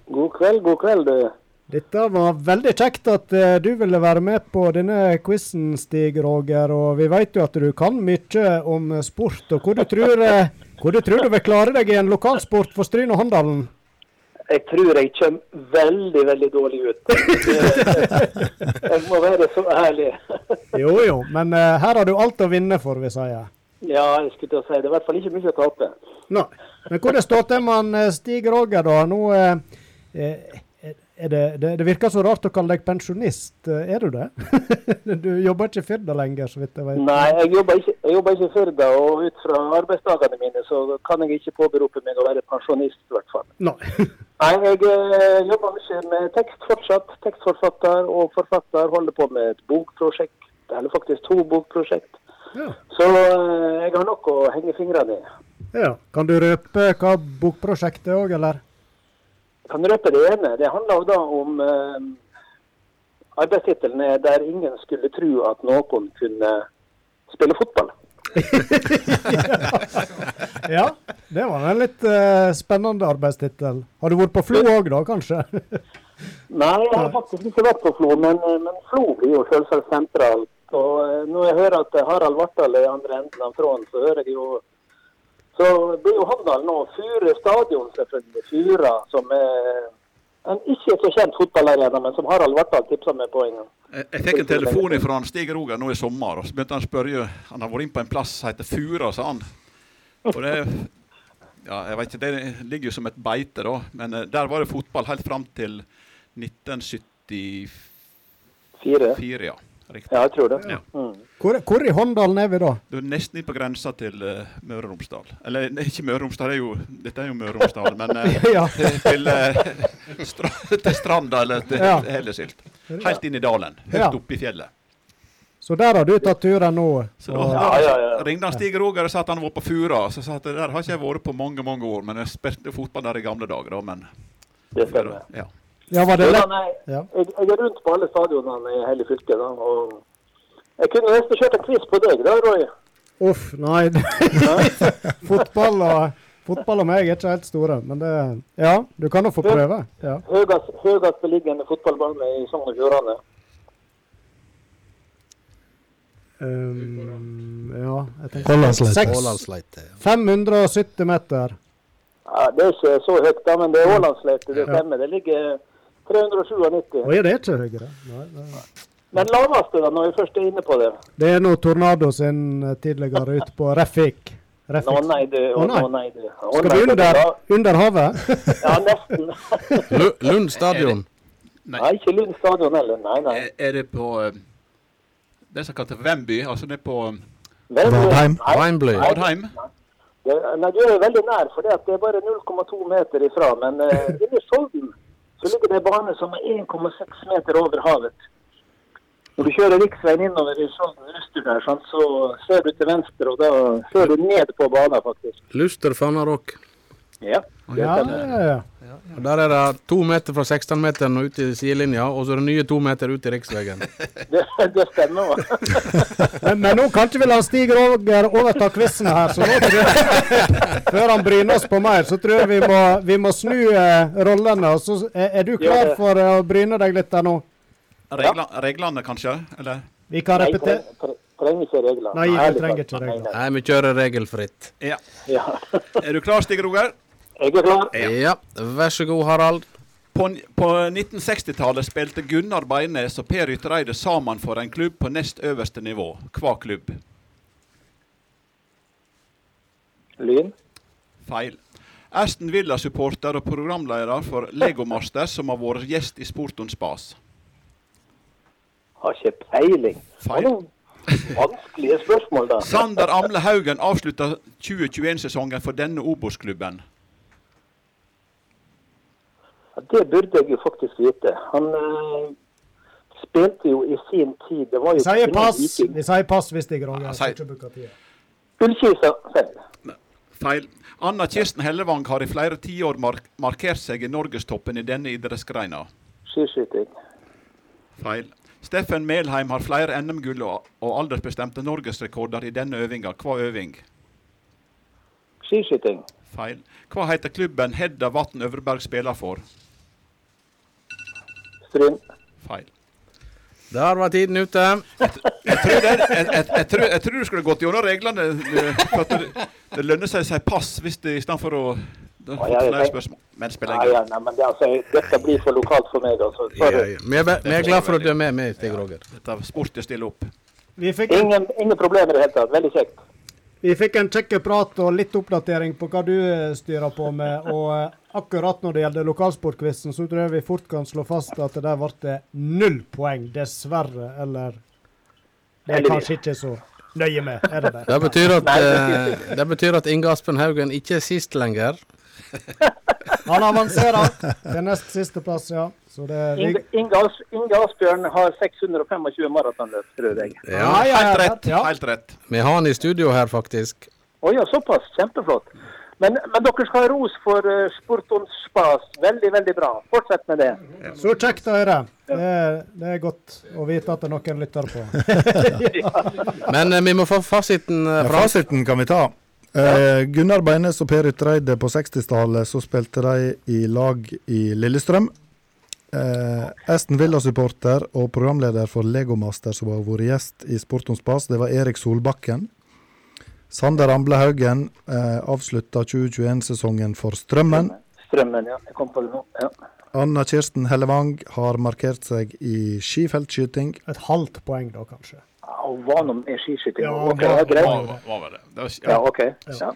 [SPEAKER 8] God kveld, god kveld, du.
[SPEAKER 1] Dette var veldig kjekt at eh, du ville være med på denne quizen, Stig Roger. Og vi vet jo at du kan mye om eh, sport. Og hvor du tror, eh, hvor du, tror du vil klare deg i en lokalsport for Stryn og Håndalen?
[SPEAKER 8] Jeg tror jeg kommer veldig, veldig dårlig ut. Jeg må være så ærlig.
[SPEAKER 1] Jo jo, men eh, her har du alt å vinne, får vi si.
[SPEAKER 8] Ja, jeg skulle til å si det. er I hvert fall ikke mye å tape.
[SPEAKER 1] Nei. Men hvordan står det til med han, eh, Stig Roger, da? Nå eh, eh, er det, det, det virker så rart å kalle deg pensjonist. Eh, Er du det? (laughs) du jobber ikke i Firda lenger, så vidt jeg vet.
[SPEAKER 8] Nei, jeg jobber ikke, jeg jobber ikke i Firda, og ut fra arbeidsdagene mine så kan jeg ikke påberope meg å være pensjonist, i hvert fall.
[SPEAKER 1] Nei.
[SPEAKER 8] Nei, jeg eh, jobber mye med tekst fortsatt. Tekstforfatter og forfatter holder på med et bokprosjekt, eller faktisk to bokprosjekt.
[SPEAKER 1] Ja.
[SPEAKER 8] Så eh, jeg har nok å henge fingrene i.
[SPEAKER 1] Ja. Kan du røpe hva bokprosjektet òg, eller?
[SPEAKER 8] Jeg kan røpe det ene. Det handler jo da om eh, arbeidstittelen er 'Der ingen skulle tru at noen kunne spille fotball'.
[SPEAKER 1] (laughs) Ja, det var en litt eh, spennende arbeidstittel. Har du vært på Flo òg, da, kanskje? (laughs)
[SPEAKER 8] Nei, jeg har faktisk ikke vært på Flo, men, men Flo blir jo selvsagt sentralt. Og eh, når jeg hører at Harald Vartdal er i andre enden av tråden, så hører jeg jo Så blir jo Havndal nå Fure stadion, selvfølgelig. Fyra, som er en ikke så kjent fotballarena, men som Harald Vartdal tipsa meg på en gang.
[SPEAKER 4] Eh, Jeg, jeg fikk en telefon fra han Stig Roger nå i sommer, og så begynte han å spørre Han har vært inn på en plass som heter Fura, sa han. Og det, ja, jeg vet ikke, det ligger jo som et beite, da. Men eh, der var det fotball helt fram til 1974.
[SPEAKER 8] Fire.
[SPEAKER 4] ja. Riktig.
[SPEAKER 8] Ja, jeg tror det. Mm.
[SPEAKER 4] Ja.
[SPEAKER 1] Hvor, hvor i Håndalen er vi da?
[SPEAKER 4] Du er nesten inn på grensa til eh, Møre og Romsdal. Eller nei, ikke Møre og Romsdal, det er jo, dette er jo Møre og Romsdal, men
[SPEAKER 8] (laughs)
[SPEAKER 4] eh,
[SPEAKER 1] Ja.
[SPEAKER 4] til, eh, (laughs) stra, til Stranda eller til
[SPEAKER 1] Ja.
[SPEAKER 4] Hellesilt. Helt inn i dalen, høyt
[SPEAKER 1] Ja.
[SPEAKER 4] oppe i fjellet.
[SPEAKER 1] Så der har du tatt turen nå.
[SPEAKER 4] Så da,
[SPEAKER 1] og-
[SPEAKER 4] da ringde han Stig Roger og sa at han var på Fura. Så sa at det der har ikke jeg vært på mange mange år, men jeg spilte fotball der i gamle dager, da, men
[SPEAKER 8] Det stemmer.
[SPEAKER 4] Ja.
[SPEAKER 1] Ja, var det
[SPEAKER 8] Jo da,
[SPEAKER 1] lett?
[SPEAKER 8] nei,
[SPEAKER 1] Ja.
[SPEAKER 8] jeg, jeg er rundt på alle stadionene i hele fylket. da, og Jeg kunne nesten kjørt en quiz på deg, da, Roy.
[SPEAKER 1] Uff, nei. (laughs) fotball, og, fotball og meg er ikke helt store, men det Ja, du kan jo få prøve. Ja.
[SPEAKER 8] Høyest, høyest beliggende fotballbane i Sogn og Fjordane.
[SPEAKER 1] Um, ja, jeg tenker
[SPEAKER 3] Hollandsleite.
[SPEAKER 1] Seks-
[SPEAKER 3] Hollandsleite,
[SPEAKER 1] 570 meter.
[SPEAKER 8] Ja, det er ikke så høyt, da, men det er Ålandsleite, det stemmer. Det ligger 397.
[SPEAKER 1] Oi, det er ikke høyere. Nei, nei.
[SPEAKER 8] Men laveste, da, når vi først er inne på det.
[SPEAKER 1] Det er nå Tornado sin eh, tidligere ute på Refik. Refik.
[SPEAKER 8] Nå nei, du. Å,
[SPEAKER 1] Å, nei.
[SPEAKER 8] nå nei, du. Å,
[SPEAKER 1] Skal
[SPEAKER 8] nei,
[SPEAKER 1] du
[SPEAKER 8] du,
[SPEAKER 1] under,
[SPEAKER 8] da-
[SPEAKER 1] under havet?
[SPEAKER 8] Ja, nesten.
[SPEAKER 2] Lund stadion.
[SPEAKER 8] Nei, ikke Lund stadion heller. Nei, nei.
[SPEAKER 4] Er, er det på eh, Det som kalles Vemby? Altså det er på
[SPEAKER 8] Vadheim. Nei.
[SPEAKER 4] Vadheim.
[SPEAKER 8] Nei. Det, nei, du er veldig nær, for det, at det er bare 0,2 meter ifra. Men uh,
[SPEAKER 1] (laughs)
[SPEAKER 8] inni Solden så ligger det en bane som er 1,6 meter over havet. Når du kjører riksveien innover i Solden Ruster der, sant, så ser du til venstre, og da ser du ned på banen, faktisk.
[SPEAKER 2] Luster Fannarock.
[SPEAKER 8] Ja, det
[SPEAKER 2] Ja,
[SPEAKER 8] stemmer.
[SPEAKER 2] Og Der er det to meter fra 16-meteren og ut til sidelinja, og så er det nye to meter ut til (laughs) riksveien.
[SPEAKER 8] Det, det stemmer. hva?
[SPEAKER 1] Men, men nå kan ikke vi la Stig Roger overta quizen her, så nå tror jeg, (laughs) før han bryner oss på mer, så tror jeg vi må, vi må snu eh, rollene. Og så eh, er, er du
[SPEAKER 4] Gjør
[SPEAKER 1] klar
[SPEAKER 4] det.
[SPEAKER 1] for eh, å bryne deg litt der nå?
[SPEAKER 4] Regla, Reglene, kanskje? Eller?
[SPEAKER 1] Vi kan
[SPEAKER 8] Nei,
[SPEAKER 1] repetere.
[SPEAKER 8] tre- tre- Trenger ikke regler.
[SPEAKER 1] Nei, vi
[SPEAKER 8] Ærlig
[SPEAKER 1] trenger
[SPEAKER 8] talt.
[SPEAKER 1] ikke regler.
[SPEAKER 2] Nei, vi kjører regelfritt.
[SPEAKER 4] Ja.
[SPEAKER 8] Ja.
[SPEAKER 4] (laughs) Er du klar, Stig Roger?
[SPEAKER 8] Jeg er klar.
[SPEAKER 2] Ja. Vær så god, Harald.
[SPEAKER 4] På, på 1960-tallet spilte Gunnar Beinnes og Per Yttereide sammen for en klubb på nest øverste nivå. Hva klubb?
[SPEAKER 8] Lyn.
[SPEAKER 4] Feil. Aston Villa-supporter og programleder for Legomaster, som har vært gjest i Sporton Spas.
[SPEAKER 8] Har ikke peiling. Har
[SPEAKER 4] Feil.
[SPEAKER 8] noen Vanskelige spørsmål, da.
[SPEAKER 4] Sander Amle Haugen avslutta 2021-sesongen for denne Obos-klubben.
[SPEAKER 8] Ja, Det burde jeg jo faktisk vite. Han eh, spilte jo i sin tid Det var jo
[SPEAKER 1] Vi sier
[SPEAKER 8] Trond
[SPEAKER 1] pass.
[SPEAKER 8] Viking.
[SPEAKER 1] Vi sier pass hvis Stig Roger skal
[SPEAKER 4] sier-
[SPEAKER 1] ikke bruke tida.
[SPEAKER 8] Ullkisa selv.
[SPEAKER 4] Feil. Anna Kirsten Hellevang har i flere tiår mark markert seg i norgestoppen i denne idrettsgreina.
[SPEAKER 8] Skiskyting.
[SPEAKER 4] Feil. Steffen Melheim har flere NM-gull og, og aldersbestemte norgesrekorder i denne øvinga. Hva øving?
[SPEAKER 8] Skiskyting.
[SPEAKER 4] Feil. Hva heter klubben Hedda Vatn Øvreberg spiller for?
[SPEAKER 8] Stryn.
[SPEAKER 4] Feil.
[SPEAKER 2] Der var tiden ute.
[SPEAKER 4] Jeg, jeg, jeg, jeg, tror, jeg tror du skulle gått gjennom reglene. eh, For at det, det lønner seg å si pass hvis det, i stedet for å da
[SPEAKER 8] ja,
[SPEAKER 4] får du
[SPEAKER 8] jeg
[SPEAKER 4] flere
[SPEAKER 8] tenk-
[SPEAKER 4] spørsmål. Men spiller
[SPEAKER 8] Nei,
[SPEAKER 4] ingen
[SPEAKER 8] ja, nei, men det, altså, dette blir for lokalt for meg, altså. Sorry.
[SPEAKER 2] Vi er, vi er glad for at du er med, med Stig Roger.
[SPEAKER 4] Dette er sport å stille opp.
[SPEAKER 1] Vi fikk
[SPEAKER 8] Ingen, ingen problemer i det hele tatt. Veldig kjekt.
[SPEAKER 1] Vi fikk en kjekk prat og litt oppdatering på hva du eh, styrer på med. Og eh, akkurat når det gjelder lokalsportquizen, så tror jeg vi fort kan slå fast at det der ble det null poeng, dessverre. Eller Det er kanskje ikke så nøye med, er det det?
[SPEAKER 2] Det betyr at, eh, det betyr at Inge Aspen Haugen ikke er sist lenger.
[SPEAKER 1] Han avanserer til nest siste plass, ja. Så det er
[SPEAKER 8] Inge, Inge, As- Inge Asbjørn har 625 maratonløp, tror jeg.
[SPEAKER 2] (laughs) Ja, Ja,
[SPEAKER 4] Helt rett. Helt rett.
[SPEAKER 2] Vi har han i studio her, faktisk.
[SPEAKER 8] Å ja, såpass. Kjempeflott. Men, men dere skal ha ros for eh, Sport on Spas. Veldig, veldig bra. Fortsett med det.
[SPEAKER 1] Så kjekt å høre. Det er, det er godt å vite at det er noen lytter på.
[SPEAKER 2] Men eh, vi må få fasiten eh,
[SPEAKER 3] Ja,
[SPEAKER 2] fra
[SPEAKER 3] fasiten kan vi ta. Eh, Gunnar Beines og Per Yttereide på 60-tallet, så spilte de i lag i Lillestrøm. Eh, Aston Villa-supporter og programleder for Legomaster, som har vært gjest i Sport om spas, det var Erik Solbakken. Sander Amble Haugen eh, avslutta 2021-sesongen for Strømmen.
[SPEAKER 8] Strømmen, ja. Jeg kom på det nå. Ja.
[SPEAKER 3] Anna Kirsten Hellevang har markert seg i skifeltskyting.
[SPEAKER 1] Et halvt poeng da, kanskje.
[SPEAKER 8] Ja, Hun var nå med i skiskyting.
[SPEAKER 1] Ja,
[SPEAKER 8] ok, det er
[SPEAKER 4] Hva-
[SPEAKER 8] greit.
[SPEAKER 4] hva- hva var det? Det var-
[SPEAKER 8] Ja, OK. Ja.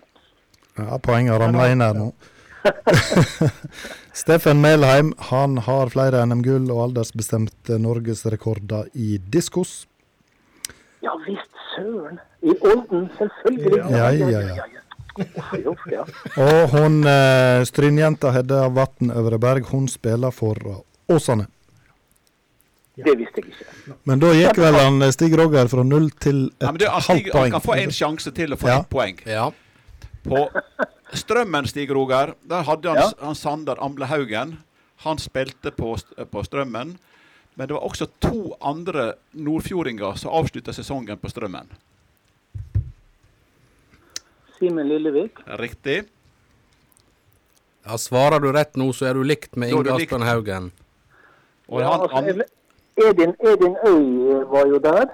[SPEAKER 3] Ja, poenget ramler inn her nå. Steffen Melheim han har flere NM-gull og aldersbestemte norgesrekorder i diskos.
[SPEAKER 8] ja visst søren. I Olden, selvfølgelig.
[SPEAKER 3] Ja, ja, ja.
[SPEAKER 8] Uff, uff, ja.
[SPEAKER 3] Og hun eh, strynjenta Hedda Vatn Øvreberg, hun spiller for Åsane.
[SPEAKER 8] Det visste jeg ikke.
[SPEAKER 3] Men da gikk vel han eh, Stig Roger fra null til et
[SPEAKER 4] Ja, men det, han,
[SPEAKER 3] halvt
[SPEAKER 4] Stig, han
[SPEAKER 3] poeng.
[SPEAKER 4] kan få en sjanse til å få
[SPEAKER 3] Ja.
[SPEAKER 4] ett poeng. På Strømmen, Stig Roger, der hadde han, han Sander Amlehaugen. Han spilte på, st- på Strømmen. Men det var også to andre nordfjordinger som avslutta sesongen på Strømmen.
[SPEAKER 8] Simen Lillevik.
[SPEAKER 4] Riktig.
[SPEAKER 2] Ja, Svarer du rett nå, så er du likt med
[SPEAKER 8] Da er
[SPEAKER 2] Inge
[SPEAKER 8] du likt.
[SPEAKER 2] Aspen Haugen.
[SPEAKER 8] Ja, altså, Edin, Edin Øy eh, var jo der.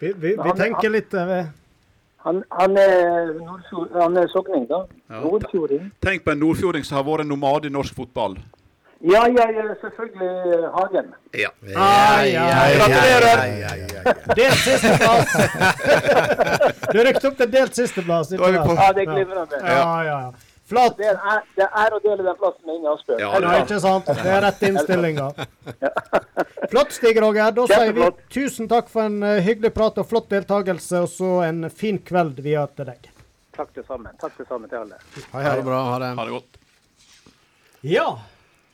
[SPEAKER 1] Vi, vi, vi tenker litt eh, vi-
[SPEAKER 8] Han, han er, nordfjord, han er sogning, da.
[SPEAKER 4] Ja.
[SPEAKER 8] Nordfjording.
[SPEAKER 4] Tenk på en nordfjording som har vært en nomade i norsk fotball.
[SPEAKER 8] Ja, ja, ja, selvfølgelig eh, Hagen.
[SPEAKER 4] Ja.
[SPEAKER 1] Ai, ai, ai,
[SPEAKER 4] Gratulerer!
[SPEAKER 1] ai, Delt sisteplass! (laughs) Du rykket opp til delt sisteplass. ikke
[SPEAKER 8] Da er vi på-
[SPEAKER 1] sant?
[SPEAKER 8] Ja, det er glimrende.
[SPEAKER 1] Ja, ja, ja. Flatt.
[SPEAKER 8] Det er en æ- det er ære å dele den plassen med Inge Asbjørn.
[SPEAKER 1] (laughs) Ja, ikke sant? Det er rett innstillinga. Flott, Stig Roger. Da sier vi tusen takk for en eh, hyggelig prat og flott deltakelse, og så en fin kveld videre til deg.
[SPEAKER 8] Takk det samme. Takk det samme til alle.
[SPEAKER 2] Ha det bra. Ha det.
[SPEAKER 4] Ha det godt.
[SPEAKER 1] Ja,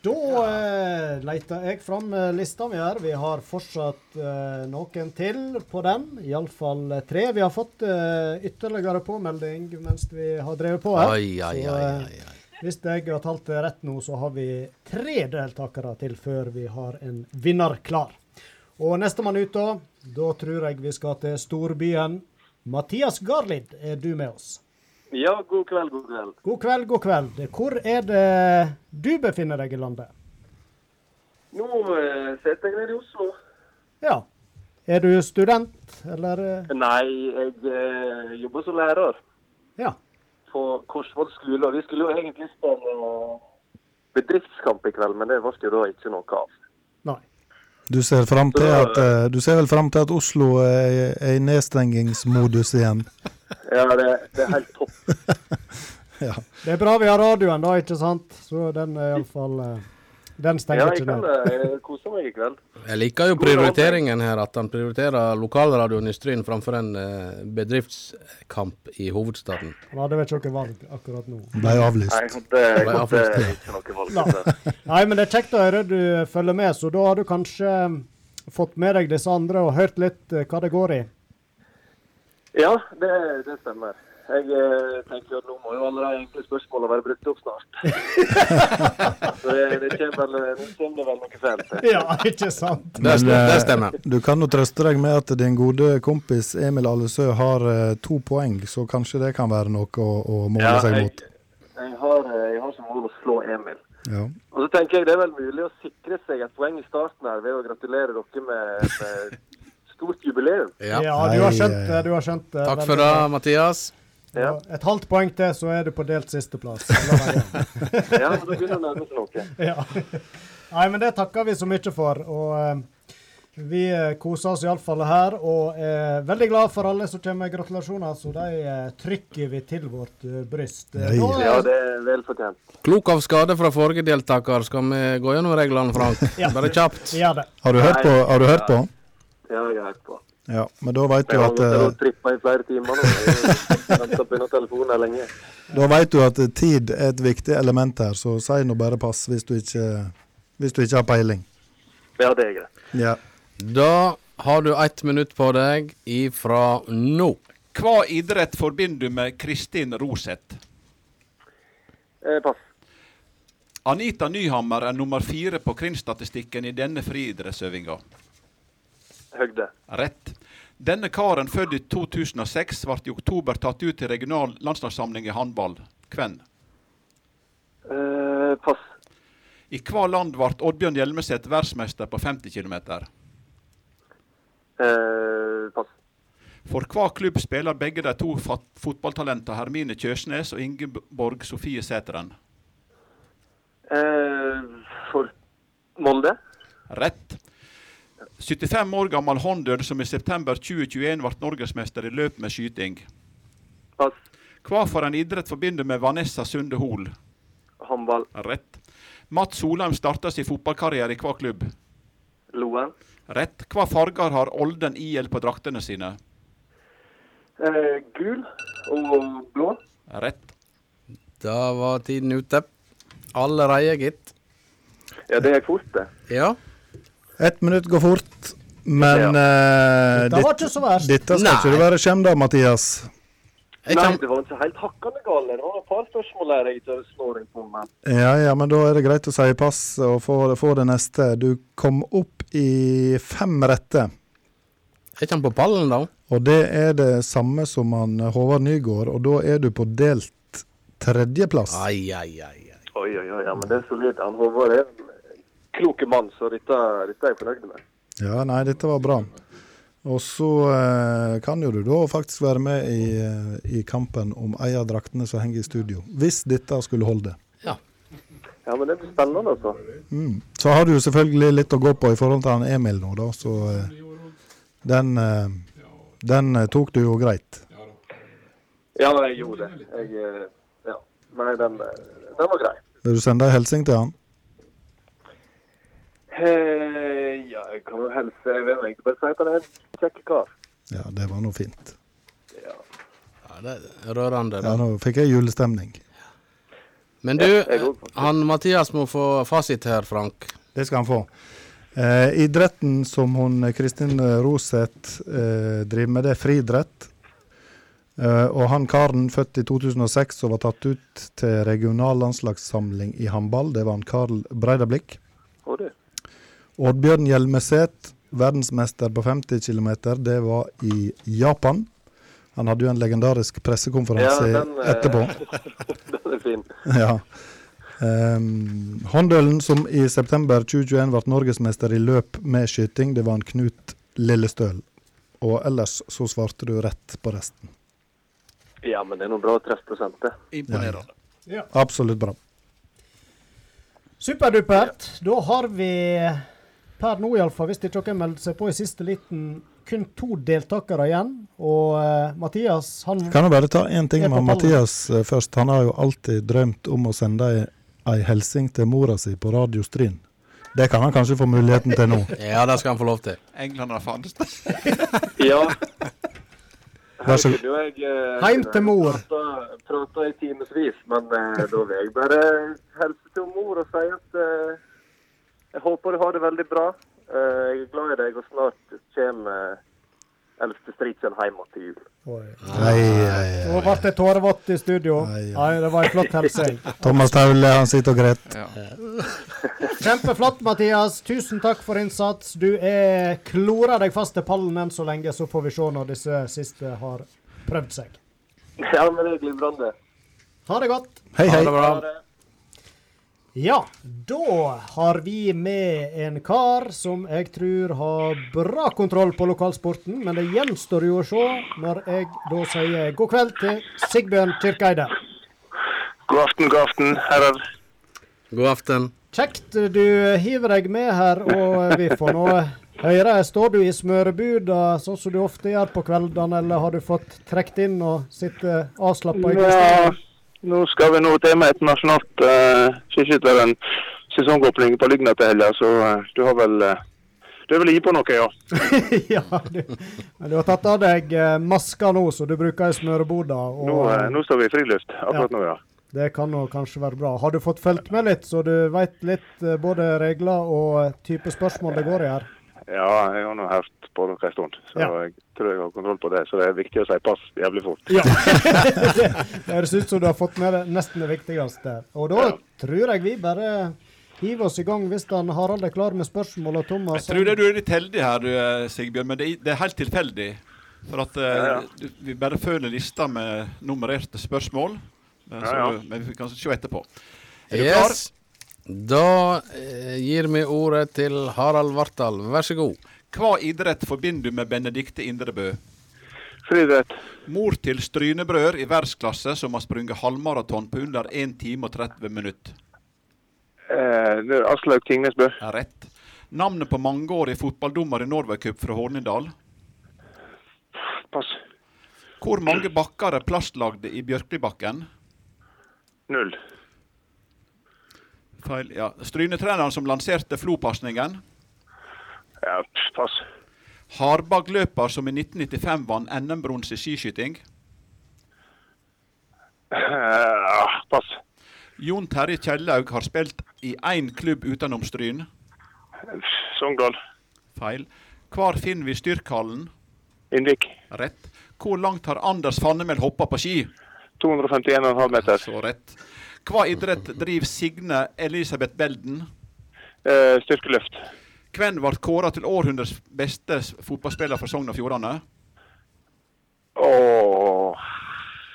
[SPEAKER 1] da eh, leter jeg fram eh, lista mi her. Vi har fortsatt eh, noen til på den, iallfall tre. Vi har fått eh, ytterligere påmelding mens vi har drevet på her.
[SPEAKER 2] Oi, oi,
[SPEAKER 1] Så,
[SPEAKER 2] oi,
[SPEAKER 1] eh, Hvis jeg har talt det rett nå, så har vi tre deltakere til før vi har en vinner klar. Og nestemann ut, da. Da tror jeg vi skal til storbyen. Mathias Garlid, er du med oss?
[SPEAKER 13] Ja, god kveld, god kveld.
[SPEAKER 1] God kveld, god kveld. Hvor er det du befinner deg i landet?
[SPEAKER 13] Nå eh, sitter jeg nede i Oslo.
[SPEAKER 1] Ja. Er du student, eller eh,
[SPEAKER 13] Nei, jeg eh, jobber som lærer.
[SPEAKER 1] Ja.
[SPEAKER 13] På Korsvoll skole. og Vi skulle jo egentlig spille eh, bedriftskamp i kveld, men det ble jo da ikke noe av.
[SPEAKER 3] Du ser, fram til at, eh, du ser vel fram til at Oslo er, er i nedstengingsmodus igjen?
[SPEAKER 13] Ja, det, det er helt topp.
[SPEAKER 3] (laughs) Ja.
[SPEAKER 1] Det er bra vi har radioen, da, ikke sant? Så den er iallfall eh, Den
[SPEAKER 13] Ja,
[SPEAKER 1] stenger
[SPEAKER 13] jeg
[SPEAKER 1] ikke
[SPEAKER 13] kan
[SPEAKER 1] ned.
[SPEAKER 13] eh, kose meg i kveld.
[SPEAKER 2] Jeg liker jo prioriteringen her, at han prioriterer lokalradioen i Stryn framfor en eh, bedriftskamp i hovedstaden.
[SPEAKER 1] Han hadde vel ikke noe valg akkurat nå.
[SPEAKER 3] Ble avlyst.
[SPEAKER 13] Nei, det-
[SPEAKER 2] Ble
[SPEAKER 13] det er
[SPEAKER 2] avlyst.
[SPEAKER 13] ikke noe valg.
[SPEAKER 1] Nei. Nei, men det er kjekt å høre du følger med, så da har du kanskje fått med deg disse andre og hørt litt eh, hva det går i.
[SPEAKER 13] Ja, det, det stemmer. Jeg eh, tenker at nå må jo alle de enkle spørsmålene være brukt opp
[SPEAKER 1] (laughs)
[SPEAKER 13] snart. Så det, det kommer vel, nå kommer det vel noe fælt.
[SPEAKER 1] Ja, ikke sant?
[SPEAKER 3] Men,
[SPEAKER 13] stemmer, det
[SPEAKER 3] eh,
[SPEAKER 13] stemmer.
[SPEAKER 3] Du kan jo trøste deg med at din gode kompis Emil Allesø har eh, to poeng, så kanskje det kan være noe å, å måle
[SPEAKER 13] Ja,
[SPEAKER 3] seg
[SPEAKER 13] jeg,
[SPEAKER 3] mot.
[SPEAKER 13] jeg, har, eh, jeg har som mål å slå Emil.
[SPEAKER 3] Ja.
[SPEAKER 13] Og så tenker jeg det er vel mulig å sikre seg et poeng i starten her ved å gratulere dere med
[SPEAKER 8] eh,
[SPEAKER 13] med stort jubileum.
[SPEAKER 1] Ja, du har skjønt det. du har skjønt det.
[SPEAKER 2] Takk
[SPEAKER 1] Veldig
[SPEAKER 2] for det,
[SPEAKER 1] bra.
[SPEAKER 2] Mathias.
[SPEAKER 13] Ja.
[SPEAKER 1] Og Et halvt poeng til, så er du på delt sisteplass. ja,
[SPEAKER 13] Ja,
[SPEAKER 1] (laughs)
[SPEAKER 13] men da begynner det å nærme seg noe.
[SPEAKER 1] Ja. Nei, men det takker vi så mye for. Og eh, Vi eh, koser oss iallfall her, og er veldig glad for alle som kommer med gratulasjoner. Så de eh, trykker vi til vårt eh, bryst. Eh, nå er-
[SPEAKER 8] Ja, det er vel fortjent.
[SPEAKER 2] Klok av skade fra forrige deltaker. Skal vi gå gjennom reglene, Frank?
[SPEAKER 1] (laughs) Ja.
[SPEAKER 2] Bare kjapt.
[SPEAKER 1] Vi gjør det.
[SPEAKER 3] Har du hørt på? Har du hørt på?
[SPEAKER 8] Ja, jeg har hørt på.
[SPEAKER 3] Ja, men da vet
[SPEAKER 8] Jeg
[SPEAKER 3] du
[SPEAKER 8] har
[SPEAKER 3] at eh,
[SPEAKER 8] gått og trippa i flere timer nå. Jeg venta på denne telefonen her lenge.
[SPEAKER 3] Da vet du at tid er et viktig element her, så si nå bare pass hvis du ikke, hvis du ikke har peiling.
[SPEAKER 8] Ja, det er greit.
[SPEAKER 3] Ja.
[SPEAKER 2] Da har du ett minutt på deg ifra nå.
[SPEAKER 4] Hva idrett forbinder du med Kristin Roseth?
[SPEAKER 8] Eh, pass.
[SPEAKER 4] Anita Nyhammer er nummer fire på krimstatistikken i denne friidrettsøvinga.
[SPEAKER 8] Høgde.
[SPEAKER 4] Rett. Denne karen, født i 2006, ble i oktober tatt ut til regional landslagssamling i håndball. Hvem?
[SPEAKER 8] Eh, pass.
[SPEAKER 4] I hva land ble Oddbjørn Hjelmeset verdensmester på 50 km?
[SPEAKER 8] Eh, pass.
[SPEAKER 4] For hva klubb spiller begge de to fat- fotballtalentene Hermine Kjøsnes og Ingeborg Sofie Sæteren?
[SPEAKER 8] Eh, for Molde.
[SPEAKER 4] Rett. 75 år gammel Hondøl som i september 2021 ble norgesmester i løp med skyting.
[SPEAKER 8] Pass.
[SPEAKER 4] Hva for en idrett forbinder med Vanessa Sunde Hol?
[SPEAKER 8] Håndball.
[SPEAKER 4] Rett. Mats Solheim starta sin fotballkarriere i hva klubb?
[SPEAKER 8] Loen.
[SPEAKER 4] Rett. Hva farger har Olden IL på draktene sine?
[SPEAKER 8] Eh, gul og blå.
[SPEAKER 4] Rett.
[SPEAKER 2] Da var tiden ute. Allerede, gitt.
[SPEAKER 8] Ja, det gikk fort, det.
[SPEAKER 2] Ja.
[SPEAKER 3] Ett minutt går fort, men eh,
[SPEAKER 8] Dette var
[SPEAKER 3] ditt-
[SPEAKER 8] ikke så verst.
[SPEAKER 3] Dette skal ikke
[SPEAKER 8] Nei.
[SPEAKER 3] du være skjem da, Mathias.
[SPEAKER 8] Nei, det var ikke helt hakkende gale. Det var et par spørsmål her jeg ikke hadde snåring på. Men.
[SPEAKER 3] Ja, ja, men da er det greit å si pass og få, få det neste. Du kom opp i fem rette.
[SPEAKER 2] Er ikke han på pallen, da?
[SPEAKER 3] Og det er det samme som han Håvard Nygaard, og da er du på delt tredjeplass.
[SPEAKER 2] Ai, ai, ai.
[SPEAKER 8] Oi, oi, oi, ja, men det er solid. Han Håvard er en kloke mann, så dette, dette er jeg fornøyd med.
[SPEAKER 3] Ja, nei, dette var bra. Og så eh, kan jo du da faktisk være med i, eh, i kampen om ei av draktene som henger i studio. Hvis dette skulle holde.
[SPEAKER 8] Ja, men det blir spennende, altså.
[SPEAKER 3] Mm. Så har du jo selvfølgelig litt å gå på i forhold til han Emil nå, da. Så eh, den, eh, den eh, tok du jo greit.
[SPEAKER 8] Ja, men jeg gjorde det. Jeg, eh, ja. Nei, den, eh, den var grei.
[SPEAKER 3] Vil du sende ei hilsing til han?
[SPEAKER 8] Eh, ja, jeg kan jo helse Jeg vet ikke, bare si at han er en kjekk kar.
[SPEAKER 3] Ja, det var nå fint.
[SPEAKER 2] Ja, det er rørende.
[SPEAKER 3] Ja,
[SPEAKER 2] da.
[SPEAKER 3] nå fikk jeg julestemning.
[SPEAKER 2] Men du, han Mathias må få fasit her, Frank.
[SPEAKER 3] Det skal han få. Eh, idretten som hun eh, Kristin Roseth eh, driver med, det er friidrett. Eh, og han karen født i 2006 som var tatt ut til regional landslagssamling i håndball, det var han Karl Breidablikk.
[SPEAKER 8] Og du?
[SPEAKER 3] Oddbjørn Hjelmeset, verdensmester på 50 km, det var i Japan. Han hadde jo en legendarisk pressekonferanse
[SPEAKER 8] eh,
[SPEAKER 3] etterpå.
[SPEAKER 8] (laughs) den er fin.
[SPEAKER 3] Ja. Um, Håndølen som i september 2021 ble norgesmester i løp med skyting, det var en Knut Lillestøl. Og ellers så svarte du rett på resten.
[SPEAKER 8] Ja, men det er noe bra treffprosent, det.
[SPEAKER 4] Imponerende.
[SPEAKER 1] Ja.
[SPEAKER 3] Absolutt bra.
[SPEAKER 1] Superdupert. Da har vi eh, per nå, iallfall, hvis ikke dere melder seg på i siste liten, kun to deltakere igjen. Og eh, Mathias, han
[SPEAKER 3] Kan jeg bare ta én ting
[SPEAKER 1] er på
[SPEAKER 3] med
[SPEAKER 1] ballen.
[SPEAKER 3] Mathias eh, først? Han har jo alltid drømt om å sende ei, ei hilsing til mora si på Radio Stryn. Det kan han kanskje få muligheten til nå.
[SPEAKER 2] (laughs) Ja, det skal han få lov til.
[SPEAKER 4] Englander fantes.
[SPEAKER 14] (laughs)
[SPEAKER 8] Ja.
[SPEAKER 3] Vær så
[SPEAKER 8] Her kunne jo jeg, eh,
[SPEAKER 1] Heim til mor.
[SPEAKER 8] prata- Prata i timevis, men eh, da vil jeg bare hilse til mor og si at eh, jeg håper du har det veldig bra. Eh, jeg er glad i deg, og snart kommer eh, eldste Stridsønn hjem igjen til jul.
[SPEAKER 3] Eh,
[SPEAKER 1] Nå ble det tårevått i studio. Nei, det var en flott hilsen.
[SPEAKER 3] (laughs) Thomas Taule, han sitter og gråter.
[SPEAKER 1] Eh. Kjempeflott, Mathias. Tusen takk for innsats. Du er klorer deg fast til pallen enn så lenge, så får vi se når disse siste har prøvd seg.
[SPEAKER 8] (laughs) Ja, men det er glimrende.
[SPEAKER 1] Ha det godt.
[SPEAKER 3] Hei, hei.
[SPEAKER 1] Ja, da har vi med en kar som jeg tror har bra kontroll på lokalsporten, men det gjenstår jo å se når jeg da sier god kveld til Sigbjørn Kirkeide.
[SPEAKER 14] God aften, god aften, herrer.
[SPEAKER 2] God aften.
[SPEAKER 1] Kjekt du hiver deg med her, og vi får nå Høyre, står du i smørebuda sånn som du ofte gjør på kveldene, eller har du fått trukket inn og sitter avslappa i
[SPEAKER 15] Ja,
[SPEAKER 1] godstolen?
[SPEAKER 15] nå skal vi nå til med et nasjonalt uh, skiskytter, en sesongåpning på Lygna til helga, så eh, du har vel eh, Du er vel i på noe, ja?
[SPEAKER 1] ja, du, men du har tatt av deg eh, maska nå, så du bruker i smøreboda. Og,
[SPEAKER 15] Nå, eh, nå står vi i friluft akkurat nå, ja.
[SPEAKER 1] Det kan nå kanskje være bra. Har du fått fulgt med litt, så du veit litt eh, både regler og eh, type spørsmål det går i her?
[SPEAKER 15] Ja, jeg har nå hørt på dere en stund, så
[SPEAKER 1] Ja.
[SPEAKER 15] jeg tror jeg har kontroll på det. Så det er viktig å si pass jævlig fort. (laughs)
[SPEAKER 1] Ja. det det høres ut som du har fått med deg nesten det viktigste. Og da tror jeg vi bare hiver oss i gang hvis han Harald er klar med spørsmål og Thomas
[SPEAKER 2] Sånn.
[SPEAKER 4] Jeg tror det du er litt heldig her, du, eh, Sigbjørn, men det, er- det er helt tilfeldig. For at eh,
[SPEAKER 15] Ja, ja.
[SPEAKER 4] Du, vi bare følger lista med nummererte spørsmål. eh, så
[SPEAKER 2] Ja, ja.
[SPEAKER 4] du- Men vi kan se etterpå. Er du klar?
[SPEAKER 2] Yes. Da eh, gir vi ordet til Harald Vartdal, vær så god.
[SPEAKER 4] Hva idrett forbinder du med Benedikte Indrebø?
[SPEAKER 15] Friidrett.
[SPEAKER 4] Mor til strynebrød i verdensklasse som har sprunget halvmaraton på under 1 time og 30 minutter.
[SPEAKER 15] Eh, det er Aslaug Tingnesbø.
[SPEAKER 4] Er rett. Navnet på mangeårig fotballdommer i Norway Cup fra Hornindal?
[SPEAKER 15] Pass.
[SPEAKER 4] Hvor mange bakker er plastlagde i Bjørklibakken?
[SPEAKER 15] Null.
[SPEAKER 4] Feil, ja. Strynetreneren som lanserte Flo-pasningen?
[SPEAKER 15] Ja, pff, pass.
[SPEAKER 4] Harbakk-løper som i 1995 vant NM-bronse i skiskyting?
[SPEAKER 15] Eh, pass.
[SPEAKER 4] Jon Terje Kjellaug har spilt i én klubb utenom Stryn?
[SPEAKER 15] Sogndal.
[SPEAKER 4] Feil. Hvor finner vi Styrkhallen?
[SPEAKER 15] Innvik.
[SPEAKER 4] Rett. Hvor langt har Anders Fannemel hoppa på ski?
[SPEAKER 15] 251,5 meter.
[SPEAKER 4] Så rett. Hva idrett driver Signe Elisabeth Belden?
[SPEAKER 15] Eh, styrkeløft.
[SPEAKER 4] Hvem ble kåra til århundrets beste s- fotballspiller fra Sogn og Fjordane?
[SPEAKER 15] Åh,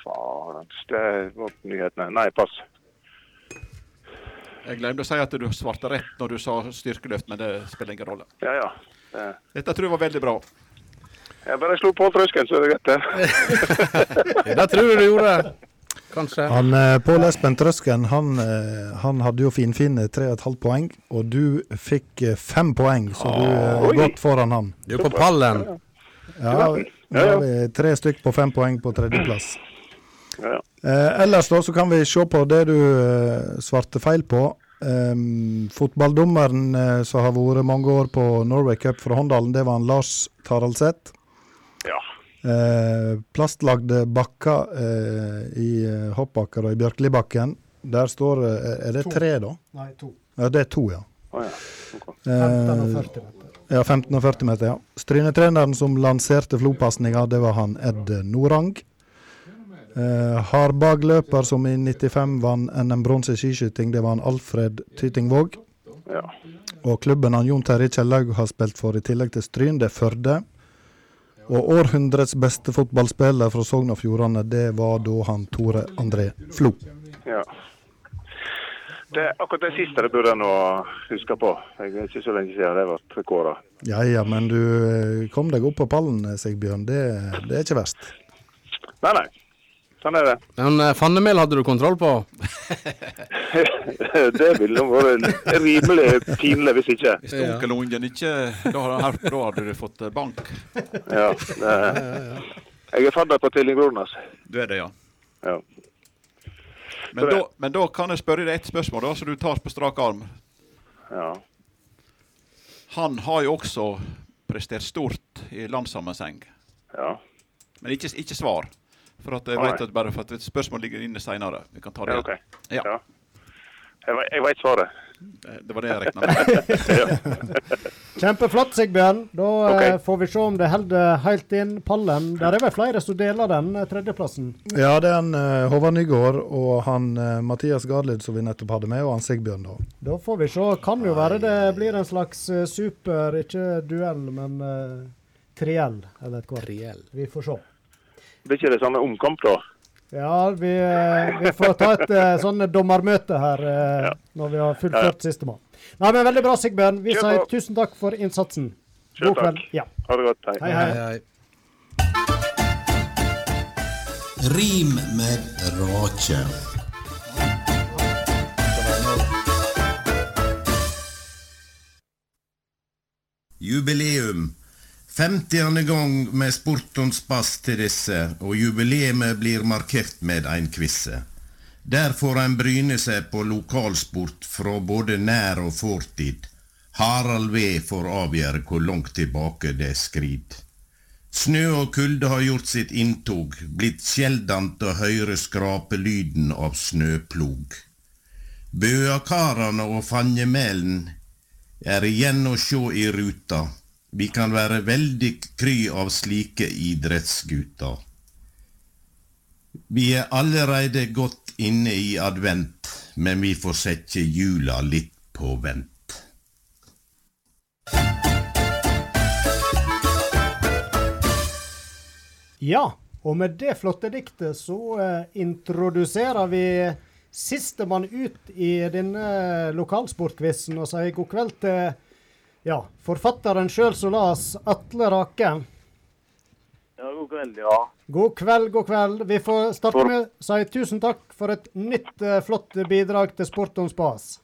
[SPEAKER 15] faen. Det var nyhetene. Nei, pass.
[SPEAKER 4] Jeg glemte å si at du svarte rett når du sa styrkeløft, men det spiller ingen rolle.
[SPEAKER 15] Ja, ja. Eh,
[SPEAKER 4] Dette tror jeg var veldig bra.
[SPEAKER 15] Jeg bare slo på trøsken, så er det greit, det.
[SPEAKER 2] Det tror jeg du gjorde. Kanskje.
[SPEAKER 3] Han, eh, Pål Espen Trøsken han, eh, han hadde jo finfine 3,5 poeng, og du fikk eh, fem poeng, så du eh,
[SPEAKER 2] Oi.
[SPEAKER 3] er godt foran han.
[SPEAKER 2] (laughs) Du er på pallen.
[SPEAKER 3] Ja, nå har vi tre stykk på fem poeng på tredjeplass. Eh, ellers da, så kan vi se på det du eh, svarte feil på. Ehm, fotballdommeren eh, som har vært mange år på Norway Cup fra Håndalen, det var han Lars Taraldseth.
[SPEAKER 15] Ja.
[SPEAKER 3] Eh, plastlagde bakker eh, i eh, hoppbakker og i Bjørklibakken. Der står eh, Er det
[SPEAKER 1] To.
[SPEAKER 3] tre, da?
[SPEAKER 1] Nei, to.
[SPEAKER 3] Ja, det er to, ja.
[SPEAKER 15] Å, ja.
[SPEAKER 1] 15 og 40 meter.
[SPEAKER 3] Eh, Ja, 15 og 40 meter, ja. Strynetreneren som lanserte flopasninga, det var han Ed Norang. Eh, Hardbagløper som i 95 vant NM-bronse i skiskyting, det var han Alfred Tytingvåg.
[SPEAKER 15] Ja.
[SPEAKER 3] Og klubben han Jon Terje Kjellaug har spilt for i tillegg til Stryn, det er Førde. Og århundrets beste fotballspiller fra Sogn og Fjordane, det var da han Tore André Flo.
[SPEAKER 15] Ja. Det er akkurat det siste det burde en å huske på. Jeg er ikke så lenge siden det ble kåra.
[SPEAKER 3] Ja ja, men du eh, kom deg opp på pallen, eh, Sigbjørn. Det, det er ikke verst.
[SPEAKER 15] Nei, nei. Sånn er det. (laughs)
[SPEAKER 2] Men eh, Fannemel hadde du kontroll på?
[SPEAKER 15] det ville nå vært rimelig pinlig hvis ikke.
[SPEAKER 4] Hvis onkel og ungen ikke Da har han hørt, da hadde du fått eh, bank.
[SPEAKER 15] Ja. Det, jeg er fadder på tvillingbroren hans.
[SPEAKER 4] Du er det, ja.
[SPEAKER 15] Ja.
[SPEAKER 4] Men da, men da kan jeg spørre deg ett spørsmål, da, så du tar på strak arm.
[SPEAKER 15] Ja.
[SPEAKER 4] Han har jo også prestert stort i landssammenheng.
[SPEAKER 15] Ja.
[SPEAKER 4] Men ikke, ikke svar. For at jeg
[SPEAKER 15] Nei.
[SPEAKER 4] vet at bare for at et spørsmål ligger inne seinere. Vi kan ta det.
[SPEAKER 15] Ja, ok.
[SPEAKER 4] Ja. Eh,
[SPEAKER 15] Jeg, ve- jeg veit svaret.
[SPEAKER 4] Det var det jeg regna med.
[SPEAKER 15] (laughs)
[SPEAKER 1] Kjempeflott, Sigbjørn. Da eh,
[SPEAKER 3] Ok.
[SPEAKER 1] får vi se om det holder helt inn pallen. Der er vel flere som deler den eh, tredjeplassen.
[SPEAKER 3] Ja, det er han eh, Håvard Nygaard og han eh, Mathias Gardlid som vi nettopp hadde med, og han Sigbjørn, da.
[SPEAKER 1] Da får vi se. Kan jo være det blir en slags eh, super, ikke duell, men eh, triell eller et kvart. Vi får se.
[SPEAKER 15] Blir ikke det samme omkamp, da?
[SPEAKER 1] Ja, vi, eh, vi får ta et eh, sånn dommermøte her eh, når vi har
[SPEAKER 15] Ja, ja.
[SPEAKER 1] fullført sistemann. Nei, men Veldig bra, Sigbjørn. Vi
[SPEAKER 15] Kjør
[SPEAKER 1] sier
[SPEAKER 15] på.
[SPEAKER 1] tusen takk for innsatsen.
[SPEAKER 15] Sjøl
[SPEAKER 1] God kveld.
[SPEAKER 15] takk.
[SPEAKER 1] Ja.
[SPEAKER 15] Ha det godt.
[SPEAKER 1] Hei, hei. Hei,
[SPEAKER 16] Rim med rake.
[SPEAKER 17] Jubileum. 50. gang med Sportons bass til disse, og jubileet blir markert med en quiz. Der får en bryne seg på lokalsport fra både nær og fortid. Harald V får avgjøre hvor langt tilbake det skrid. Snø og kulde har gjort sitt inntog, blitt sjeldant å høre skrapelyden av snøplog. Bøakarane og fangemelen er igjen å sjå i ruta. Vi kan være veldig kry av slike idrettsgutar. Vi er allereie godt inne i advent, men vi får sette jula litt på vent.
[SPEAKER 1] Ja, og med det flotte diktet så eh, introduserer vi sistemann ut i denne eh, lokalsportquizen og sier god kveld til ja, forfatteren sjøl som las, Atle Rake.
[SPEAKER 18] Ja, god kveld, ja.
[SPEAKER 1] God kveld, god kveld. Vi får starte med å si tusen takk for et nytt eh, flott bidrag til Sport on spas.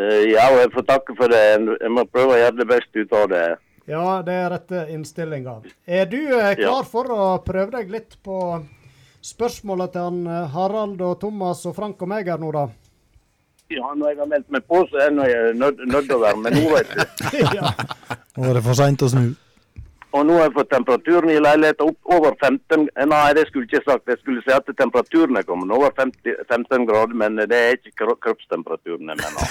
[SPEAKER 18] Eh, ja, og jeg får takke for det. Jeg må prøve å gjøre det beste ut av det.
[SPEAKER 1] Ja, det er rette innstillinga. Er du eh,
[SPEAKER 18] Ja.
[SPEAKER 1] klar for å prøve deg litt på spørsmåla til han eh, Harald og Thomas og Frank og meg her nå, da?
[SPEAKER 18] Ja, når jeg har meldt meg på, så er jeg nå jeg nødt nødt til å være med nå, vet du.
[SPEAKER 4] (laughs)
[SPEAKER 3] Nå er det for seint å snu.
[SPEAKER 18] Og nå har jeg fått temperaturen i leiligheten opp over 15 Nei, det skulle jeg ikke sagt. Jeg skulle si at temperaturen er kommet over 50, 15 grader, men det er ikke kro kroppstemperaturen
[SPEAKER 4] (laughs)
[SPEAKER 18] (laughs) jeg mener.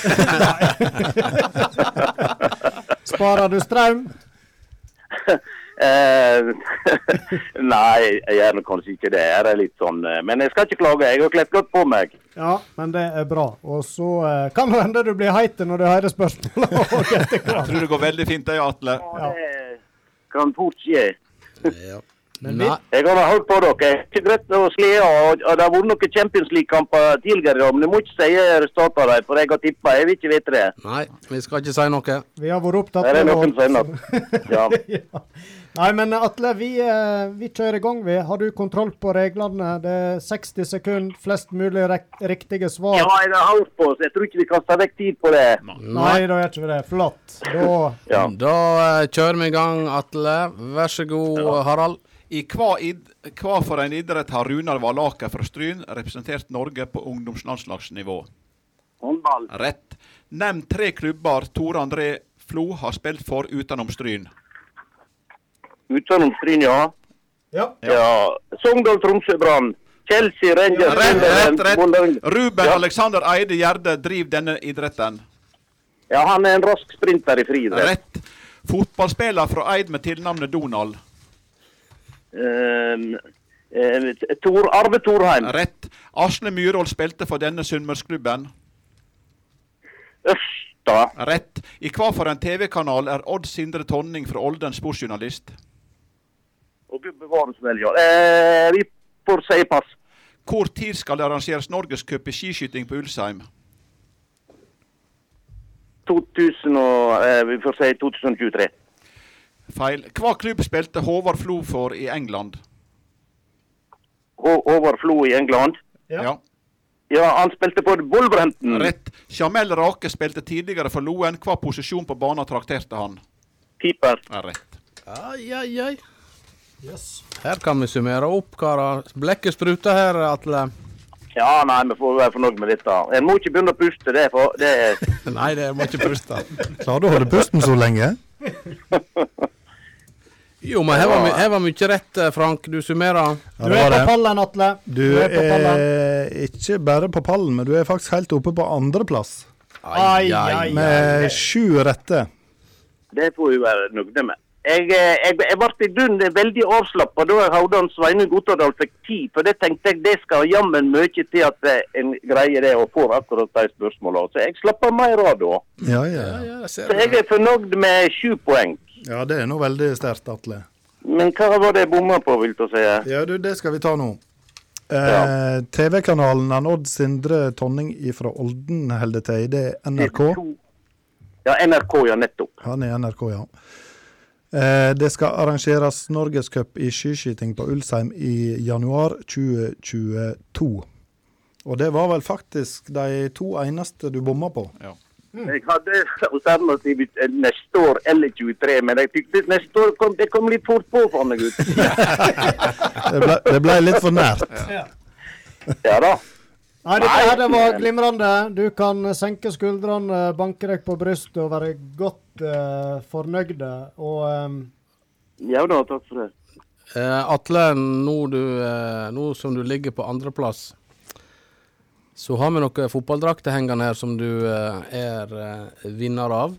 [SPEAKER 1] Sparer du strøm?
[SPEAKER 18] (laughs) Eh, (laughs) nei, jeg gjør nå kanskje ikke det. Jeg er litt sånn, eh, men jeg skal ikke klage. Jeg har kledd godt på meg.
[SPEAKER 1] Ja, men det er bra. Og så eh, kan det hende du blir heit når du hører spørsmåla.
[SPEAKER 4] Jeg tror (laughs) det går veldig fint, det, Atle.
[SPEAKER 18] Kan fort skje.
[SPEAKER 1] Men
[SPEAKER 4] vi-
[SPEAKER 18] Jeg har holdt på dere. Jeg har Ikke greit å sle av. og- og Det har vært noen Champions League-kamper tidligere i dag, men jeg må ikke si resultatene deres, for jeg har tippa. Jeg vil ikke vite det.
[SPEAKER 2] Nei, vi skal ikke si noe.
[SPEAKER 1] Vi har vært opptatt
[SPEAKER 18] Er det
[SPEAKER 1] av
[SPEAKER 18] noen
[SPEAKER 1] å-
[SPEAKER 18] som Ja.
[SPEAKER 1] (laughs) Nei, men eh, Atle, vi, eh, vi kjører i gang, vi. Har du kontroll på reglene? Det er 60 sekunder, flest mulig rek riktige svar.
[SPEAKER 18] Ja, jeg har holdt på, så jeg tror ikke vi kaster vekk tid på det.
[SPEAKER 1] Nei, da gjør ikke vi det. Flott. Da
[SPEAKER 18] Ja.
[SPEAKER 2] (laughs) Da eh, kjører vi i gang, Atle. Vær så god, Harald.
[SPEAKER 4] I hva, id hva for en idrett har Runar Valaker fra Stryn representert Norge på ungdomslandslagsnivå?
[SPEAKER 18] Håndball.
[SPEAKER 4] Rett. Nevn tre klubber Tore André Flo har spilt for utenom Stryn.
[SPEAKER 18] Utenom Stryn, ja.
[SPEAKER 1] Ja.
[SPEAKER 18] ja. Sogndal, Tromsø, Brann. Chelsea, Rangers,
[SPEAKER 4] Rett, rett,
[SPEAKER 18] Sunderland,
[SPEAKER 4] rett.
[SPEAKER 18] Vålerenga.
[SPEAKER 4] Ruben
[SPEAKER 18] Ja.
[SPEAKER 4] Alexander Eide Gjerde driver denne idretten.
[SPEAKER 18] Ja, han er en rask sprinter i friidrett.
[SPEAKER 4] Rett. Fotballspiller fra Eid med tilnavnet Donald.
[SPEAKER 18] Ehm, eh, Tor, Arve Torheim.
[SPEAKER 4] Rett. Asle Myhrvold spilte for denne sunnmørsklubben.
[SPEAKER 18] Østa.
[SPEAKER 4] Rett. I hva for en TV-kanal er Odd Sindre Tonning fra Olden sportsjournalist?
[SPEAKER 18] Og gud bevares vel, ja. Eh, vi får si pass.
[SPEAKER 4] Hvor tid skal det arrangeres norgescup i skiskyting på Ulsheim?
[SPEAKER 18] 2000 og, eh, vi får si 2023.
[SPEAKER 4] Feil. Hva klubb spilte Håvard Flo for i England?
[SPEAKER 18] Hå- Håvard Flo i England.
[SPEAKER 4] Ja.
[SPEAKER 18] Ja, han spilte for Wolverhampton.
[SPEAKER 4] Rett. Jamel Rake spilte tidligere for Loen. Hva posisjon på banen trakterte han?
[SPEAKER 18] Keeper.
[SPEAKER 4] Ja, rett.
[SPEAKER 2] Ai, ai, ai. Her kan vi summere opp, karer. Blekket spruter her, Atle.
[SPEAKER 18] Ja, nei, vi får være fornøyd med dette. En må ikke begynne å puste, det er for det er...
[SPEAKER 2] (laughs) Nei, det må ikke puste.
[SPEAKER 3] Klarer du å holde pusten så lenge?
[SPEAKER 2] Jo, men her var, my her var mye rett, eh, Frank. Du summerer.
[SPEAKER 3] Ja, det Du er var på det.
[SPEAKER 1] pallen, Atle.
[SPEAKER 3] Du eh, er ikke bare på pallen, men du er faktisk helt oppe på andreplass.
[SPEAKER 18] Ai, ai, ai.
[SPEAKER 3] Med sju rette.
[SPEAKER 18] Det får vi være nøyde med. Jeg, eh, jeg, jeg ble i grunnen veldig avslappa da jeg hørte han Sveinung Otterdal fikk ti, for det tenkte jeg det skal jammen mye til at eh, en greier det og får akkurat de spørsmålene. Så jeg slapper mer av da.
[SPEAKER 3] Ja, ja.
[SPEAKER 18] Så jeg er fornøyd med sju poeng.
[SPEAKER 3] ja det er nå veldig sterkt, Atle.
[SPEAKER 18] Men hva var det jeg bomma på, vil du si?
[SPEAKER 3] Ja, du, det skal vi ta nå. Eh, TV-kanalen han Odd Sindre Tonning fra Olden holder til i, det er NRK.
[SPEAKER 18] Ja, NRK, ja, nettopp.
[SPEAKER 3] Han er i NRK, ja. Eh, det skal arrangeres norgescup i skiskyting på Ulsheim i januar 2022. Og det var vel faktisk de to eneste du bomma på.
[SPEAKER 4] Ja.
[SPEAKER 18] Mm. Jeg hadde alternativet eh, neste år eller 23, men jeg tykte neste år kom, det kom litt fort på for meg,
[SPEAKER 2] (laughs)
[SPEAKER 18] gutt.
[SPEAKER 3] Det ble, det ble litt for nært.
[SPEAKER 18] Ja da.
[SPEAKER 1] Nei, dette her det var glimrende. Du kan senke skuldrene, banke deg på brystet og være godt eh, fornøyde. Og ehm,
[SPEAKER 18] Ja da, takk for det.
[SPEAKER 2] Eh, Atle, nå, du, eh, nå som du ligger på andreplass, så har vi noen fotballdrakter hengende her som du eh, er eh, vinner av.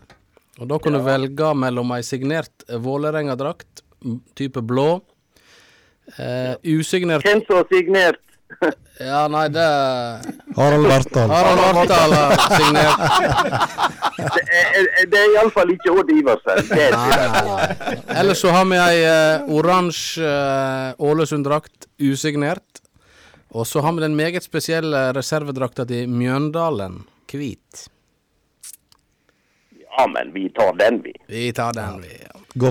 [SPEAKER 2] Og Da kan du velge mellom ei signert Vålerenga-drakt, m- type blå, eh, usignert
[SPEAKER 18] Hvem som har signert?
[SPEAKER 2] ja, nei, det
[SPEAKER 3] Harald Vartdal.
[SPEAKER 2] Harald Vartdal har signert.
[SPEAKER 18] (laughs) Det er, er- det er iallfall ikke Odd Iversen. Det er
[SPEAKER 2] Nei, nei, Ellers så har vi ei eh, oransje eh, Ålesund-drakt, usignert. Og så har vi den meget spesielle reservedrakta til Mjøndalen, hvit.
[SPEAKER 18] Ja, men vi tar den, vi.
[SPEAKER 2] Vi tar den, vi.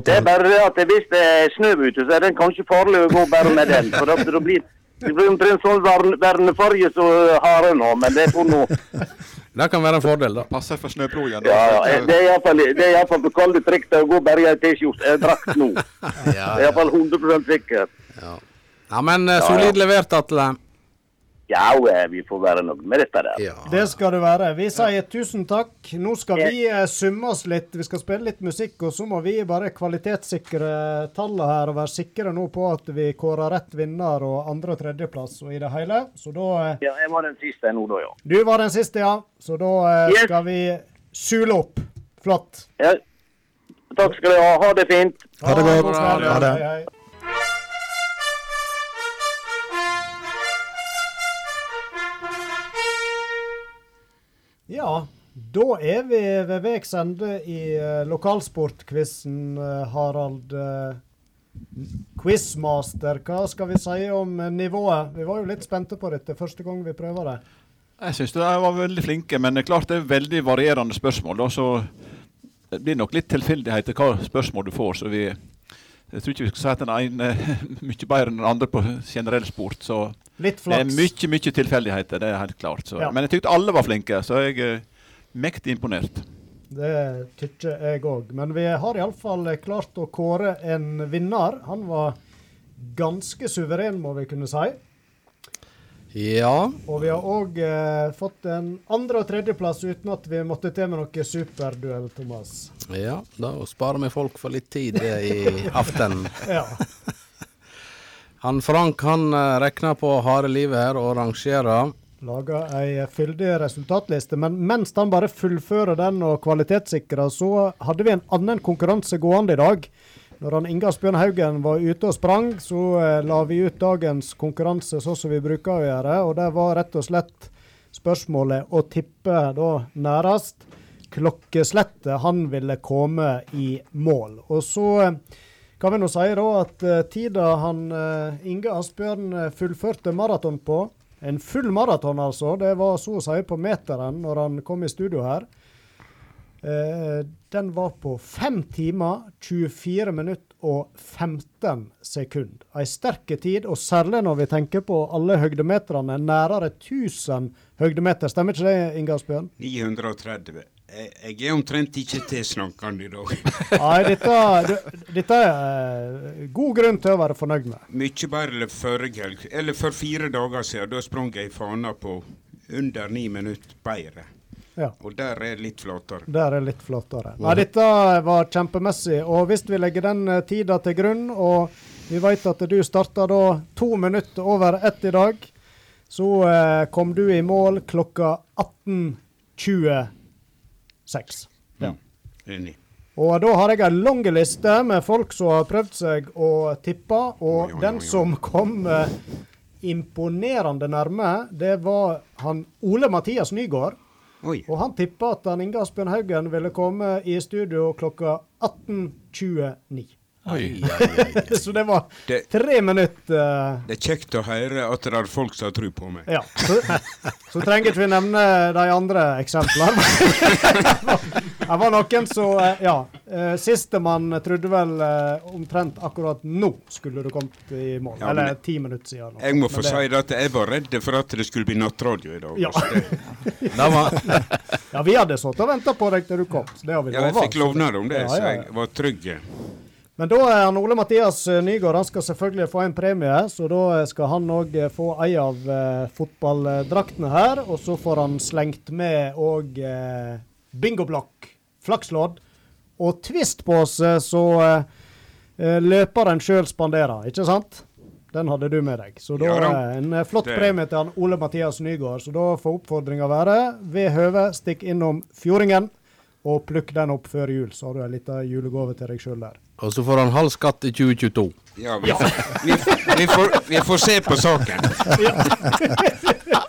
[SPEAKER 18] Det er bare det at hvis det er snø ute, så er den kanskje farlig å gå bare med den. For at det blir det blir omtrent sånn vern- vernefarge som haren har, men det får nå
[SPEAKER 2] Det kan være en fordel, da.
[SPEAKER 4] Passer for snøplogen.
[SPEAKER 18] Ja, ja, Det er iallfall det er i hvert fall for kalde trekk til å gå bare i ei T-skjorte, eh, drakt nå. Det er iallfall 100 sikkert.
[SPEAKER 2] Ja, men eh,
[SPEAKER 18] Ja,
[SPEAKER 2] solid levert, Atle.
[SPEAKER 18] Ja, eh, vi får være noe med dette der.
[SPEAKER 1] Det skal det være. Vi sier tusen takk. Nå skal vi eh, summe oss litt. Vi skal spille litt musikk, og så må vi bare kvalitetssikre tallene her og være sikre nå på at vi kårer rett vinner og andre- og tredjeplass og i det hele. Så da eh,
[SPEAKER 18] Ja, jeg var den siste nå, da, ja.
[SPEAKER 1] Du var den siste, ja. Så da eh,
[SPEAKER 18] Yes.
[SPEAKER 1] skal vi sule opp. Flott.
[SPEAKER 18] ja. Takk skal du ha. Ha det fint.
[SPEAKER 1] Ha det godt. Ha det. Ha det. Hei, hei. Ja, da er vi ved veis ende i uh, lokalsportquizen, eh, Harald. eh, quizmaster, hva skal vi si om eh, nivået? Vi var jo litt spente på dette første gang vi prøver det.
[SPEAKER 4] Jeg syns de var veldig flinke, men det er klart det er veldig varierende spørsmål. Da, så det blir nok litt tilfeldigheter hva spørsmål du får. Så vi, jeg tror ikke vi skal si at den ene er (laughs) mye bedre enn den andre på generell sport. Så
[SPEAKER 1] Litt
[SPEAKER 4] det er
[SPEAKER 1] flaks.
[SPEAKER 4] mye, mye tilfeldigheter, det er helt klart. Så.
[SPEAKER 1] Ja.
[SPEAKER 4] Men jeg tykte alle var flinke, så jeg er mektig imponert.
[SPEAKER 1] Det tykker jeg òg. Men vi har iallfall klart å kåre en vinner. Han var ganske suveren, må vi kunne si.
[SPEAKER 2] Ja.
[SPEAKER 1] Og vi har òg eh, fått en andre- og tredjeplass uten at vi måtte til med noe superduell, Thomas.
[SPEAKER 2] ja. Da sparer vi folk for litt tid eh,
[SPEAKER 1] (laughs)
[SPEAKER 2] i aften.
[SPEAKER 1] Ja.
[SPEAKER 2] Han Frank han eh, regner på harde livet her og rangerer.
[SPEAKER 1] Laga ei fyldig resultatliste. Men mens han bare fullfører den og kvalitetssikrer, så hadde vi en annen konkurranse gående i dag. Når han Ingar Spjørn Haugen var ute og sprang, så eh, la vi ut dagens konkurranse sånn som vi bruker å gjøre. Og det var rett og slett spørsmålet å tippe da nærest klokkeslettet han ville komme i mål. Og så eh, kan vi nå si da at eh, tida han eh, Inge Asbjørn eh, fullførte maraton på, en full maraton altså, det var så å si på meteren når han kom i studio her, eh, den var på 5 timer, 24 minutt og 15 sekund. Ei sterke tid, og særlig når vi tenker på alle høydemeterne, nærere 1000 høydemeter. Stemmer ikke det, Inge Asbjørn?
[SPEAKER 6] 930. Jeg, jeg er omtrent ikke tilslankende i dag.
[SPEAKER 1] Nei, dette, det- dette er eh, god grunn til å være fornøyd med.
[SPEAKER 6] Mye bedre enn forrige helg. Eller for fire dager siden. Da sprang jeg fana på under ni minutter bedre.
[SPEAKER 1] Ja.
[SPEAKER 6] Og der er jeg litt flatere.
[SPEAKER 1] Der er litt flottere. Nei, dette var kjempemessig. Og hvis vi legger den eh, tida til grunn, og vi vet at du starta da to minutter over ett i dag, så eh, kom du i mål klokka 18.26.
[SPEAKER 6] Ja. Mm. Enig.
[SPEAKER 1] Og da har jeg ei lang liste med folk som har prøvd seg å tippe, og den som kom eh, imponerende nærme, det var han Ole Mathias Nygaard. Og han tippa at han Inge Asbjørn Haugen ville komme i studio klokka 18.29.
[SPEAKER 6] Oi, oi, oi.
[SPEAKER 1] (laughs) Så det var
[SPEAKER 6] Det-
[SPEAKER 1] tre minutter eh,
[SPEAKER 6] Det er kjekt å høre at det er folk som har tro på meg.
[SPEAKER 1] ja. Så, så trenger ikke vi (laughs) nevne de andre eksemplene. Det var noen som eh, ja, Eh, Sistemann trodde vel eh, omtrent akkurat nå skulle du kommet i mål.
[SPEAKER 6] Ja, men-
[SPEAKER 1] Eller ti minutter siden. nå.
[SPEAKER 6] Jeg må
[SPEAKER 1] Men
[SPEAKER 6] få
[SPEAKER 1] det-
[SPEAKER 6] si det at jeg var redd for at det skulle bli nattradio i dag.
[SPEAKER 1] Ja.
[SPEAKER 6] altså, det-
[SPEAKER 1] (laughs) (laughs) ja, vi hadde sittet og venta på deg til du kom. så Det har vi
[SPEAKER 6] ja, jeg
[SPEAKER 1] lova.
[SPEAKER 6] fikk lovnad om det,
[SPEAKER 1] Ja,
[SPEAKER 6] så
[SPEAKER 1] ja,
[SPEAKER 6] jeg var trygg.
[SPEAKER 1] Men da er han Ole Mathias eh, Nygaard han skal selvfølgelig få en premie, så da eh, skal han òg få ei av eh, fotballdraktene her. Og så får han slengt med òg eh, bingoblokk, flakslodd og twistpose, så eh, eh, løperen sjøl spanderer, ikke sant? Den hadde du med deg. Så da
[SPEAKER 6] Ja da.
[SPEAKER 1] eh, en eh, flott
[SPEAKER 6] Det-
[SPEAKER 1] premie til han Ole Mathias Nygaard. Så da får oppfordringa være ved høve, stikk innom Fjordingen og plukk den opp før jul, så har du ei lita julegave til deg sjøl der.
[SPEAKER 2] Og så får han halv skatt i 2022.
[SPEAKER 6] Ja, vi, vi, vi, får, vi får se på saken.
[SPEAKER 1] Ja.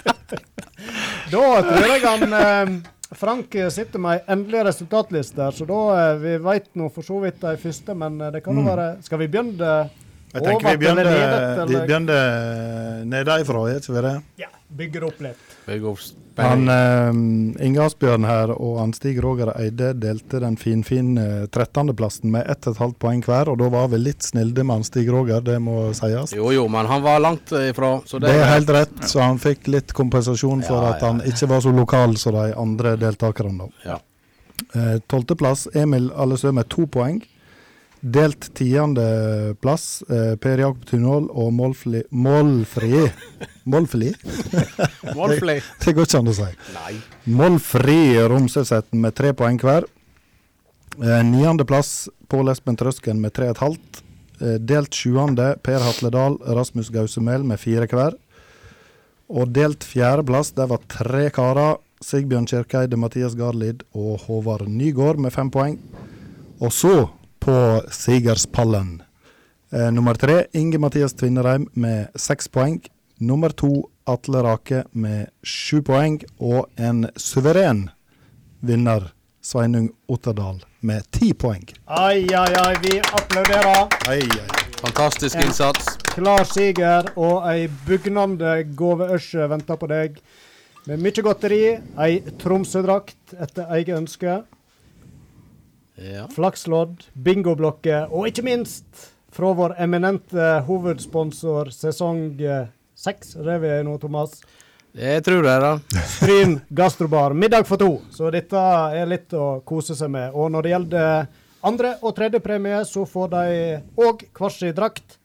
[SPEAKER 2] (laughs)
[SPEAKER 1] da tror jeg han eh, Frank sitter med ei endelig resultatliste, her, så da eh, vi veit nå for så vidt de første, men eh, det kan jo
[SPEAKER 3] Mm.
[SPEAKER 1] være Skal vi begynne det
[SPEAKER 3] Jeg tenker vi
[SPEAKER 1] overt eller
[SPEAKER 3] begynner, eh,
[SPEAKER 1] nedet,
[SPEAKER 3] vi
[SPEAKER 1] eller
[SPEAKER 3] begynner nedenfra, er ikke vi det?
[SPEAKER 1] bygger opp litt?
[SPEAKER 3] Han eh, Inge Asbjørn her og han Stig Roger Eide delte den finfine 13.-plassen med ett og et halvt poeng hver, og da var vi litt snille med han Stig Roger, det må sies.
[SPEAKER 2] Jo jo, men han var langt eh, ifra. Så
[SPEAKER 3] Det er helt rett, så han fikk litt kompensasjon for at han ikke var så lokal som de andre deltakerne. da.
[SPEAKER 2] Ja.
[SPEAKER 3] Eh, Tolvteplass Emil Allesø med to poeng. Delt tiendeplass eh, Per Jakob Tunhol og Målfli Målfri Målfli?
[SPEAKER 2] Målfli.
[SPEAKER 3] det, det går ikke an å si.
[SPEAKER 2] Nei.
[SPEAKER 3] Målfri Romsøsæten med tre poeng hver. Eh, Niendeplass Pål Espen Trøsken med tre og et halvt. Eh, Delt sjuende Per Hatledal, Rasmus Gausemel med fire hver. Og delt fjerdeplass, der var tre karer. Sigbjørn Kirkeide, Mathias Garlid og Håvard Nygård med fem poeng. Og så, på Sigerspallen, eh, nummer tre Inge Mathias Tvinnereim med seks poeng. Nummer to Atle Rake med sju poeng. Og en suveren vinner, Sveinung Otterdal, med ti poeng.
[SPEAKER 1] Ai, ai, ai, vi applauderer.
[SPEAKER 2] Fantastisk innsats.
[SPEAKER 1] Klar siger og ei bugnende gaveørse venter på deg. Med mye godteri, ei Tromsø-drakt etter eget ønske,
[SPEAKER 2] Ja.
[SPEAKER 1] flakslodd, bingoblokker og ikke minst fra vår eminente hovedsponsor sesong eh, seks, er det vi er nå, Thomas?
[SPEAKER 2] Det tror jeg, da.
[SPEAKER 1] Stryn gastrobar, middag for to. Så dette er litt å kose seg med. Og når det gjelder andre- og tredjepremie, så får de òg hver sin drakt.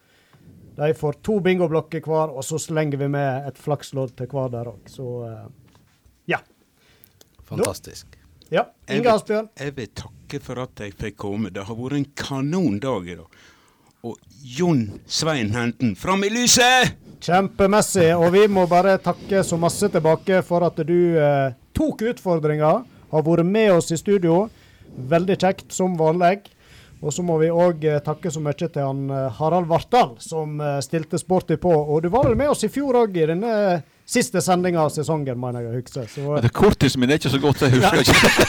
[SPEAKER 1] De får to bingoblokker hver, og så slenger vi med et flakslodd til hver der òg. Så eh, ja.
[SPEAKER 2] Fantastisk.
[SPEAKER 1] Ja.
[SPEAKER 6] Jeg
[SPEAKER 1] Inge
[SPEAKER 6] vil-
[SPEAKER 1] Asbjørn.
[SPEAKER 6] Jeg vil takke for at jeg fikk komme. Det har vært en kanondag i dag. Og Jon Svein Henden, fram i lyset!
[SPEAKER 1] Kjempemessig. Og vi må bare takke så masse tilbake for at du eh, tok utfordringa, har vært med oss i studio. Veldig kjekt, som vanlig. Og så må vi òg takke så mye til han eh, Harald Vartdal, som eh, stilte sporty på. Og du var vel med oss i fjor òg, i denne siste sendinga av sesongen, mener jeg å huske. Så,
[SPEAKER 4] Det Kortisen min er ikke så godt, jeg husker ikke.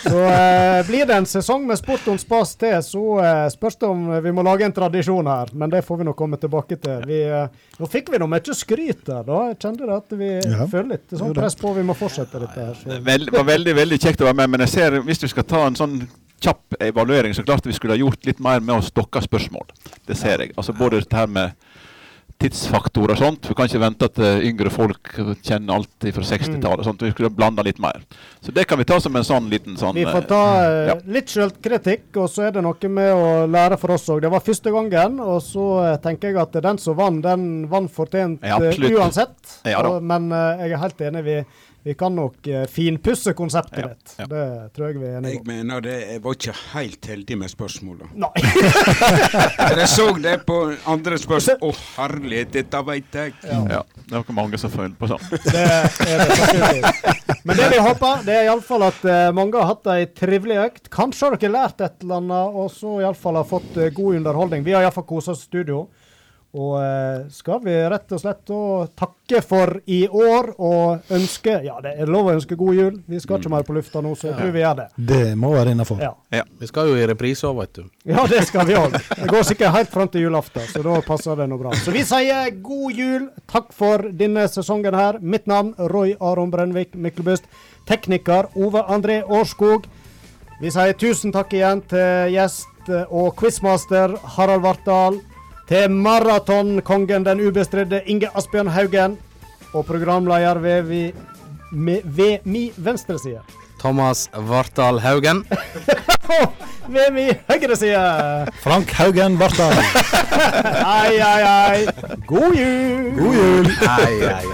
[SPEAKER 1] (laughs) så eh, blir det en sesong med Sport om spas til, så eh, spørs det om vi må lage en tradisjon her. Men det får vi nå komme tilbake til. Vi, eh, nå fikk vi nå mye skryt der, da. Jeg kjente det at vi
[SPEAKER 4] Ja,
[SPEAKER 1] føler litt
[SPEAKER 4] jo
[SPEAKER 1] sånn
[SPEAKER 4] da.
[SPEAKER 1] press på vi må fortsette dette her. Så.
[SPEAKER 4] Det Vel, var veldig veldig kjekt å være med, men jeg ser, hvis vi skal ta en sånn kjapp evaluering, så klart vi skulle ha gjort litt mer med å stokke spørsmål. Det ser jeg. Altså Både dette her med tidsfaktor og sånt. Vi kan ikke vente at eh, yngre folk kjenner alt
[SPEAKER 1] Mm.
[SPEAKER 4] fra 60-tallet. og sånt. Vi skulle blanda litt mer. Så det kan vi ta som en sånn liten sånn
[SPEAKER 1] Vi får ta eh,
[SPEAKER 4] ja.
[SPEAKER 1] litt selvkritikk, og så er det noe med å lære for oss òg. Det var første gangen, og så eh, tenker jeg at den som vant, den vant fortjent
[SPEAKER 4] Ja,
[SPEAKER 1] eh,
[SPEAKER 4] absolutt.
[SPEAKER 1] uansett.
[SPEAKER 4] Ja da.
[SPEAKER 1] og, men eh, jeg er helt enig, vi, vi kan nok eh, finpusse konseptet litt. Det tror jeg vi er enige om.
[SPEAKER 6] Jeg mener det, jeg var ikke helt heldig med spørsmåla. (laughs)
[SPEAKER 1] Nei.
[SPEAKER 6] jeg så det på andre spørsmål. Å herlighet, dette veit jeg.
[SPEAKER 4] Ja, det var ikke mange som følte på sånn.
[SPEAKER 1] eh, Det er det sånn? sannsynligvis. (laughs) Men det vi håper, det er iallfall at eh, mange har hatt ei trivelig økt. Kanskje har dere lært et eller annet, og så iallfall har fått eh, god underholdning. Vi har iallfall kosa oss i studio. Og eh, skal vi rett og slett da takke for i år og ønske Ja, det er lov å ønske god jul. Vi skal ikke mer på lufta nå, så jeg tror vi gjør det.
[SPEAKER 3] Det må være innafor.
[SPEAKER 1] Ja.
[SPEAKER 2] Vi skal jo i reprise òg, veit du.
[SPEAKER 1] Ja, det skal vi òg. Det går sikkert helt fram til julaften, så da passer det nå bra. Så vi sier god jul. Takk for denne sesongen her. Mitt navn Roy Aron Brennvik Myklebust. Tekniker Ove André Årskog. Vi sier tusen takk igjen til gjest og quizmaster Harald Vartdal. Til maratonkongen, den ubestridte Inge Asbjørn Haugen. Og programleder ved, vi, med, ved mi venstreside.
[SPEAKER 2] Thomas Vartdal Haugen.
[SPEAKER 1] ved mi høyreside.
[SPEAKER 3] Frank Haugen Bartdal.
[SPEAKER 1] Ai, ai, ai. God jul!
[SPEAKER 3] God jul!
[SPEAKER 2] Ai, ai, ai.